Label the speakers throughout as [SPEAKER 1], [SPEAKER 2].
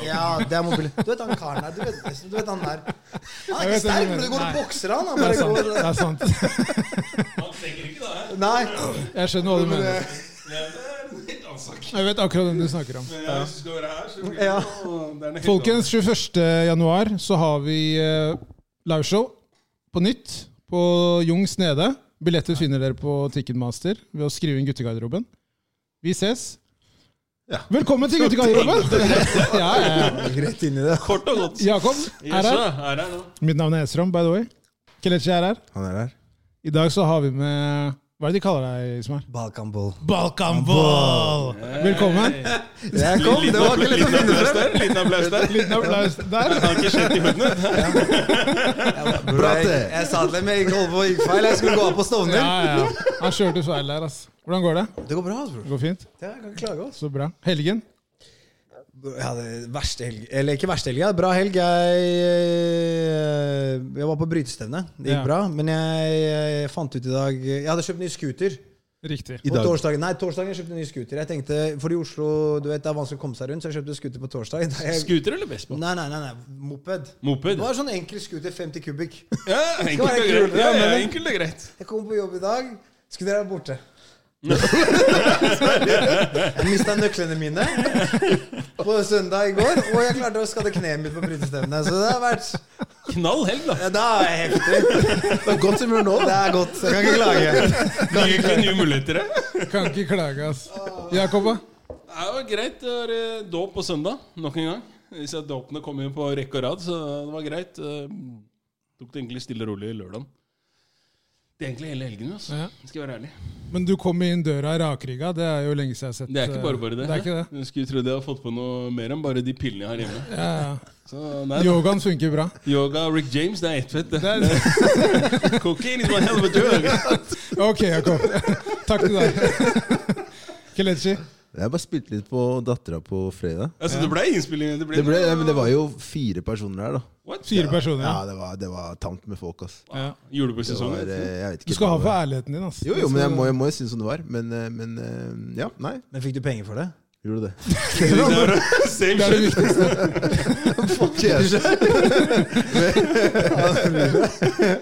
[SPEAKER 1] det er mobil. Du vet han karen der. Du vet, du vet han der. Han er
[SPEAKER 2] Jeg
[SPEAKER 1] ikke
[SPEAKER 2] vet
[SPEAKER 1] sterk,
[SPEAKER 2] hvem du
[SPEAKER 1] men det går og
[SPEAKER 2] mener.
[SPEAKER 1] bokser han. Han
[SPEAKER 2] Det er
[SPEAKER 1] bare
[SPEAKER 2] sant.
[SPEAKER 1] går
[SPEAKER 2] Det er sant.
[SPEAKER 3] Han trenger ikke det.
[SPEAKER 1] Nei.
[SPEAKER 2] Jeg skjønner hva du mener.
[SPEAKER 3] Det er en helt annen sak.
[SPEAKER 2] Jeg vet akkurat hvem du snakker om.
[SPEAKER 3] Men hvis du skal være her, så blir det
[SPEAKER 1] Ja.
[SPEAKER 3] noe- det er noe helt
[SPEAKER 2] Folkens, 21. januar så har vi eh, liveshow på nytt på Jungs Nede. Billetter finner dere på Ticketmaster ved å skrive inn guttegarderoben. Vi ses.
[SPEAKER 4] Ja.
[SPEAKER 2] Velkommen til guttegarderoben! ja, ja, ja.
[SPEAKER 4] Rett inn i det.
[SPEAKER 3] annet. Kort og godt.
[SPEAKER 2] Jakob
[SPEAKER 3] Yes,
[SPEAKER 2] er her.
[SPEAKER 3] da. er her nå.
[SPEAKER 2] Mitt navn er Esrom, by the way. Kelechi er her.
[SPEAKER 4] Han er der.
[SPEAKER 2] I dag så har vi med Hva er det de kaller deg, Ismar?
[SPEAKER 1] Balkanball.
[SPEAKER 2] Balkanball! Velkommen.
[SPEAKER 4] Jeg kom, det var ikke lett å finne
[SPEAKER 3] applaus der.
[SPEAKER 4] frem.
[SPEAKER 3] Liten applaus der.
[SPEAKER 2] Liten applaus der.
[SPEAKER 3] Han har ikke skjedd i hodene.
[SPEAKER 1] Jeg,
[SPEAKER 4] Brate.
[SPEAKER 1] jeg sa til dem jeg ikke holdt på å gikk feil. Jeg skulle gå av på
[SPEAKER 2] Ja,
[SPEAKER 1] Stovner.
[SPEAKER 2] ja. ja. Han kjørte feil der, altså. Hvordan går det?
[SPEAKER 1] Det går bra, altså, bror.
[SPEAKER 2] Det går fint?
[SPEAKER 1] Ja, Jeg kan ikke klage. altså.
[SPEAKER 2] Så bra. Helgen?
[SPEAKER 1] Jeg hadde verste helg Eller ikke verste helg, jeg hadde bra helg. Jeg, eh, jeg var på brytestevne. Det gikk
[SPEAKER 2] Ja.
[SPEAKER 1] bra. Men jeg, jeg fant ut i dag Jeg hadde kjøpt ny scooter.
[SPEAKER 2] Riktig.
[SPEAKER 4] I
[SPEAKER 1] På
[SPEAKER 4] dag.
[SPEAKER 1] torsdagen, nei, torsdagen jeg kjøpte ny scooter. Jeg tenkte, For i Oslo du vet, det er vanskelig å komme seg rundt, så jeg kjøpte scooter på torsdag. Da Jeg,
[SPEAKER 3] Scooter eller Vespa?
[SPEAKER 1] nei, nei, nei, nei, moped. Det
[SPEAKER 3] Moped?
[SPEAKER 1] var en sånn enkel scooter, 50 kubikk.
[SPEAKER 3] Ja, enkelt og
[SPEAKER 1] enkelt,
[SPEAKER 3] greit. Ja,
[SPEAKER 1] ja,
[SPEAKER 3] ja,
[SPEAKER 1] men-
[SPEAKER 3] enkelt og greit.
[SPEAKER 1] Jeg kom på jobb i dag, skulle dere være borte. jeg mista nøklene mine på søndag i går, og jeg klarte å skade kneet mitt på brytestevnet. Så det har vært
[SPEAKER 3] Knall helg, da.
[SPEAKER 1] ja, Det er heftig. Det er godt humør nå. Det er godt. Jeg kan ikke klage.
[SPEAKER 3] Nye, nye muligheter. det.
[SPEAKER 2] Kan ikke klage, ass. Jakob, da?
[SPEAKER 3] Ja, Det var greit. Det var eh, dåp på søndag, nok en gang. Disse dåpene kom jo på rekke og rad, så det var greit. Eh, Tok det egentlig stille og rolig lørdagen. Det er egentlig hele helgen, altså.
[SPEAKER 2] Ja.
[SPEAKER 3] Skal jeg være ærlig.
[SPEAKER 2] Men du kom inn døra rakrygga. Det er jo lenge siden jeg har sett eh,
[SPEAKER 3] Det er ikke bare bare det.
[SPEAKER 2] Det er ikke det.
[SPEAKER 3] Jeg skulle tro de hadde fått på noe mer enn bare de pillene jeg har hjemme.
[SPEAKER 2] Ja, ja.
[SPEAKER 3] Så nei, da.
[SPEAKER 2] Yogaen funker bra.
[SPEAKER 3] Yoga Rick James, det er ett fett.
[SPEAKER 2] Det
[SPEAKER 3] det.
[SPEAKER 2] er,
[SPEAKER 3] Cocaine is my hell of a drug.
[SPEAKER 2] ok, Jakob. Takk til deg. Kelechi.
[SPEAKER 4] Jeg bare spilte litt på dattera på fredag.
[SPEAKER 3] Altså, det ble innspilling. Det ble,
[SPEAKER 4] Det, ble, ja, men det var jo fire personer her, da.
[SPEAKER 3] What?
[SPEAKER 2] Fire personer.
[SPEAKER 4] Ja,
[SPEAKER 2] Ja.
[SPEAKER 4] det var, det var tamt med folk, ass.
[SPEAKER 2] Ja.
[SPEAKER 4] Det
[SPEAKER 3] Julebordsesongen.
[SPEAKER 4] var, eh, jeg vet ikke
[SPEAKER 2] Du skal ha
[SPEAKER 4] hva
[SPEAKER 2] for
[SPEAKER 4] det var.
[SPEAKER 2] ærligheten din, ass.
[SPEAKER 4] Jo, jo, men jeg må, jeg må jo synes som det var. Men, eh, men eh, ja, nei.
[SPEAKER 1] Men fikk du penger for det?
[SPEAKER 4] Gjorde det.
[SPEAKER 2] Det er
[SPEAKER 3] Same
[SPEAKER 2] det
[SPEAKER 3] shit.
[SPEAKER 2] viktigste.
[SPEAKER 4] Fuck yes. Men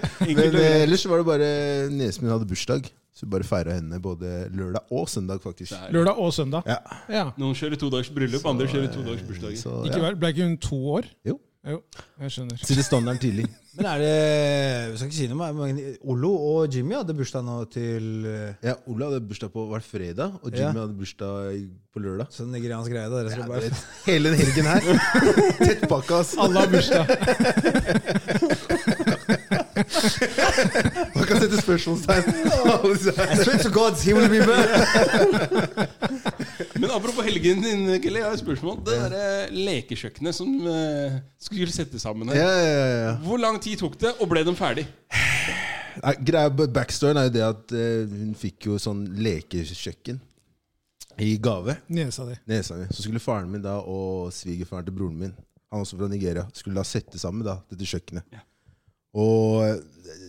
[SPEAKER 3] Enkelt og
[SPEAKER 4] eh,
[SPEAKER 3] greit.
[SPEAKER 4] ellers så var det bare niesen min hadde bursdag. Så vi bare feira henne både lørdag og søndag, faktisk.
[SPEAKER 3] Der.
[SPEAKER 2] Lørdag og søndag.
[SPEAKER 4] Ja.
[SPEAKER 2] Ja.
[SPEAKER 3] Noen kjører to dags bryllup, andre kjører to dags bursdager.
[SPEAKER 4] Så
[SPEAKER 2] Ikke
[SPEAKER 4] ja.
[SPEAKER 2] vel? Ble ikke hun to år?
[SPEAKER 4] Jo.
[SPEAKER 2] Jo, jeg skjønner.
[SPEAKER 4] Stille standarden tidlig.
[SPEAKER 1] Men er det Jeg skal ikke si noe, men Ollo og Jimmy hadde bursdag nå til eh,
[SPEAKER 4] Ja, Ola hadde bursdag på hver fredag, og Jimmy hadde bursdag i- på lørdag.
[SPEAKER 1] sånn nigeriansk greie. da Dere
[SPEAKER 4] Ja,
[SPEAKER 1] skal
[SPEAKER 4] du
[SPEAKER 1] bare
[SPEAKER 4] vet, hele den helgen her. Tettpakka, ass.
[SPEAKER 2] Alle har bursdag.
[SPEAKER 4] Man kan sette spørsmålstegn. Alle disse her.
[SPEAKER 1] I swear to God, he will remember.
[SPEAKER 3] Men apropos helgen din, Kelly, jeg har et spørsmål. Det der lekekjøkkenet som eh, skulle settes sammen her.
[SPEAKER 4] Ja, ja, ja, ja.
[SPEAKER 3] Hvor lang tid tok det, og ble de ferdig?
[SPEAKER 4] Nei, greia b- Backstoryen er jo det at eh, hun fikk jo sånn lekekjøkken i gave.
[SPEAKER 2] Niesa di.
[SPEAKER 4] Nesa mi. Så skulle faren min da og svigerfaren til broren min, han også fra Nigeria, skulle da sette sammen da dette kjøkkenet.
[SPEAKER 3] Ja.
[SPEAKER 4] Og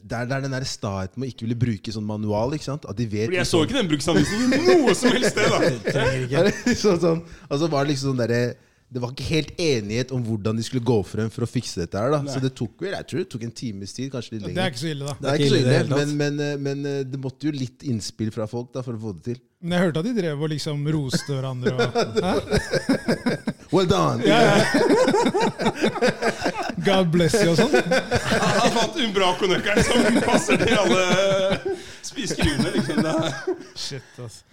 [SPEAKER 4] det er, det er den der staheten med å ikke ville bruke sånn manual. ikke sant? At de vet liksom-
[SPEAKER 3] Fordi Jeg så ikke den bruksanvisningen noe som helst sted. da
[SPEAKER 1] Trenger ikke.
[SPEAKER 4] Ja, det er liksom sånn, altså var det, liksom sånn derre- det var ikke helt enighet om hvordan de skulle gå frem for å fikse dette. her da. Så det tok vel, jeg tror det tok en times tid, kanskje litt
[SPEAKER 2] Det er
[SPEAKER 4] lenger.
[SPEAKER 2] ikke så ille, da.
[SPEAKER 4] Det er ikke
[SPEAKER 1] ille
[SPEAKER 4] så
[SPEAKER 1] i det
[SPEAKER 4] ille,
[SPEAKER 1] hele tatt.
[SPEAKER 4] men, men, eh, men eh, det måtte jo litt innspill fra folk da, for å få det til.
[SPEAKER 2] Men jeg hørte at de drev og liksom roste hverandre. Og, Hæ?
[SPEAKER 4] Well done!
[SPEAKER 2] God bless you og sånn.
[SPEAKER 3] Han fant en bra konøkker som passer til alle spisekruene. Liksom. Det er-
[SPEAKER 2] Shit, ass.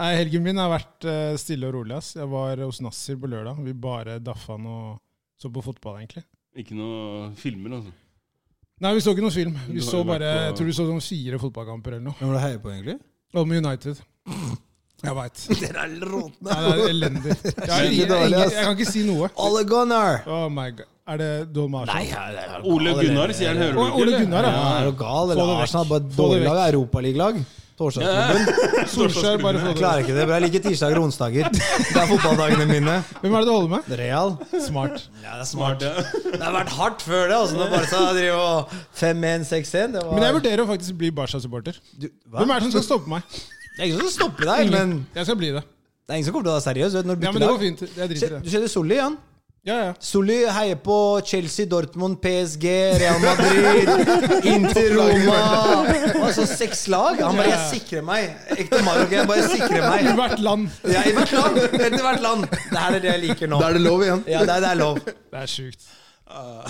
[SPEAKER 2] Nei, helgen min har vært eh, stille og rolig. ass. Jeg var hos Nasser på lørdag. Vi bare daffa han og så på fotball, egentlig.
[SPEAKER 3] Ikke noe filmer, altså.
[SPEAKER 2] Nei, vi så ikke noen film. Vi
[SPEAKER 3] Du har
[SPEAKER 2] så
[SPEAKER 3] jo vært
[SPEAKER 2] bare,
[SPEAKER 3] på-
[SPEAKER 2] jeg tror vi så sånn fire fotballkamper eller noe.
[SPEAKER 1] Hvem var det heier på, egentlig?
[SPEAKER 2] Om United. Jeg veit.
[SPEAKER 1] Dere er råtne.
[SPEAKER 2] Det er elendig. Jeg, har
[SPEAKER 4] Veldig
[SPEAKER 2] ingen-
[SPEAKER 4] dårlig, ass.
[SPEAKER 2] jeg kan ikke si noe.
[SPEAKER 1] Ole Gunnar!
[SPEAKER 2] Oh my god. Er det Dolm Arsenal?
[SPEAKER 3] Ole Gunnar, sier han. Hører du
[SPEAKER 2] Å,
[SPEAKER 3] ikke?
[SPEAKER 2] Ole
[SPEAKER 3] eller?
[SPEAKER 2] Gunnar,
[SPEAKER 1] Ja, er
[SPEAKER 2] ja.
[SPEAKER 1] du gal?
[SPEAKER 2] Få det
[SPEAKER 1] Eller
[SPEAKER 2] vekk.
[SPEAKER 1] Arsenal er bare et
[SPEAKER 2] Få det
[SPEAKER 1] dårlig lag. Europaligaklubben. Torsdagsklubben.
[SPEAKER 2] Solskjær, bare få
[SPEAKER 1] Jeg
[SPEAKER 2] det
[SPEAKER 1] klarer ikke det. bro. Jeg liker tirsdager og onsdager. Det er fotballdagene mine.
[SPEAKER 2] Hvem er det du holder med?
[SPEAKER 1] Real.
[SPEAKER 2] Smart.
[SPEAKER 1] Ja, det er smart.
[SPEAKER 3] Smart, ja.
[SPEAKER 1] Det har vært hardt før det. altså Når Barca driver og 5-1, 6-1 det var-
[SPEAKER 2] Men jeg vurderer å faktisk bli Barca-supporter.
[SPEAKER 1] Du, hva?
[SPEAKER 2] Hvem er det som skal stoppe meg?
[SPEAKER 1] Det er ingen som stopper deg, men
[SPEAKER 2] Jeg skal bli det.
[SPEAKER 1] det er ingen som kommer til å være seriøs. Du vet, når du
[SPEAKER 2] Ja,
[SPEAKER 1] bytter
[SPEAKER 2] men det
[SPEAKER 1] lag.
[SPEAKER 2] går fint. Jeg driter i
[SPEAKER 1] Se- Du
[SPEAKER 2] det.
[SPEAKER 1] kjenner Solli, Jan?
[SPEAKER 2] Ja, ja.
[SPEAKER 1] Solly heier på Chelsea, Dortmund, PSG, Real Madrid, Inter Roma. Altså seks lag. Han bare 'Jeg sikrer meg'. Ekte Marok. Jeg bare sikrer
[SPEAKER 2] I
[SPEAKER 1] meg.
[SPEAKER 2] hvert land.
[SPEAKER 1] Ja, I hvert land. Etter hvert land. Det her er det jeg liker nå.
[SPEAKER 4] Da er det lov igjen.
[SPEAKER 1] Ja, det er, det er lov.
[SPEAKER 2] Det er sjukt.
[SPEAKER 1] Ah.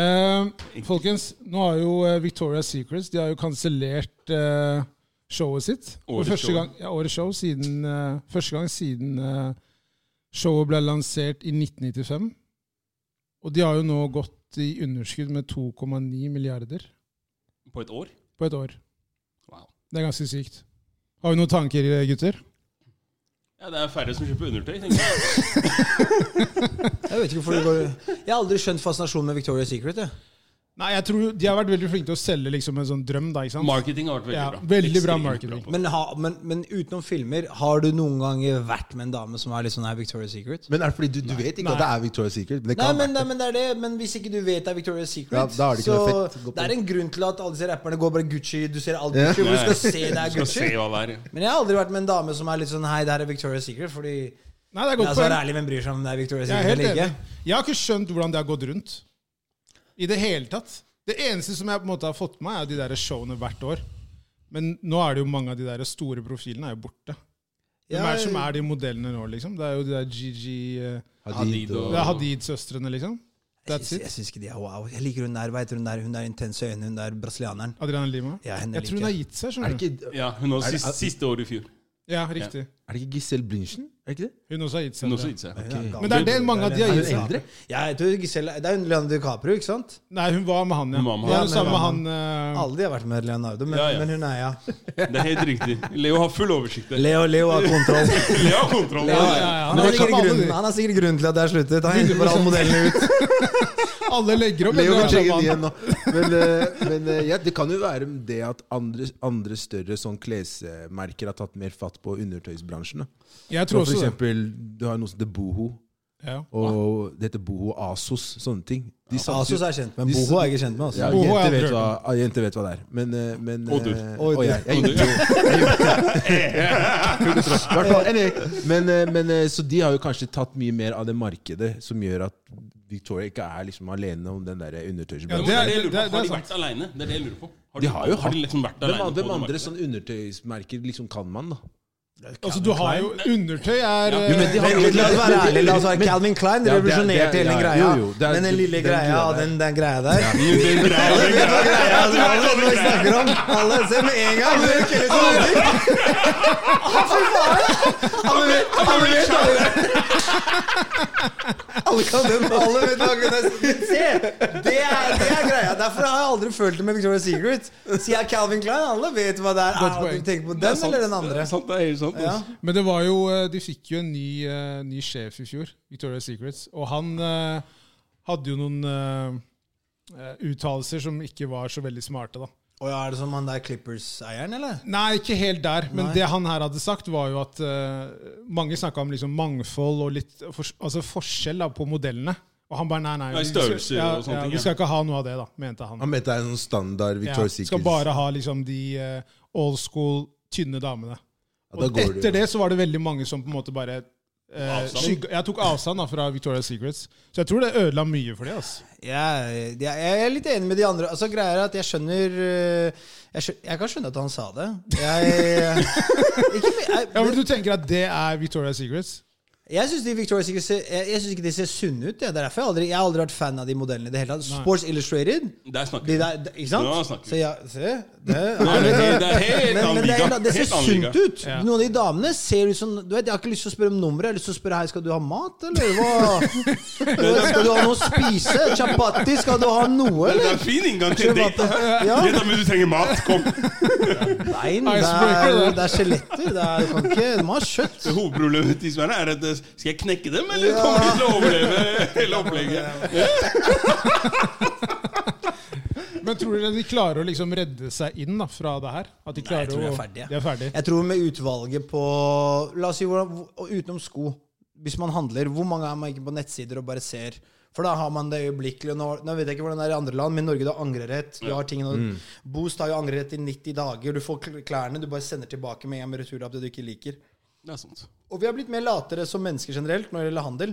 [SPEAKER 2] Eh, folkens, nå har jo eh, Victoria's Secrets De har jo kansellert eh, showet sitt. For
[SPEAKER 3] Årets
[SPEAKER 2] første
[SPEAKER 3] show.
[SPEAKER 2] Gang, ja, årets show siden, eh, første gang siden eh, showet ble lansert i 1995. Og de har jo nå gått i underskudd med 2,9 milliarder
[SPEAKER 3] På et år?
[SPEAKER 2] på et år.
[SPEAKER 3] Wow.
[SPEAKER 2] Det er ganske sykt. Har vi noen tanker, gutter?
[SPEAKER 3] Ja, Det er færre som kjøper undertøy. tenker jeg.
[SPEAKER 1] Jeg vet ikke hvorfor det går Jeg har aldri skjønt fascinasjonen med Victoria's Secret. Jeg.
[SPEAKER 2] Nei, jeg tror De har vært veldig flinke til å selge liksom en sånn drøm. da, ikke sant?
[SPEAKER 3] Marketing har vært veldig
[SPEAKER 2] Ja,
[SPEAKER 3] bra.
[SPEAKER 2] veldig bra
[SPEAKER 3] Ekstremt
[SPEAKER 2] marketing.
[SPEAKER 3] på det.
[SPEAKER 1] Men, ha, men, men utenom filmer, har du noen ganger vært med en dame som er litt sånn her Victoria's Secret?
[SPEAKER 4] Men er det fordi du, du vet ikke at det er Victoria's Secret? Men det
[SPEAKER 1] Nei
[SPEAKER 4] kan
[SPEAKER 1] men,
[SPEAKER 4] være.
[SPEAKER 1] nei, men det er det. Men hvis ikke du vet det er Victoria's Secret,
[SPEAKER 4] Ja, da har de ikke
[SPEAKER 1] så
[SPEAKER 4] noe effekt å gå på.
[SPEAKER 1] det er en grunn til at alle disse rapperne går bare Gucci. Du ser alt
[SPEAKER 4] Ja.
[SPEAKER 1] Gucci, hvor du
[SPEAKER 3] Ja.
[SPEAKER 1] skal se det er
[SPEAKER 3] Skal se
[SPEAKER 1] Gucci.
[SPEAKER 3] hva det er.
[SPEAKER 1] Men jeg har aldri vært med en dame som er litt sånn Hei, det her er Victoria's Secret. Fordi
[SPEAKER 2] Nei, det er
[SPEAKER 1] la
[SPEAKER 2] godt
[SPEAKER 1] oss
[SPEAKER 2] poeng.
[SPEAKER 1] være ærlig, hvem bryr seg om det er Victoria's
[SPEAKER 2] Jeg er
[SPEAKER 1] Secret
[SPEAKER 2] helt
[SPEAKER 1] eller
[SPEAKER 2] enig.
[SPEAKER 1] ikke?
[SPEAKER 2] Jeg har ikke skjønt hvordan det har gått rundt. I det hele tatt. Det eneste som jeg på en måte har fått med meg, er de der showene hvert år. Men nå er det jo mange av de der store profilene er jo borte. Hvem er det som er de modellene nå, liksom? Det er jo de der Gigi eh,
[SPEAKER 4] Hadid og
[SPEAKER 2] Det er Hadid-søstrene, liksom.
[SPEAKER 1] Jeg
[SPEAKER 2] That's
[SPEAKER 1] syns-
[SPEAKER 2] it.
[SPEAKER 1] Jeg syns ikke de er wow. Jeg liker hun der. Hva heter hun der? Hun der intense øyne, hun der brasilianeren.
[SPEAKER 2] Adriana Lima.
[SPEAKER 1] Ja, henne
[SPEAKER 2] jeg tror hun
[SPEAKER 1] liker
[SPEAKER 2] har
[SPEAKER 1] jeg.
[SPEAKER 2] gitt seg,
[SPEAKER 4] Er
[SPEAKER 2] skjønner
[SPEAKER 4] det
[SPEAKER 2] du.
[SPEAKER 4] ikke,
[SPEAKER 3] Ja, hun har
[SPEAKER 4] Er det-
[SPEAKER 3] siste, siste år i fjor.
[SPEAKER 2] Ja, riktig.
[SPEAKER 4] er det ikke Giselle Brinchen? Er det ikke det?
[SPEAKER 2] Hun også har gitt seg.
[SPEAKER 3] Hun
[SPEAKER 2] tror
[SPEAKER 3] også
[SPEAKER 2] jeg.
[SPEAKER 3] gitt seg.
[SPEAKER 1] Hun gal.
[SPEAKER 2] Men det er det mange av de har
[SPEAKER 4] Er
[SPEAKER 2] gitt
[SPEAKER 4] hun
[SPEAKER 2] seg.
[SPEAKER 4] eldre?
[SPEAKER 1] Ja, jeg tror Giselle, det er hun Leonardo DiCaprio, ikke sant?
[SPEAKER 2] Nei, hun var med han, ja.
[SPEAKER 3] Hun var med
[SPEAKER 2] Hun var
[SPEAKER 1] han.
[SPEAKER 2] jo sammen med han eh,
[SPEAKER 1] Alle de har vært med Leonardo, men,
[SPEAKER 3] Ja, ja.
[SPEAKER 1] men hun er ja.
[SPEAKER 3] Det er helt riktig. Leo har full oversikt. der.
[SPEAKER 1] Leo, Leo har kontroll.
[SPEAKER 3] Leo har kontroll.
[SPEAKER 1] Leo,
[SPEAKER 2] ja, ja.
[SPEAKER 1] Han,
[SPEAKER 2] Han
[SPEAKER 1] har
[SPEAKER 2] har
[SPEAKER 1] sikkert
[SPEAKER 2] kontroll på
[SPEAKER 1] grunnen,
[SPEAKER 2] det.
[SPEAKER 1] han har sikkert grunnen til at det er sluttet. Han henter bare alle modellene ut.
[SPEAKER 2] Alle legger opp.
[SPEAKER 4] Leo
[SPEAKER 2] men det er sånn
[SPEAKER 4] kan
[SPEAKER 2] sammen med
[SPEAKER 4] trekke den
[SPEAKER 2] han.
[SPEAKER 4] igjen nå. Men, eh, men eh, ja, det kan jo være det at andre, andre større sånn klesmerker har tatt mer fatt på undertøysbransjen. da.
[SPEAKER 2] Jeg
[SPEAKER 4] Så
[SPEAKER 2] tror
[SPEAKER 4] for
[SPEAKER 2] også det.
[SPEAKER 4] eksempel, du har noe som heter Boho,
[SPEAKER 2] Ja.
[SPEAKER 4] og det heter Boho Asos, sånne ting. De satser-
[SPEAKER 1] Asos er jeg kjent med. Boho er jeg ikke kjent med.
[SPEAKER 4] ja,
[SPEAKER 1] Altså.
[SPEAKER 2] Boho har
[SPEAKER 4] jenter,
[SPEAKER 2] jeg
[SPEAKER 4] vet
[SPEAKER 2] aldri
[SPEAKER 4] hva, ja, jenter vet hva det er. Men, eh, men
[SPEAKER 3] Og du.
[SPEAKER 4] eh,
[SPEAKER 1] Og du.
[SPEAKER 4] og jeg, jeg,
[SPEAKER 3] Og du.
[SPEAKER 4] Hvert fall, anyway. men, eh, men, eh, så de har jo kanskje tatt mye mer av det markedet som gjør at Victoria ikke er liksom alene om den der
[SPEAKER 2] Ja,
[SPEAKER 4] undertøysbransjen.
[SPEAKER 3] Det er det jeg
[SPEAKER 2] det-
[SPEAKER 3] lurer på.
[SPEAKER 2] det-
[SPEAKER 3] Har
[SPEAKER 2] det
[SPEAKER 3] de
[SPEAKER 2] er
[SPEAKER 3] vært alene? Det er det jeg lurer på.
[SPEAKER 4] De har jo
[SPEAKER 3] har de
[SPEAKER 4] hatt-
[SPEAKER 3] liksom vært
[SPEAKER 4] Hvem,
[SPEAKER 3] alene
[SPEAKER 4] hvem
[SPEAKER 3] på det
[SPEAKER 4] andre
[SPEAKER 3] markedet?
[SPEAKER 4] sånn undertøysmerker liksom kan man, da?
[SPEAKER 2] Altså, du har jo Undertøy er
[SPEAKER 3] Ja, men
[SPEAKER 2] eh,
[SPEAKER 4] de har-
[SPEAKER 1] Men La oss være ærlig, la oss være Calvin Klein
[SPEAKER 4] Ja, det er-
[SPEAKER 1] revolusjonerte
[SPEAKER 4] det
[SPEAKER 1] hele
[SPEAKER 4] er-
[SPEAKER 1] den
[SPEAKER 4] ja,
[SPEAKER 1] greia.
[SPEAKER 4] jo, jo, det er-
[SPEAKER 1] Men den lille
[SPEAKER 4] den
[SPEAKER 1] greia,
[SPEAKER 4] greia der.
[SPEAKER 1] den, den greia der
[SPEAKER 3] Det er greia, det
[SPEAKER 1] Vet
[SPEAKER 3] er
[SPEAKER 1] du hva
[SPEAKER 3] greia.
[SPEAKER 1] greia er? Alle vet hva vi snakker om. Alle ser med en gang. Dere kjeller som aldri. Å, Fy faen! Alle vet alle vet, alle vet. Alle kan den, alle vet hva Gunnar sier. Se, det er, det er greia. Derfor har jeg aldri følt det med Victoria's Secret. Sier jeg Calvin Klein, alle vet hva det er.
[SPEAKER 2] Godt
[SPEAKER 1] Er
[SPEAKER 2] poeng.
[SPEAKER 1] du tenker på
[SPEAKER 3] Det er
[SPEAKER 1] den
[SPEAKER 3] sant.
[SPEAKER 1] eller den andre?
[SPEAKER 3] Det er sant, det er helt sant.
[SPEAKER 1] Ja.
[SPEAKER 3] altså.
[SPEAKER 2] Men det var jo, eh, de fikk jo en ny, eh, ny sjef i fjor, Victoria's Secrets. Og han eh, hadde jo noen eh, eh, uttalelser som ikke var så veldig smarte, da.
[SPEAKER 1] Å ja, er det som han der Clippers-eieren, eller?
[SPEAKER 2] Nei, ikke helt der. Men
[SPEAKER 1] Nei.
[SPEAKER 2] det han her hadde sagt, var jo at eh, mange snakka om liksom mangfold og litt fors- altså forskjell da, på modellene. Og han bare nei, nei.
[SPEAKER 3] Ja,
[SPEAKER 2] vi skal-
[SPEAKER 3] størrelser
[SPEAKER 2] ja,
[SPEAKER 3] og sånne
[SPEAKER 2] ja,
[SPEAKER 3] ting,
[SPEAKER 2] Vi skal ikke ha noe av det, da, mente han.
[SPEAKER 4] Han mente det er en sånn standard
[SPEAKER 2] Ja,
[SPEAKER 4] Victoria's
[SPEAKER 2] skal
[SPEAKER 4] Secret.
[SPEAKER 2] bare ha liksom de eh, old school, tynne damene.
[SPEAKER 4] Ja, da
[SPEAKER 2] Og
[SPEAKER 4] går
[SPEAKER 2] etter
[SPEAKER 4] det,
[SPEAKER 2] det så var det veldig mange som på en måte bare eh,
[SPEAKER 3] Avstand?
[SPEAKER 2] skygga- Jeg tok avstand da fra Victoria's Secrets. Så jeg tror det ødela mye for dem. Altså.
[SPEAKER 1] Jeg, jeg, jeg er litt enig med de andre. Altså, greia er at jeg skjønner øh, Jeg, skjø- jeg kan skjønne at han sa det. Jeg, eh, ikke, me- jeg,
[SPEAKER 2] Ja, men du tenker at det er Victoria's Secrets?
[SPEAKER 1] jeg syns Victoria's Secret ser- jeg, jeg synes ikke de ser sunne ut. Jeg. Det er derfor jeg aldri, jeg har aldri vært fan av de modellene i det hele tatt. Sports Illustrated
[SPEAKER 3] Der snakker
[SPEAKER 1] de
[SPEAKER 3] vi.
[SPEAKER 1] der, de- ikke sant?
[SPEAKER 3] Ja, snakker vi.
[SPEAKER 1] Så jeg, se, det,
[SPEAKER 3] Nei, det er helt- det er helt
[SPEAKER 1] men, men
[SPEAKER 3] annen
[SPEAKER 1] det,
[SPEAKER 3] liga.
[SPEAKER 1] er, det ser
[SPEAKER 3] Helt annen liga.
[SPEAKER 1] sunt ut.
[SPEAKER 2] Ja.
[SPEAKER 1] Noen av de damene ser ut som du vet, Jeg har ikke lyst til å spørre om nummeret. Jeg har lyst til å spørre Hei, skal du ha mat, eller hva? Skal du ha noe å spise? Chapati? Skal du ha noe,
[SPEAKER 3] Det er
[SPEAKER 1] eller?
[SPEAKER 3] en fin inngang til en date.
[SPEAKER 1] Ja.
[SPEAKER 3] Jenta mi, du trenger mat. Kom.
[SPEAKER 1] Nei, det
[SPEAKER 2] Icebreaker,
[SPEAKER 1] er,
[SPEAKER 2] det.
[SPEAKER 1] det er skjeletter. Det er, du kan ikke, de har kjøtt.
[SPEAKER 3] Det Hovedproblemet til Sverre er at eh, skal jeg knekke dem, eller
[SPEAKER 1] Ja.
[SPEAKER 3] kommer de til å overleve hele opplegget?
[SPEAKER 2] Men tror dere de klarer å liksom redde seg inn da, fra det her? At de
[SPEAKER 1] Nei, jeg
[SPEAKER 2] klarer
[SPEAKER 1] tror de er
[SPEAKER 2] å-
[SPEAKER 1] ferdige.
[SPEAKER 2] De er ferdige.
[SPEAKER 1] Jeg tror med utvalget på La oss si hvordan, og utenom sko. Hvis man handler, hvor mange er man ikke på nettsider og bare ser? For da har man det øyeblikkelig. og Nå, nå vet jeg ikke hvordan det er i andre land, men i Norge du har angrerett. Du har tingene, Boost har jo angrerett i 90 dager. Du får kl- klærne, du bare sender tilbake med en med returlapp det du ikke liker.
[SPEAKER 3] Det er sant.
[SPEAKER 1] Og vi har blitt mer latere som mennesker generelt når det gjelder handel.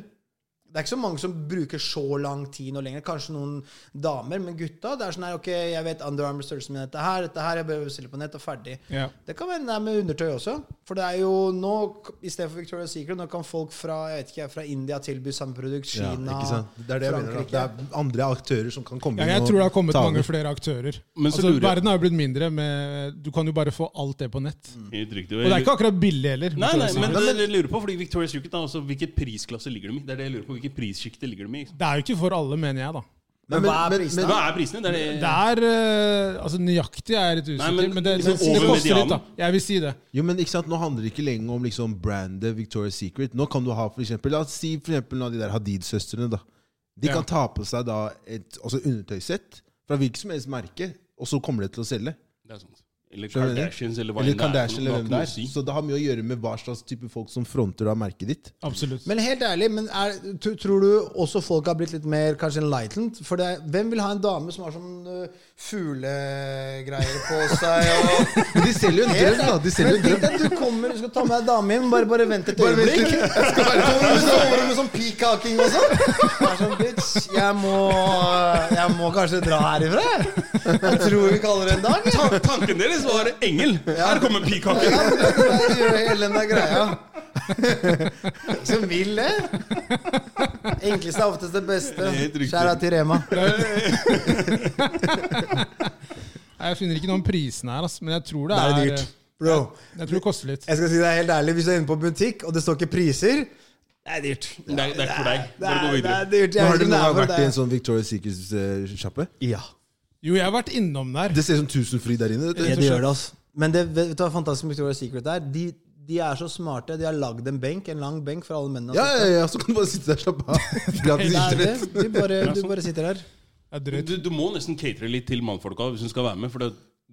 [SPEAKER 1] Det er ikke så mange som bruker så lang tid nå lenger. Kanskje noen damer, men gutta det er sånn her, ok, jeg vet Under Armour-størrelsen min, dette her, dette her, jeg bør bestille på nett, og ferdig.
[SPEAKER 2] Ja.
[SPEAKER 1] Det kan være det er med undertøy også. For det er jo nå, i stedet for Victoria's Secret, nå kan folk fra jeg vet ikke, fra India tilby samme produkt. Kina,
[SPEAKER 4] Ja, ikke sant? Det er det jeg mener. da.
[SPEAKER 1] Frankrike.
[SPEAKER 4] Det er andre aktører som kan komme
[SPEAKER 2] Ja,
[SPEAKER 4] inn
[SPEAKER 2] jeg
[SPEAKER 4] og
[SPEAKER 2] tror det har kommet
[SPEAKER 4] ta
[SPEAKER 2] mange
[SPEAKER 4] over.
[SPEAKER 2] flere aktører.
[SPEAKER 3] Men så
[SPEAKER 2] Altså,
[SPEAKER 3] lurer jeg-
[SPEAKER 2] verden har jo blitt mindre, med, du kan jo bare få alt det på nett.
[SPEAKER 3] Helt riktig.
[SPEAKER 2] Og det er ikke akkurat billig heller.
[SPEAKER 3] Mm. Nei, nei,
[SPEAKER 2] Victoria's
[SPEAKER 3] men
[SPEAKER 2] Secret.
[SPEAKER 3] det jeg lurer på, fordi Victoria's Secret er også hvilket prisklasse ligger de i. Det er det jeg lurer på, hvilket prissjikte ligger de i.
[SPEAKER 2] det er jo ikke for alle, mener jeg, da.
[SPEAKER 1] Men hva er
[SPEAKER 4] men-
[SPEAKER 1] prisen
[SPEAKER 4] men-
[SPEAKER 1] da?
[SPEAKER 3] Hva er prisene? Det er
[SPEAKER 2] Det
[SPEAKER 3] det,
[SPEAKER 2] er eh, Altså, nøyaktig er et usikker,
[SPEAKER 3] Nei,
[SPEAKER 2] men,
[SPEAKER 3] men
[SPEAKER 2] det, det,
[SPEAKER 3] liksom
[SPEAKER 2] det,
[SPEAKER 3] over
[SPEAKER 2] koster litt, da.
[SPEAKER 3] medianen.
[SPEAKER 2] Jeg vil si det.
[SPEAKER 4] Jo, men ikke sant, Nå handler det ikke lenger om liksom brandet Victoria's Secret. Nå kan du ha for eksempel, La oss si for eksempel noen av de der Hadid-søstrene. da. De
[SPEAKER 2] Ja.
[SPEAKER 4] kan ta på seg da et altså undertøyssett fra hvilket som helst merke, og så kommer det til å selge.
[SPEAKER 3] det er sånt. Eller
[SPEAKER 4] Skjønner du?
[SPEAKER 3] Kardashians, eller hva
[SPEAKER 4] Eller
[SPEAKER 3] enn det er.
[SPEAKER 4] Kardashian
[SPEAKER 3] Det har
[SPEAKER 4] eller
[SPEAKER 3] ikke
[SPEAKER 4] hvem det
[SPEAKER 3] noe å
[SPEAKER 4] er.
[SPEAKER 3] si.
[SPEAKER 4] Så det har mye å gjøre med hva slags type folk som fronter da merket ditt.
[SPEAKER 2] Absolutt.
[SPEAKER 1] Men helt ærlig, men er, tr- tror du også folk har blitt litt mer kanskje enlightened? For det, er- hvem vil ha en dame som har sånn øh, fuglegreier på seg? Og,
[SPEAKER 4] Men de selger jo en drøm, da. De selger
[SPEAKER 1] men
[SPEAKER 4] jo en
[SPEAKER 1] tenk
[SPEAKER 4] drøm.
[SPEAKER 1] deg, du kommer og skal ta med deg dame hjem, bare, bare vent et
[SPEAKER 4] Bare vent
[SPEAKER 1] øyeblikk.
[SPEAKER 4] litt.
[SPEAKER 1] Så Kommer du sover du med sånn peacock-haking og sånn? Det er sånn, bitch, jeg må, jeg må kanskje dra herifra. jeg. Jeg tror vi kaller det en dag. jeg.
[SPEAKER 3] Ta- Tanken deres var engel! Her kommer pikaken!
[SPEAKER 1] Ja, men det der gjør hele den der greia. Som vil det. Enkleste er oftest det beste.
[SPEAKER 3] Helt riktig.
[SPEAKER 1] Skjæra til Rema.
[SPEAKER 2] Nei, jeg finner ikke noen prisene her, altså, men jeg tror det
[SPEAKER 1] Da
[SPEAKER 2] er,
[SPEAKER 1] er det dyrt. Bro,
[SPEAKER 2] Jeg tror det koster litt.
[SPEAKER 1] jeg skal si deg helt ærlig, hvis du er inne på butikk, og det står ikke priser Det er dyrt.
[SPEAKER 3] Det er, det er ikke for deg.
[SPEAKER 1] Det
[SPEAKER 3] Bare gå
[SPEAKER 1] er, det
[SPEAKER 3] videre.
[SPEAKER 1] er dyrt. Jeg
[SPEAKER 4] Men har
[SPEAKER 1] vet
[SPEAKER 4] du
[SPEAKER 1] ikke om
[SPEAKER 4] noen
[SPEAKER 1] det er
[SPEAKER 4] gang
[SPEAKER 1] for
[SPEAKER 4] vært i en
[SPEAKER 1] det.
[SPEAKER 4] sånn Victoria's Secret-sjappe?
[SPEAKER 1] Ja,
[SPEAKER 2] Jo, jeg har vært innom der.
[SPEAKER 4] Det ser ut som tusenfryd der inne.
[SPEAKER 1] Ja,
[SPEAKER 4] vet du.
[SPEAKER 1] det gjør det, altså. Men det, vet du hva fantastisk med Victoria's Secret er? De, de er så smarte. De har lagd en benk, en lang benk for alle mennene.
[SPEAKER 4] Ja, ja, ja, så kan du bare sitte der og slappe av. Gratis
[SPEAKER 1] Det er
[SPEAKER 4] internett.
[SPEAKER 1] det. Du bare,
[SPEAKER 3] sånn.
[SPEAKER 1] du bare sitter der.
[SPEAKER 2] Det er drøyt.
[SPEAKER 3] Du, du må nesten catere litt til mannfolka hvis hun skal være med. For det,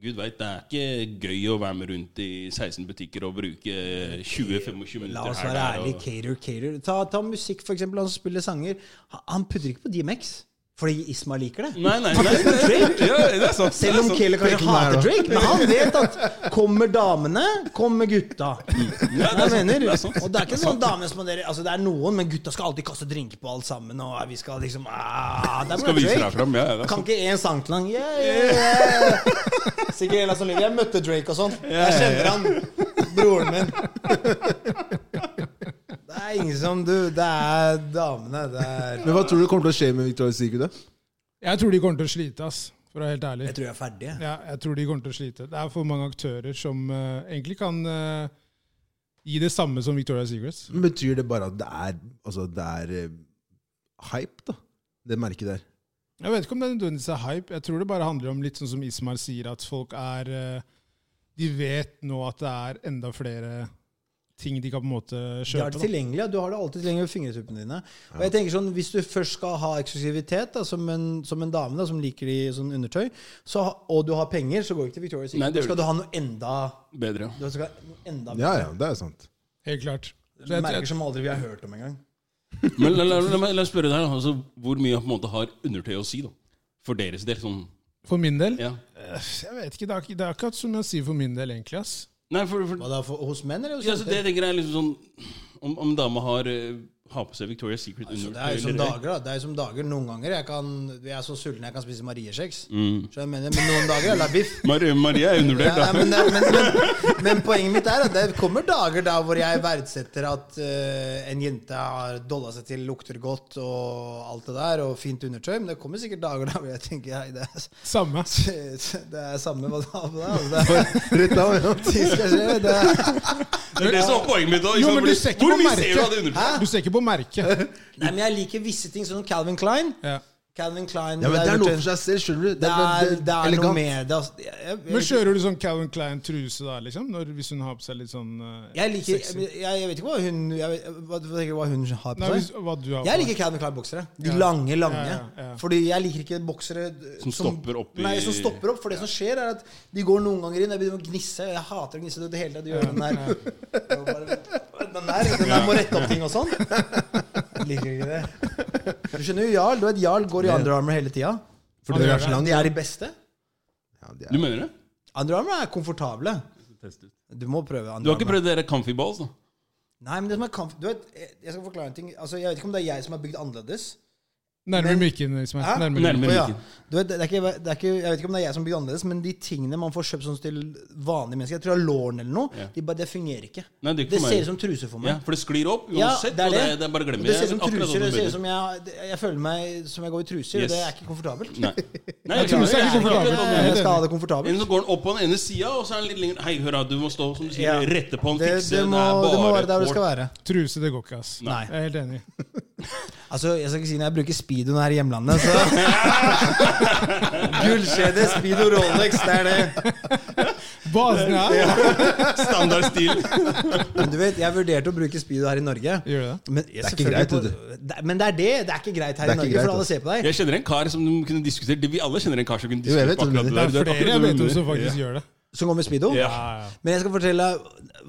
[SPEAKER 3] gud veit, det er ikke gøy å være med rundt i 16 butikker og bruke 20-25 minutter
[SPEAKER 1] La oss
[SPEAKER 3] her,
[SPEAKER 1] være
[SPEAKER 3] der, og-
[SPEAKER 1] ærlige. Cater, cater. Ta, ta musikk, for eksempel. Han som spiller sanger. Han- Han putter ikke på DMX, fordi Isma liker det.
[SPEAKER 3] Nei, nei, nei, nei, ja, det er sånn sant.
[SPEAKER 1] Selv om Kayler kanskje
[SPEAKER 4] Preken er
[SPEAKER 1] hater
[SPEAKER 4] da.
[SPEAKER 1] Drake, men han vet at kommer damene, kommer gutta.
[SPEAKER 3] Ja, det er
[SPEAKER 1] Jeg
[SPEAKER 3] sant,
[SPEAKER 1] mener.
[SPEAKER 3] det er sant.
[SPEAKER 1] Og det er ikke sånn dame som dere Altså, det er noen, men gutta skal alltid kaste drinker på alt sammen, og vi skal liksom ah, Det er
[SPEAKER 3] Skal
[SPEAKER 1] bare
[SPEAKER 3] vise
[SPEAKER 1] Drake.
[SPEAKER 3] deg fram, ja. ja, det er
[SPEAKER 1] Kan
[SPEAKER 3] sant.
[SPEAKER 1] ikke én sang til han. Yeah, yeah, yeah. Sikkert en av som lever. Jeg møtte Drake og sånn. Jeg kjenner han. Broren min. Det er ingen som du. Det er damene. Det er
[SPEAKER 4] Men hva tror du kommer til å skje med Victoria's Secret? da?
[SPEAKER 2] Jeg tror de kommer til å slite, ass, for å være helt ærlig.
[SPEAKER 1] Jeg tror jeg er ferdig. jeg.
[SPEAKER 2] Ja, jeg tror de kommer til å slite. Det er for mange aktører som eh, egentlig kan eh, gi det samme som Victoria's Secrets.
[SPEAKER 4] Men Betyr det bare at det er, altså, det er eh, hype, da? Det merket der.
[SPEAKER 2] Jeg vet ikke om det nødvendigvis er hype. Jeg tror det bare handler om litt sånn som Ismar sier, at folk er eh, De vet nå at det er enda flere ting de kan på en måte
[SPEAKER 1] De har
[SPEAKER 2] kjøpe.
[SPEAKER 1] det
[SPEAKER 2] da.
[SPEAKER 1] tilgjengelig. og Du har det alltid tilgjengelig ved fingertuppene dine. Og jeg tenker sånn, Hvis du først skal ha eksklusivitet da, som, en, som en dame da, som liker i sånn undertøy, så, ha- og du har penger, så går du ikke til Victoria's
[SPEAKER 3] Nei,
[SPEAKER 1] Secret.
[SPEAKER 3] det
[SPEAKER 1] Da
[SPEAKER 3] gjør
[SPEAKER 1] skal
[SPEAKER 3] du
[SPEAKER 1] du ha noe enda
[SPEAKER 3] Bedre.
[SPEAKER 1] Du skal ha noe enda
[SPEAKER 4] Ja, ja, det er sant.
[SPEAKER 2] Helt klart. Så jeg,
[SPEAKER 1] Merker som aldri vi har hørt om engang.
[SPEAKER 3] Men la, la, la, meg- la meg spørre deg, da, altså, hvor mye på en måte har undertøy å si, da? For deres del, sånn
[SPEAKER 2] for min del
[SPEAKER 3] Ja.
[SPEAKER 2] Jeg vet ikke, det er, ikke- det er akkurat som jeg sier for min del, egentlig. ass.
[SPEAKER 3] Nei, for, for
[SPEAKER 1] Hva da, for, hos menn eller hos
[SPEAKER 3] ja, så Det jeg tenker jeg er liksom sånn Om, om dama har, eh, har på seg Victoria's Secret
[SPEAKER 1] Så
[SPEAKER 3] undertøy
[SPEAKER 1] det er jo som
[SPEAKER 3] eller ei.
[SPEAKER 1] dager, da. Det er jo som dager. Noen ganger jeg kan, jeg er så sulten jeg kan spise mariekjeks.
[SPEAKER 3] Mm.
[SPEAKER 1] Så jeg mener, men noen dager er det biff.
[SPEAKER 3] Mar Maria er
[SPEAKER 1] Ja,
[SPEAKER 3] undervurdert,
[SPEAKER 1] nei,
[SPEAKER 3] da.
[SPEAKER 1] men, men, men, men poenget mitt er at det kommer dager der hvor jeg verdsetter at eh, en jente har dolla seg til, lukter godt og alt det der, og fint undertøy. Men det kommer sikkert dager der hvor jeg tenker hei, det, er-
[SPEAKER 2] Samme.
[SPEAKER 1] det er samme hva du har på deg. Altså, det er
[SPEAKER 4] Rett av, ja.
[SPEAKER 1] ting skal skje. Det er,
[SPEAKER 3] Det er det som var poenget mitt. da, ikke
[SPEAKER 2] Jo,
[SPEAKER 3] sant?
[SPEAKER 2] men du
[SPEAKER 3] Fordi-
[SPEAKER 2] ser ikke
[SPEAKER 3] liksom, Hvor
[SPEAKER 2] på
[SPEAKER 3] mye ser du av det
[SPEAKER 2] merket.
[SPEAKER 3] undertøyet?
[SPEAKER 2] Du ser ikke på merket.
[SPEAKER 1] nei, men jeg liker visse ting, sånn Calvin Klein.
[SPEAKER 2] Ja.
[SPEAKER 1] Calvin Klein
[SPEAKER 4] ja men det er noe
[SPEAKER 1] undertøy.
[SPEAKER 4] for seg selv, skjønner du.
[SPEAKER 1] Det er, det er noe
[SPEAKER 4] elegant.
[SPEAKER 1] med det. Altså. Jeg, jeg,
[SPEAKER 2] Men kjører du sånn Calvin Klein-truse da, liksom? Når, hvis hun har på seg litt sånn eh,
[SPEAKER 1] Jeg liker
[SPEAKER 2] sexy?
[SPEAKER 1] jeg, jeg vet ikke hva hun jeg vet, hva, hva tenker du hva hun har
[SPEAKER 2] Nei,
[SPEAKER 1] på
[SPEAKER 2] hvis,
[SPEAKER 1] seg.
[SPEAKER 2] hva du har på
[SPEAKER 1] Jeg
[SPEAKER 2] deg.
[SPEAKER 1] liker Calvin Klein-boksere. De
[SPEAKER 2] Ja.
[SPEAKER 1] lange, lange.
[SPEAKER 2] Ja, ja, ja.
[SPEAKER 1] Fordi jeg liker ikke boksere eh,
[SPEAKER 3] Som stopper opp i-
[SPEAKER 1] Nei, som stopper opp. For det som skjer, er at de går noen ganger inn, jeg begynner å gnisse. Jeg hater å gnisse. Det hele tatt, de gjør den der. Og bare, Den der, den der må rette opp ting og sånn. Jeg liker ikke det. Du skjønner jo Jarl. Du vet, Jarl går i Under Armour hele tida.
[SPEAKER 4] Fordi dere er så
[SPEAKER 1] De
[SPEAKER 4] langt.
[SPEAKER 1] er de beste.
[SPEAKER 4] Ja, det
[SPEAKER 3] Du
[SPEAKER 4] er.
[SPEAKER 3] mener det?
[SPEAKER 1] Under Armour er komfortable. Du må prøve Under
[SPEAKER 3] Du har ikke
[SPEAKER 1] Armour.
[SPEAKER 3] prøvd dere comfy balls, da?
[SPEAKER 1] Nei, men det som er kamp... Du vet, jeg jeg skal forklare en ting. Altså, jeg vet ikke om det er jeg som er bygd annerledes.
[SPEAKER 2] Nærmere mikken, liksom.
[SPEAKER 1] Hæ?
[SPEAKER 2] Nærmere.
[SPEAKER 3] Nærmere.
[SPEAKER 1] Å, ja.
[SPEAKER 3] mikken.
[SPEAKER 1] Du vet, det er ikke, det er ikke, jeg vet ikke om det er jeg som bygd annerledes, men de tingene man får kjøpt sånn til vanlige mennesker Jeg tror det er låren eller noe.
[SPEAKER 3] Ja.
[SPEAKER 1] De bare, det fungerer ikke.
[SPEAKER 3] Nei, det er ikke for meg.
[SPEAKER 1] ser ut som truser for meg.
[SPEAKER 3] Ja, for det sklir opp uansett.
[SPEAKER 1] det er
[SPEAKER 3] Og det, det er bare å glemme
[SPEAKER 1] Det ser ut som
[SPEAKER 3] Akkurat
[SPEAKER 1] truser.
[SPEAKER 3] sånn
[SPEAKER 1] Det ser
[SPEAKER 3] begynner.
[SPEAKER 1] ut som jeg, det- jeg føler meg som jeg går i truser,
[SPEAKER 3] Yes.
[SPEAKER 1] og det er ikke komfortabelt.
[SPEAKER 3] Nei. Nei, jeg
[SPEAKER 2] truser er
[SPEAKER 3] jeg
[SPEAKER 2] ikke komfortabelt.
[SPEAKER 3] akkurat
[SPEAKER 1] Jeg
[SPEAKER 3] sånn.
[SPEAKER 1] skal ha det komfortabelt.
[SPEAKER 3] Enten så går den opp på den ene sida, og så er den litt lenger Hei, hør da, du må stå som du sier,
[SPEAKER 1] Ja.
[SPEAKER 3] rette på den,
[SPEAKER 1] Det, det,
[SPEAKER 3] fikse
[SPEAKER 1] må,
[SPEAKER 3] er
[SPEAKER 1] det må
[SPEAKER 3] bare
[SPEAKER 1] være der det
[SPEAKER 3] kål.
[SPEAKER 1] skal være.
[SPEAKER 2] Truse, det går ikke, ass.
[SPEAKER 1] Nei.
[SPEAKER 2] Jeg er helt enig.
[SPEAKER 1] Altså, Jeg skal ikke si når jeg bruker speedo når jeg er i hjemlandet, så Gullkjede, speedo, Rolex, det er det.
[SPEAKER 2] Basen er
[SPEAKER 3] Standardstil.
[SPEAKER 1] Men du vet, jeg vurderte å bruke speedo her i Norge.
[SPEAKER 2] Gjør det?
[SPEAKER 1] Men
[SPEAKER 4] er ikke greit, vet du.
[SPEAKER 1] Det- Men det er det. Det er ikke greit her i
[SPEAKER 4] Det er ikke
[SPEAKER 1] Norge,
[SPEAKER 4] greit,
[SPEAKER 1] for alle
[SPEAKER 4] altså.
[SPEAKER 1] ser på deg.
[SPEAKER 3] Jeg kjenner en kar som du kunne diskutert det- Vi alle kjenner en kar som kunne
[SPEAKER 4] Jo, jeg
[SPEAKER 3] diskutert
[SPEAKER 4] vet hvem
[SPEAKER 3] akkurat
[SPEAKER 4] du
[SPEAKER 2] Det er
[SPEAKER 3] det der. Du vet
[SPEAKER 2] flere
[SPEAKER 3] akkurat
[SPEAKER 2] jeg
[SPEAKER 3] hvem
[SPEAKER 2] vet
[SPEAKER 3] du
[SPEAKER 2] om som
[SPEAKER 3] mener.
[SPEAKER 2] faktisk gjør det.
[SPEAKER 1] Som går med speedo.
[SPEAKER 3] Ja.
[SPEAKER 1] Men jeg skal fortelle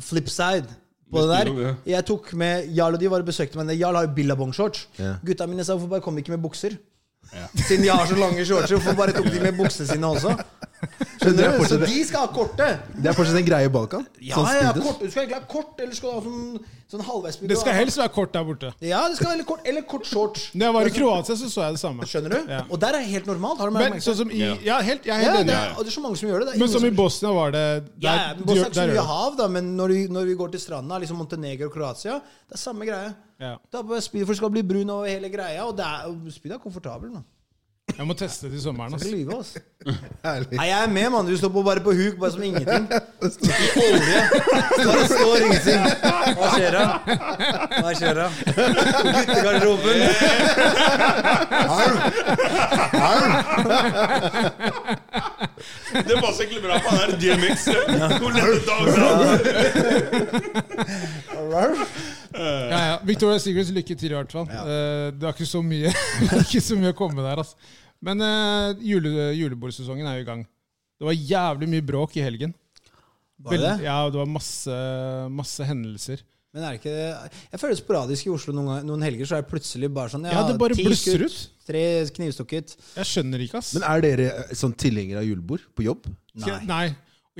[SPEAKER 1] flip side på
[SPEAKER 3] Med
[SPEAKER 1] det
[SPEAKER 3] speedo,
[SPEAKER 1] der. Jeg tok med Jarl og de var og besøkte meg. Jarl har jo billabong-shorts.
[SPEAKER 4] Ja.
[SPEAKER 1] Gutta mine sa hvorfor bare kom de ikke med bukser? Siden de har så lange shortser, hvorfor bare tok de med buksene sine også?
[SPEAKER 4] det
[SPEAKER 1] Skjønner
[SPEAKER 4] er
[SPEAKER 1] du? Så
[SPEAKER 4] fortsatt-
[SPEAKER 1] de skal ha korte.
[SPEAKER 4] Det er fortsatt en greie i Balkan.
[SPEAKER 1] Ja,
[SPEAKER 4] sånn
[SPEAKER 1] ja,
[SPEAKER 4] speedo.
[SPEAKER 1] kort. Du skal egentlig ha kort, eller skal du ha sånn, sånn halvveis
[SPEAKER 2] Det skal helst være kort der borte.
[SPEAKER 1] Ja, det skal være litt kort, eller kort shorts.
[SPEAKER 2] Når jeg var i Kroatia, så så jeg det samme.
[SPEAKER 1] Altså, Skjønner du?
[SPEAKER 2] Ja.
[SPEAKER 1] Og der er det helt normalt. Har du
[SPEAKER 2] Men
[SPEAKER 1] merket
[SPEAKER 2] sånn som i
[SPEAKER 3] Ja.
[SPEAKER 2] Ja, helt, jeg er
[SPEAKER 1] Ja,
[SPEAKER 2] helt
[SPEAKER 1] det
[SPEAKER 2] enig.
[SPEAKER 1] er, og det er så mange som gjør det. det er
[SPEAKER 2] Men
[SPEAKER 1] ingen
[SPEAKER 2] som i
[SPEAKER 1] som-
[SPEAKER 2] Bosnia var det
[SPEAKER 1] Ja, ja, men Bosnia er ikke så
[SPEAKER 2] der
[SPEAKER 1] mye
[SPEAKER 2] gjør det.
[SPEAKER 1] hav, da, men når vi, når vi går til stranda, liksom Montenegro og Kroatia, det er samme greie.
[SPEAKER 2] Ja.
[SPEAKER 1] Da bør speed, for det skal bli brun over hele greia, og det er, speed er komfortabel. Man.
[SPEAKER 2] Jeg må teste til
[SPEAKER 1] Skal
[SPEAKER 2] sommeren. ass.
[SPEAKER 1] ikke lyve, altså.
[SPEAKER 4] Herlig.
[SPEAKER 1] Nei, jeg er med, mann. Du står på bare på huk, bare som ingenting. I olje. Bare står ingenting. Hva skjer da? Hva skjer da? Guttegarderoben.
[SPEAKER 3] Det passer egentlig bra på han her DMX. Hvor lette dager han er.
[SPEAKER 2] Ja, ja. Victoria Secrets, lykke til i hvert fall. Eh, Det er ikke så mye, det er ikke så mye å komme der, altså. Men eh, jule, julebordsesongen er jo i gang. Det var jævlig mye bråk i helgen.
[SPEAKER 1] Var det
[SPEAKER 2] Veld-
[SPEAKER 1] det?
[SPEAKER 2] Ja, det var masse, masse hendelser.
[SPEAKER 1] Men er det ikke Jeg føler det sporadisk i Oslo noen, ganger- noen helger, så er det plutselig bare sånn
[SPEAKER 2] Ja, det bare
[SPEAKER 1] ti
[SPEAKER 2] blusser
[SPEAKER 1] skutt,
[SPEAKER 2] ut.
[SPEAKER 1] Tre knivstukket.
[SPEAKER 2] Jeg skjønner ikke, ass.
[SPEAKER 4] Men er dere eh, sånn tilhengere av julebord på jobb?
[SPEAKER 1] Nei.
[SPEAKER 2] Skal- Nei.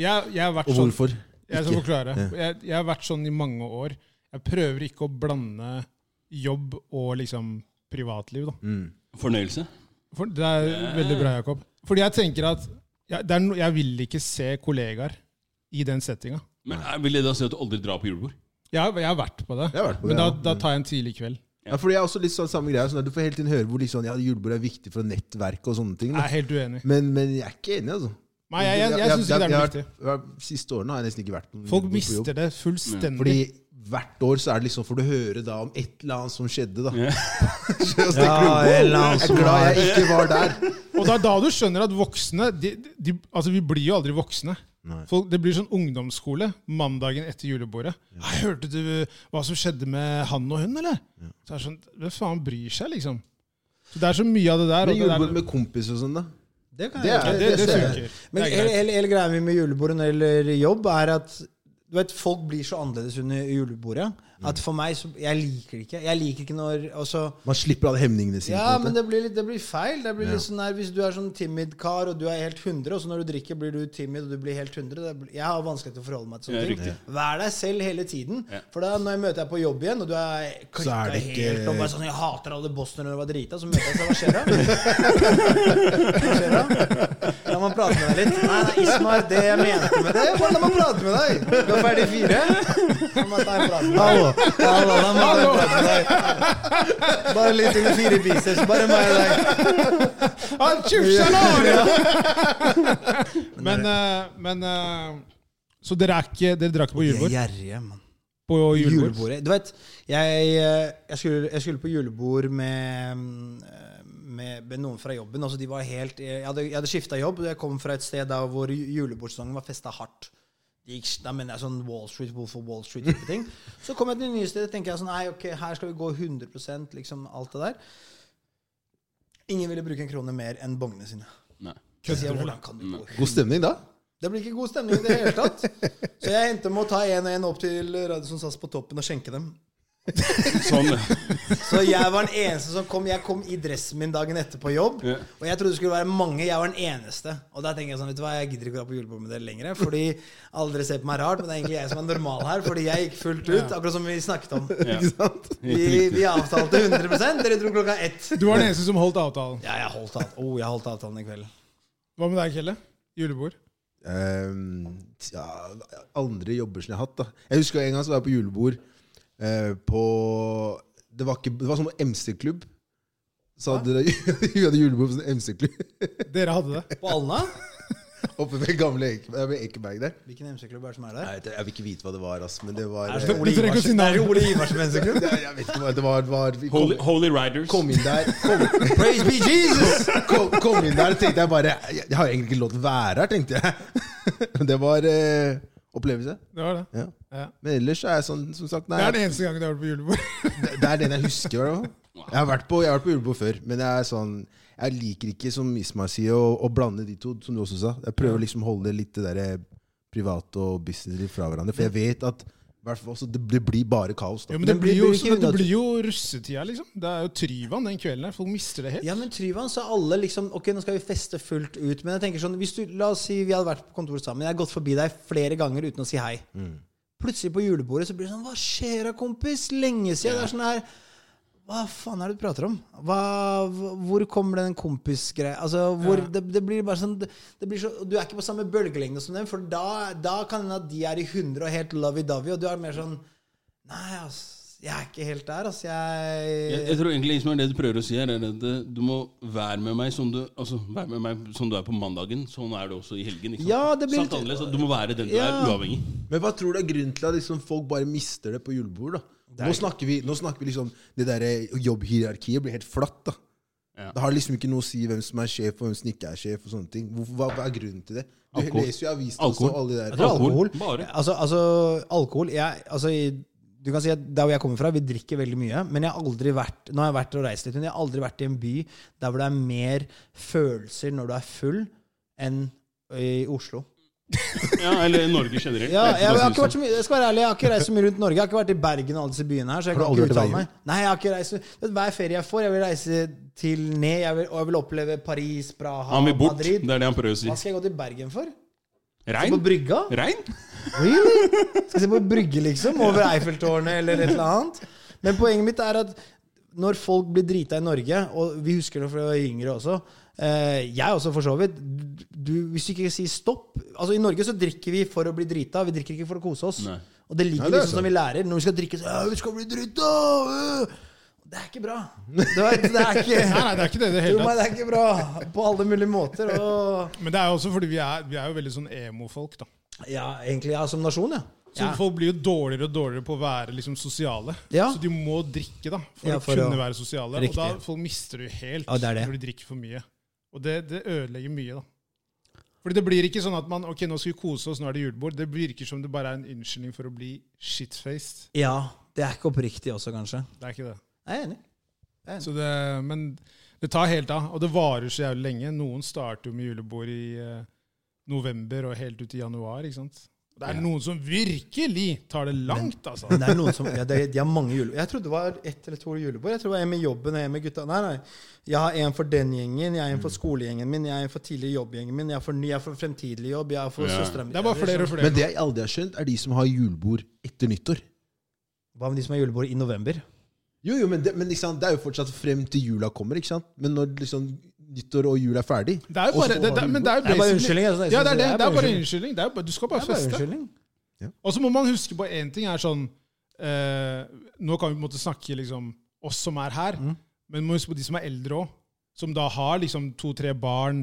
[SPEAKER 2] Jeg, jeg har vært
[SPEAKER 4] Og
[SPEAKER 2] sånn
[SPEAKER 4] hvorfor?
[SPEAKER 2] Jeg skal
[SPEAKER 4] Ikke?
[SPEAKER 2] forklare. Jeg, jeg har vært sånn i mange år. Jeg prøver ikke å blande jobb og liksom privatliv, da.
[SPEAKER 4] Mm.
[SPEAKER 3] Fornøyelse.
[SPEAKER 2] For det er veldig bra, Jakob. Fordi jeg tenker at jeg, det er no, jeg vil ikke se kollegaer i den settinga.
[SPEAKER 3] Men eh, vil det da si at du aldri drar på julebord?
[SPEAKER 2] Jeg, har- jeg har vært på det,
[SPEAKER 4] Jeg har vært på det,
[SPEAKER 2] men da,
[SPEAKER 4] ja.
[SPEAKER 2] da tar jeg en tidlig kveld.
[SPEAKER 4] Ja, fordi jeg er også litt sånn samme greia. Sånn at du får hele tiden høre hvor liksom, ja, julebord er viktig for nettverk og sånne ting.
[SPEAKER 2] Jeg
[SPEAKER 4] Da.
[SPEAKER 2] er helt uenig.
[SPEAKER 4] Men, men jeg er ikke enig, altså.
[SPEAKER 2] Nei, jeg, jeg, jeg syns ikke det er noe viktig.
[SPEAKER 4] De siste årene har jeg nesten ikke vært på
[SPEAKER 2] Folk
[SPEAKER 4] på jobb.
[SPEAKER 2] mister det fullstendig.
[SPEAKER 4] Fordi hvert år så er det liksom, får du høre da om et eller annet som skjedde, da.
[SPEAKER 3] Ja.
[SPEAKER 4] Så jeg
[SPEAKER 1] Ja,
[SPEAKER 4] tenker,
[SPEAKER 1] et eller annet
[SPEAKER 4] wow, jeg
[SPEAKER 1] som
[SPEAKER 4] er glad
[SPEAKER 1] var-
[SPEAKER 4] jeg ikke var der.
[SPEAKER 2] Og det er da du skjønner at voksne de, de, Altså, vi blir jo aldri voksne. Folk, det blir sånn ungdomsskole mandagen etter julebordet. «Hei, 'Hørte du hva som skjedde med han og hun, eller?' Så er det sånn, Hvem faen bryr seg, liksom? Så Det er så mye av det der.
[SPEAKER 4] Men
[SPEAKER 2] Og det, der
[SPEAKER 4] julebord med kompiser og sånn, da.
[SPEAKER 1] Det kan
[SPEAKER 4] Det
[SPEAKER 1] jeg
[SPEAKER 4] er-
[SPEAKER 2] ja, det, det
[SPEAKER 4] ser jeg.
[SPEAKER 2] funker.
[SPEAKER 1] Men
[SPEAKER 2] Det er
[SPEAKER 1] hele,
[SPEAKER 2] greit.
[SPEAKER 1] hele, hele greia mi med julebordet eller jobb er at du vet, folk blir så annerledes under julebordet. At for meg, så, Jeg liker det ikke. Jeg liker ikke når også,
[SPEAKER 4] Man slipper alle hemningene sine.
[SPEAKER 1] Ja,
[SPEAKER 4] på en måte.
[SPEAKER 1] men det blir, litt, det blir feil. Det blir
[SPEAKER 4] Ja.
[SPEAKER 1] litt sånn der, Hvis du er sånn timid kar, og du er helt 100, og så når du drikker, blir du timid, og du blir helt 100 det blir, Jeg har vanskelig til å forholde meg til
[SPEAKER 3] Ja,
[SPEAKER 1] sånne ting.
[SPEAKER 3] riktig.
[SPEAKER 1] Vær deg selv hele tiden.
[SPEAKER 3] Ja.
[SPEAKER 1] For da når jeg møter deg på jobb igjen, og du er klikka
[SPEAKER 4] det ikke-
[SPEAKER 1] helt og bare sånn 'Jeg hater alle bosnere og var drita', så møter jeg deg, så hva skjer da? Hva skjer da? La meg prate med deg litt. Nei, nei, Ismar, det jeg mente med det Bare la meg prate med deg! Du er ferdig i fire. La meg ta en prat med deg. Hallo, la meg ta en prat med deg. Bare litt under fire biceps. Bare meg og deg.
[SPEAKER 2] Ah, tjuvsalar! men eh, men eh, Så dere er ikke Dere drar ikke på julebord?
[SPEAKER 1] De er gjerrige, mann.
[SPEAKER 2] På julebord?
[SPEAKER 1] Julebordet. Du vet, jeg, eh, jeg, skulle, jeg skulle på julebord med, mm, eh, med, med noen fra jobben. Altså, de var helt, jeg hadde, jeg hadde skifta jobb, og jeg kom fra et sted der hvor ju- julebordsesongen var festa hardt. Det gikk, da mener jeg sånn Wall Street, Wolf of Wall Street type ting. Så kom jeg til det nye stedet og tenkte jeg sånn, nei, ok, her skal vi gå 100 liksom alt det der. Ingen ville bruke en krone mer enn bongene sine.
[SPEAKER 3] Nei.
[SPEAKER 1] Så sier jeg, hvordan kan du gå
[SPEAKER 4] God stemning da?
[SPEAKER 1] Det blir ikke god stemning i det hele tatt. Så jeg endte med å ta en og en opp til Radisson SAS på toppen og skjenke dem.
[SPEAKER 3] Sånn.
[SPEAKER 1] Så jeg var den eneste som kom. Jeg kom i dressen min dagen etter på jobb.
[SPEAKER 3] Ja.
[SPEAKER 1] Og jeg trodde det skulle være mange. Jeg var den eneste. Og da tenker jeg sånn, vet du hva, jeg gidder ikke å dra på julebord med dere lenger. Fordi alle dere ser på meg rart, men det er egentlig jeg som er normal her. Fordi jeg gikk fullt ut, akkurat som vi snakket om.
[SPEAKER 3] Ja.
[SPEAKER 4] Ikke sant?
[SPEAKER 1] Vi, vi avtalte 100 Dere dro klokka ett.
[SPEAKER 2] Du var den eneste som holdt avtalen.
[SPEAKER 1] Ja, jeg holdt, av, oh, jeg holdt avtalen i kveld.
[SPEAKER 2] Hva med deg, Kjelle? Julebord?
[SPEAKER 4] Ehm, ja, andre jobber som jeg har hatt. da Jeg husker en gang så var jeg på julebord eh, på Det var, ikke, det var sånn MC-klubb. Så hadde dere vi hadde julebord på sånn MC-klubb
[SPEAKER 2] Dere hadde det.
[SPEAKER 1] På Alna?
[SPEAKER 4] oppe ved gamle Eke- eh, ved Ekeberg der.
[SPEAKER 1] Hvilken MC-klubb er det som er
[SPEAKER 4] Nei,
[SPEAKER 1] der?
[SPEAKER 4] jeg, vet- jeg vil ikke vite hva det var, ass, men det var
[SPEAKER 1] Er
[SPEAKER 4] eh,
[SPEAKER 1] det Ole
[SPEAKER 2] Du trenger ikke å si
[SPEAKER 1] Iversen-
[SPEAKER 2] navn.
[SPEAKER 1] er det Ole Iversen MC-klubb?
[SPEAKER 4] jeg, jeg vet ikke hva det var. var vi kom,
[SPEAKER 3] Holy, Holy Riders.
[SPEAKER 4] kom inn der kom,
[SPEAKER 1] Praise be Jesus!
[SPEAKER 4] kom, kom inn der, tenkte jeg bare Jeg, jeg har egentlig ikke lov til å være her, tenkte jeg. Det var eh, opplevelse.
[SPEAKER 2] Det var det.
[SPEAKER 4] Ja.
[SPEAKER 2] Ja.
[SPEAKER 4] Men ellers er jeg sånn, som sagt nei,
[SPEAKER 2] Det er den eneste gangen du har vært på julebord.
[SPEAKER 4] Det det er den jeg husker. i hvert fall. Jeg har vært på, jeg har vært på julebord før, men jeg er sånn Jeg liker ikke, som Ismar sier, å, å blande de to, som du også sa. Jeg prøver liksom å holde litt det der private og businessliv fra hverandre, for jeg vet at i hvert fall, så det, det blir bare kaos. Da.
[SPEAKER 2] Jo, men det
[SPEAKER 1] Men
[SPEAKER 2] blir
[SPEAKER 1] blir
[SPEAKER 2] jo,
[SPEAKER 1] du
[SPEAKER 2] også,
[SPEAKER 1] ikke
[SPEAKER 2] det
[SPEAKER 1] unna-
[SPEAKER 2] blir jo russetida, liksom. Det er jo Tryvann den kvelden her. Folk mister det helt.
[SPEAKER 1] Ja, men Tryvann sa alle liksom Ok, nå skal vi feste fullt ut. Men jeg tenker sånn hvis du, La oss si vi hadde vært på kontoret sammen. Jeg har gått forbi deg flere ganger uten å si hei. Plutselig på julebordet så blir det sånn Hva skjer da, kompis? Lenge siden. Det er sånn her Hva faen er det du prater om? Hva, hv- hvor kommer den kompisgreia Altså, hvor det, det blir bare sånn det, det blir så, Du er ikke på samme bølgelengde som dem, for da, da kan det hende at de er i 100 og helt lovey-dovey, og du er mer sånn Nei, altså. Jeg er ikke helt der, altså.
[SPEAKER 3] Jeg,
[SPEAKER 1] Jeg
[SPEAKER 3] jeg tror egentlig Ismail, det du prøver å si, her er at eh, du må være med meg som du, altså, være med meg som du er på mandagen. Sånn er det også i helgen. Ikke sant?
[SPEAKER 1] Ja, det blir
[SPEAKER 3] Sant
[SPEAKER 1] litt-
[SPEAKER 3] annerledes, at Du må være den du
[SPEAKER 1] Ja.
[SPEAKER 3] er, uavhengig.
[SPEAKER 4] Men hva tror du er grunnen til at liksom, folk bare mister det på julebord? da? Nå snakker vi, nå snakker vi liksom Det derre jobbhierarkiet blir helt flatt. da.
[SPEAKER 3] Ja.
[SPEAKER 4] Det har liksom ikke noe å si hvem som er sjef, og hvem som ikke er sjef. og sånne ting. Hvorfor, hva, hva er grunnen til det? Du
[SPEAKER 3] Alkohol.
[SPEAKER 4] leser jo i avisen
[SPEAKER 3] Alkohol.
[SPEAKER 4] også, alle de der.
[SPEAKER 1] Jeg tror alkohol.
[SPEAKER 3] Bare.
[SPEAKER 1] Altså, altså alkohol jeg, altså, i- Du kan si at Der hvor jeg kommer fra, vi drikker veldig mye. Men jeg har aldri vært Nå har jeg vært og reist litt, men jeg har aldri vært i en by der hvor det er mer følelser når du er full, enn i Oslo.
[SPEAKER 3] Ja, eller i Norge generelt.
[SPEAKER 1] Ja, jeg, jeg, har ikke
[SPEAKER 3] Bare
[SPEAKER 1] vært så mye, jeg skal være ærlig, jeg har ikke reist så mye rundt Norge. Jeg har ikke vært i Bergen og alle disse byene her. Så jeg
[SPEAKER 4] Har du
[SPEAKER 1] kan ikke
[SPEAKER 4] aldri vært i
[SPEAKER 1] uttale meg. Nei, jeg har ikke reist vet, du, Hver ferie jeg får, jeg vil reise til ned, jeg vil, og jeg vil oppleve Paris, Praha,
[SPEAKER 3] Han vil bort. Det
[SPEAKER 1] Madrid.
[SPEAKER 3] er det han prøver å si.
[SPEAKER 1] Hva skal jeg gå til Bergen for?
[SPEAKER 3] Regn?
[SPEAKER 1] På brygga?
[SPEAKER 3] Regn?
[SPEAKER 1] Really? Skal se på brygge, liksom, over Eiffeltårnet eller et eller annet. Men poenget mitt er at når folk blir drita i Norge, og vi husker det fra vi var yngre også eh, Jeg også, for så vidt. Du, hvis du ikke sier stopp Altså I Norge så drikker vi for å bli drita, vi drikker ikke for å kose oss.
[SPEAKER 3] Nei.
[SPEAKER 1] Og det ligger
[SPEAKER 4] Nei, det er
[SPEAKER 1] liksom som vi lærer. Når vi skal drikke, så «Ja, vi skal bli drita! øh!» Det er ikke bra. Det er, det er
[SPEAKER 2] Nei,
[SPEAKER 1] ikke
[SPEAKER 2] nei, det er ikke det i det
[SPEAKER 1] Tro
[SPEAKER 2] hele
[SPEAKER 1] meg,
[SPEAKER 2] tatt.
[SPEAKER 1] det er ikke bra på alle mulige måter. Og
[SPEAKER 2] Men det er jo også fordi vi er, vi er jo veldig sånn emo-folk, da.
[SPEAKER 1] ja, egentlig, ja, som nasjon, ja.
[SPEAKER 2] Så
[SPEAKER 1] ja.
[SPEAKER 2] folk blir jo dårligere og dårligere på å være liksom, sosiale.
[SPEAKER 1] Ja.
[SPEAKER 2] Så de må drikke da, for,
[SPEAKER 1] Ja, for
[SPEAKER 2] å kunne
[SPEAKER 1] å-
[SPEAKER 2] være sosiale.
[SPEAKER 1] Riktig.
[SPEAKER 2] Og da folk mister det jo helt
[SPEAKER 1] Ja, det er det.
[SPEAKER 2] når de drikker for mye. Og det, det ødelegger mye, da. Fordi det blir ikke sånn at man Ok, nå skal vi kose oss, nå er det julebord. Det virker som det bare er en unnskyldning for å bli shitfaced.
[SPEAKER 1] ja. Det er ikke oppriktig også, kanskje.
[SPEAKER 2] Det er ikke det.
[SPEAKER 1] Jeg er enig.
[SPEAKER 2] Så det, men det tar helt av, og det varer så jævlig lenge. Noen starter jo med julebord i eh, november og helt ut i januar. ikke sant? Det er noen som virkelig tar det langt, altså.
[SPEAKER 1] Men det er noen som, ja, det, de har mange jule... Jeg trodde det var ett eller to julebord. Jeg tror det var en med jobben og en med gutta. Nei, nei. Jeg har en for den gjengen, jeg har en for skolegjengen min, jeg har en for tidlig jobbgjengen min, jeg har for, ny- jeg har for fremtidig jobb, jeg har for
[SPEAKER 3] Ja.
[SPEAKER 1] søstera mi.
[SPEAKER 2] Det er bare flere og flere.
[SPEAKER 4] Men det jeg aldri har skjønt, er de som har julebord etter nyttår.
[SPEAKER 1] Hva med de som har julebord i november?
[SPEAKER 4] Jo, jo, men, det, men ikke sant? det er jo fortsatt frem til jula kommer, ikke sant? Men når liksom nyttår og jul er ferdig
[SPEAKER 2] Det er jo bare, det, det, men det er jo
[SPEAKER 1] Det er bare
[SPEAKER 2] basically-
[SPEAKER 1] unnskyldning, altså. Jeg
[SPEAKER 2] Ja,
[SPEAKER 1] synes
[SPEAKER 2] det er, det, det er bare
[SPEAKER 1] unnskyldning.
[SPEAKER 2] unnskyldning. Det er bare, du skal bare
[SPEAKER 1] Det er bare
[SPEAKER 2] feste.
[SPEAKER 1] unnskyldning.
[SPEAKER 2] Og så må man huske på én ting er sånn eh, Nå kan vi på en måte snakke liksom oss som er her, men må huske på de som er eldre òg. Som da har liksom to-tre barn,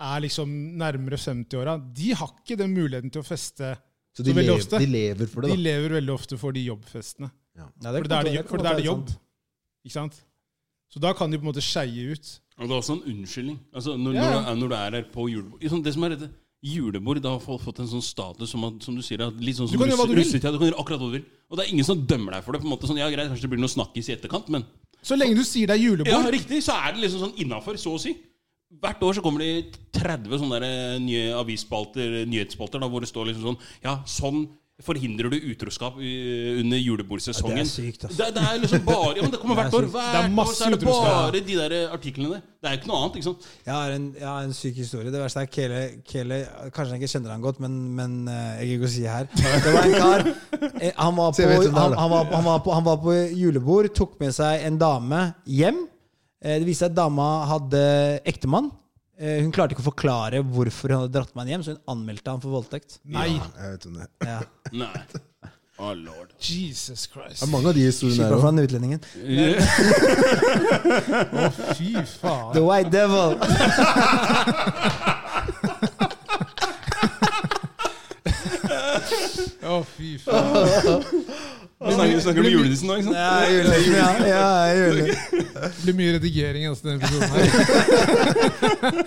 [SPEAKER 2] er liksom nærmere 50-åra. De har ikke den muligheten til å feste.
[SPEAKER 4] Så de,
[SPEAKER 2] Så veldig
[SPEAKER 4] lever,
[SPEAKER 2] ofte-
[SPEAKER 4] de lever for
[SPEAKER 2] De
[SPEAKER 4] det, da.
[SPEAKER 2] lever veldig ofte for de jobbfestene.
[SPEAKER 1] Ja, kan
[SPEAKER 2] For da er det
[SPEAKER 1] godt-
[SPEAKER 2] jo- for
[SPEAKER 1] kan
[SPEAKER 2] da er det
[SPEAKER 1] godt
[SPEAKER 2] jobb.
[SPEAKER 1] være sant.
[SPEAKER 2] Ikke sant? Så da kan de på en måte skeie ut.
[SPEAKER 3] Og det er også en unnskyldning. Altså, når,
[SPEAKER 2] Ja, ja.
[SPEAKER 3] når, du er, når du er her på julebord sånn, Det som er dette julebord, da har folk fått en sånn status som, at, som du sier at litt sånn
[SPEAKER 2] Du
[SPEAKER 3] som
[SPEAKER 2] kan gjøre hva du vil.
[SPEAKER 3] russetida. Du kan gjøre akkurat hva du vil. Og det er ingen som dømmer deg for det. på en måte sånn, Ja, greit, kanskje det blir noe snakkis i etterkant, men
[SPEAKER 2] Så lenge du sier det er
[SPEAKER 3] Ja,
[SPEAKER 2] julebord.
[SPEAKER 3] riktig, så er det liksom sånn innafor, så å si. Hvert år så kommer eh, det 30 sånne der nye avisspalter, nyhetsspalter, da, hvor det står liksom sånn Ja, sånn forhindrer du utroskap i, eh, under julebordsesongen.
[SPEAKER 1] Ja, det er sykt, ass.
[SPEAKER 3] Det, det er liksom bare, ja, men det kommer hvert
[SPEAKER 1] Det er
[SPEAKER 3] år.
[SPEAKER 1] sykt.
[SPEAKER 3] Hvert
[SPEAKER 2] Det er masse
[SPEAKER 3] år så er det
[SPEAKER 2] utroskap.
[SPEAKER 3] bare de der eh, artiklene der. Det er jo ikke noe annet. ikke sant?
[SPEAKER 1] Jeg har en, jeg har en syk historie. Det verste er Kele, Kele Kanskje jeg ikke kjenner han godt, men, men eh, jeg gidder ikke å si her. Det var en kar. eh, Han var
[SPEAKER 4] Så
[SPEAKER 1] på,
[SPEAKER 4] jeg vet hvem det er,
[SPEAKER 1] han,
[SPEAKER 4] da.
[SPEAKER 1] han var, han var på, han var på julebord, tok med seg en dame hjem. Eh, Det viste seg at dama hadde ektemann. Eh, Hun klarte ikke å forklare hvorfor hun hadde dratt med han hjem, så hun anmeldte han for voldtekt.
[SPEAKER 2] Nei!
[SPEAKER 4] Ja, jeg vet om det.
[SPEAKER 1] Ja.
[SPEAKER 3] Nei. Å, lord.
[SPEAKER 2] Jesus
[SPEAKER 4] Det
[SPEAKER 2] Christ.
[SPEAKER 4] er mange av de historiene
[SPEAKER 1] Skippa
[SPEAKER 4] der
[SPEAKER 1] for
[SPEAKER 4] òg.
[SPEAKER 1] den utlendingen.
[SPEAKER 2] Fy faen.
[SPEAKER 1] The White Devil.
[SPEAKER 2] Å, fy faen.
[SPEAKER 3] Vi snakker, vi snakker om julenissen nå, ikke sant?
[SPEAKER 1] Ja, julenissen, ja. ja, julenissen.
[SPEAKER 2] Det blir mye redigering i denne episoden eh, her.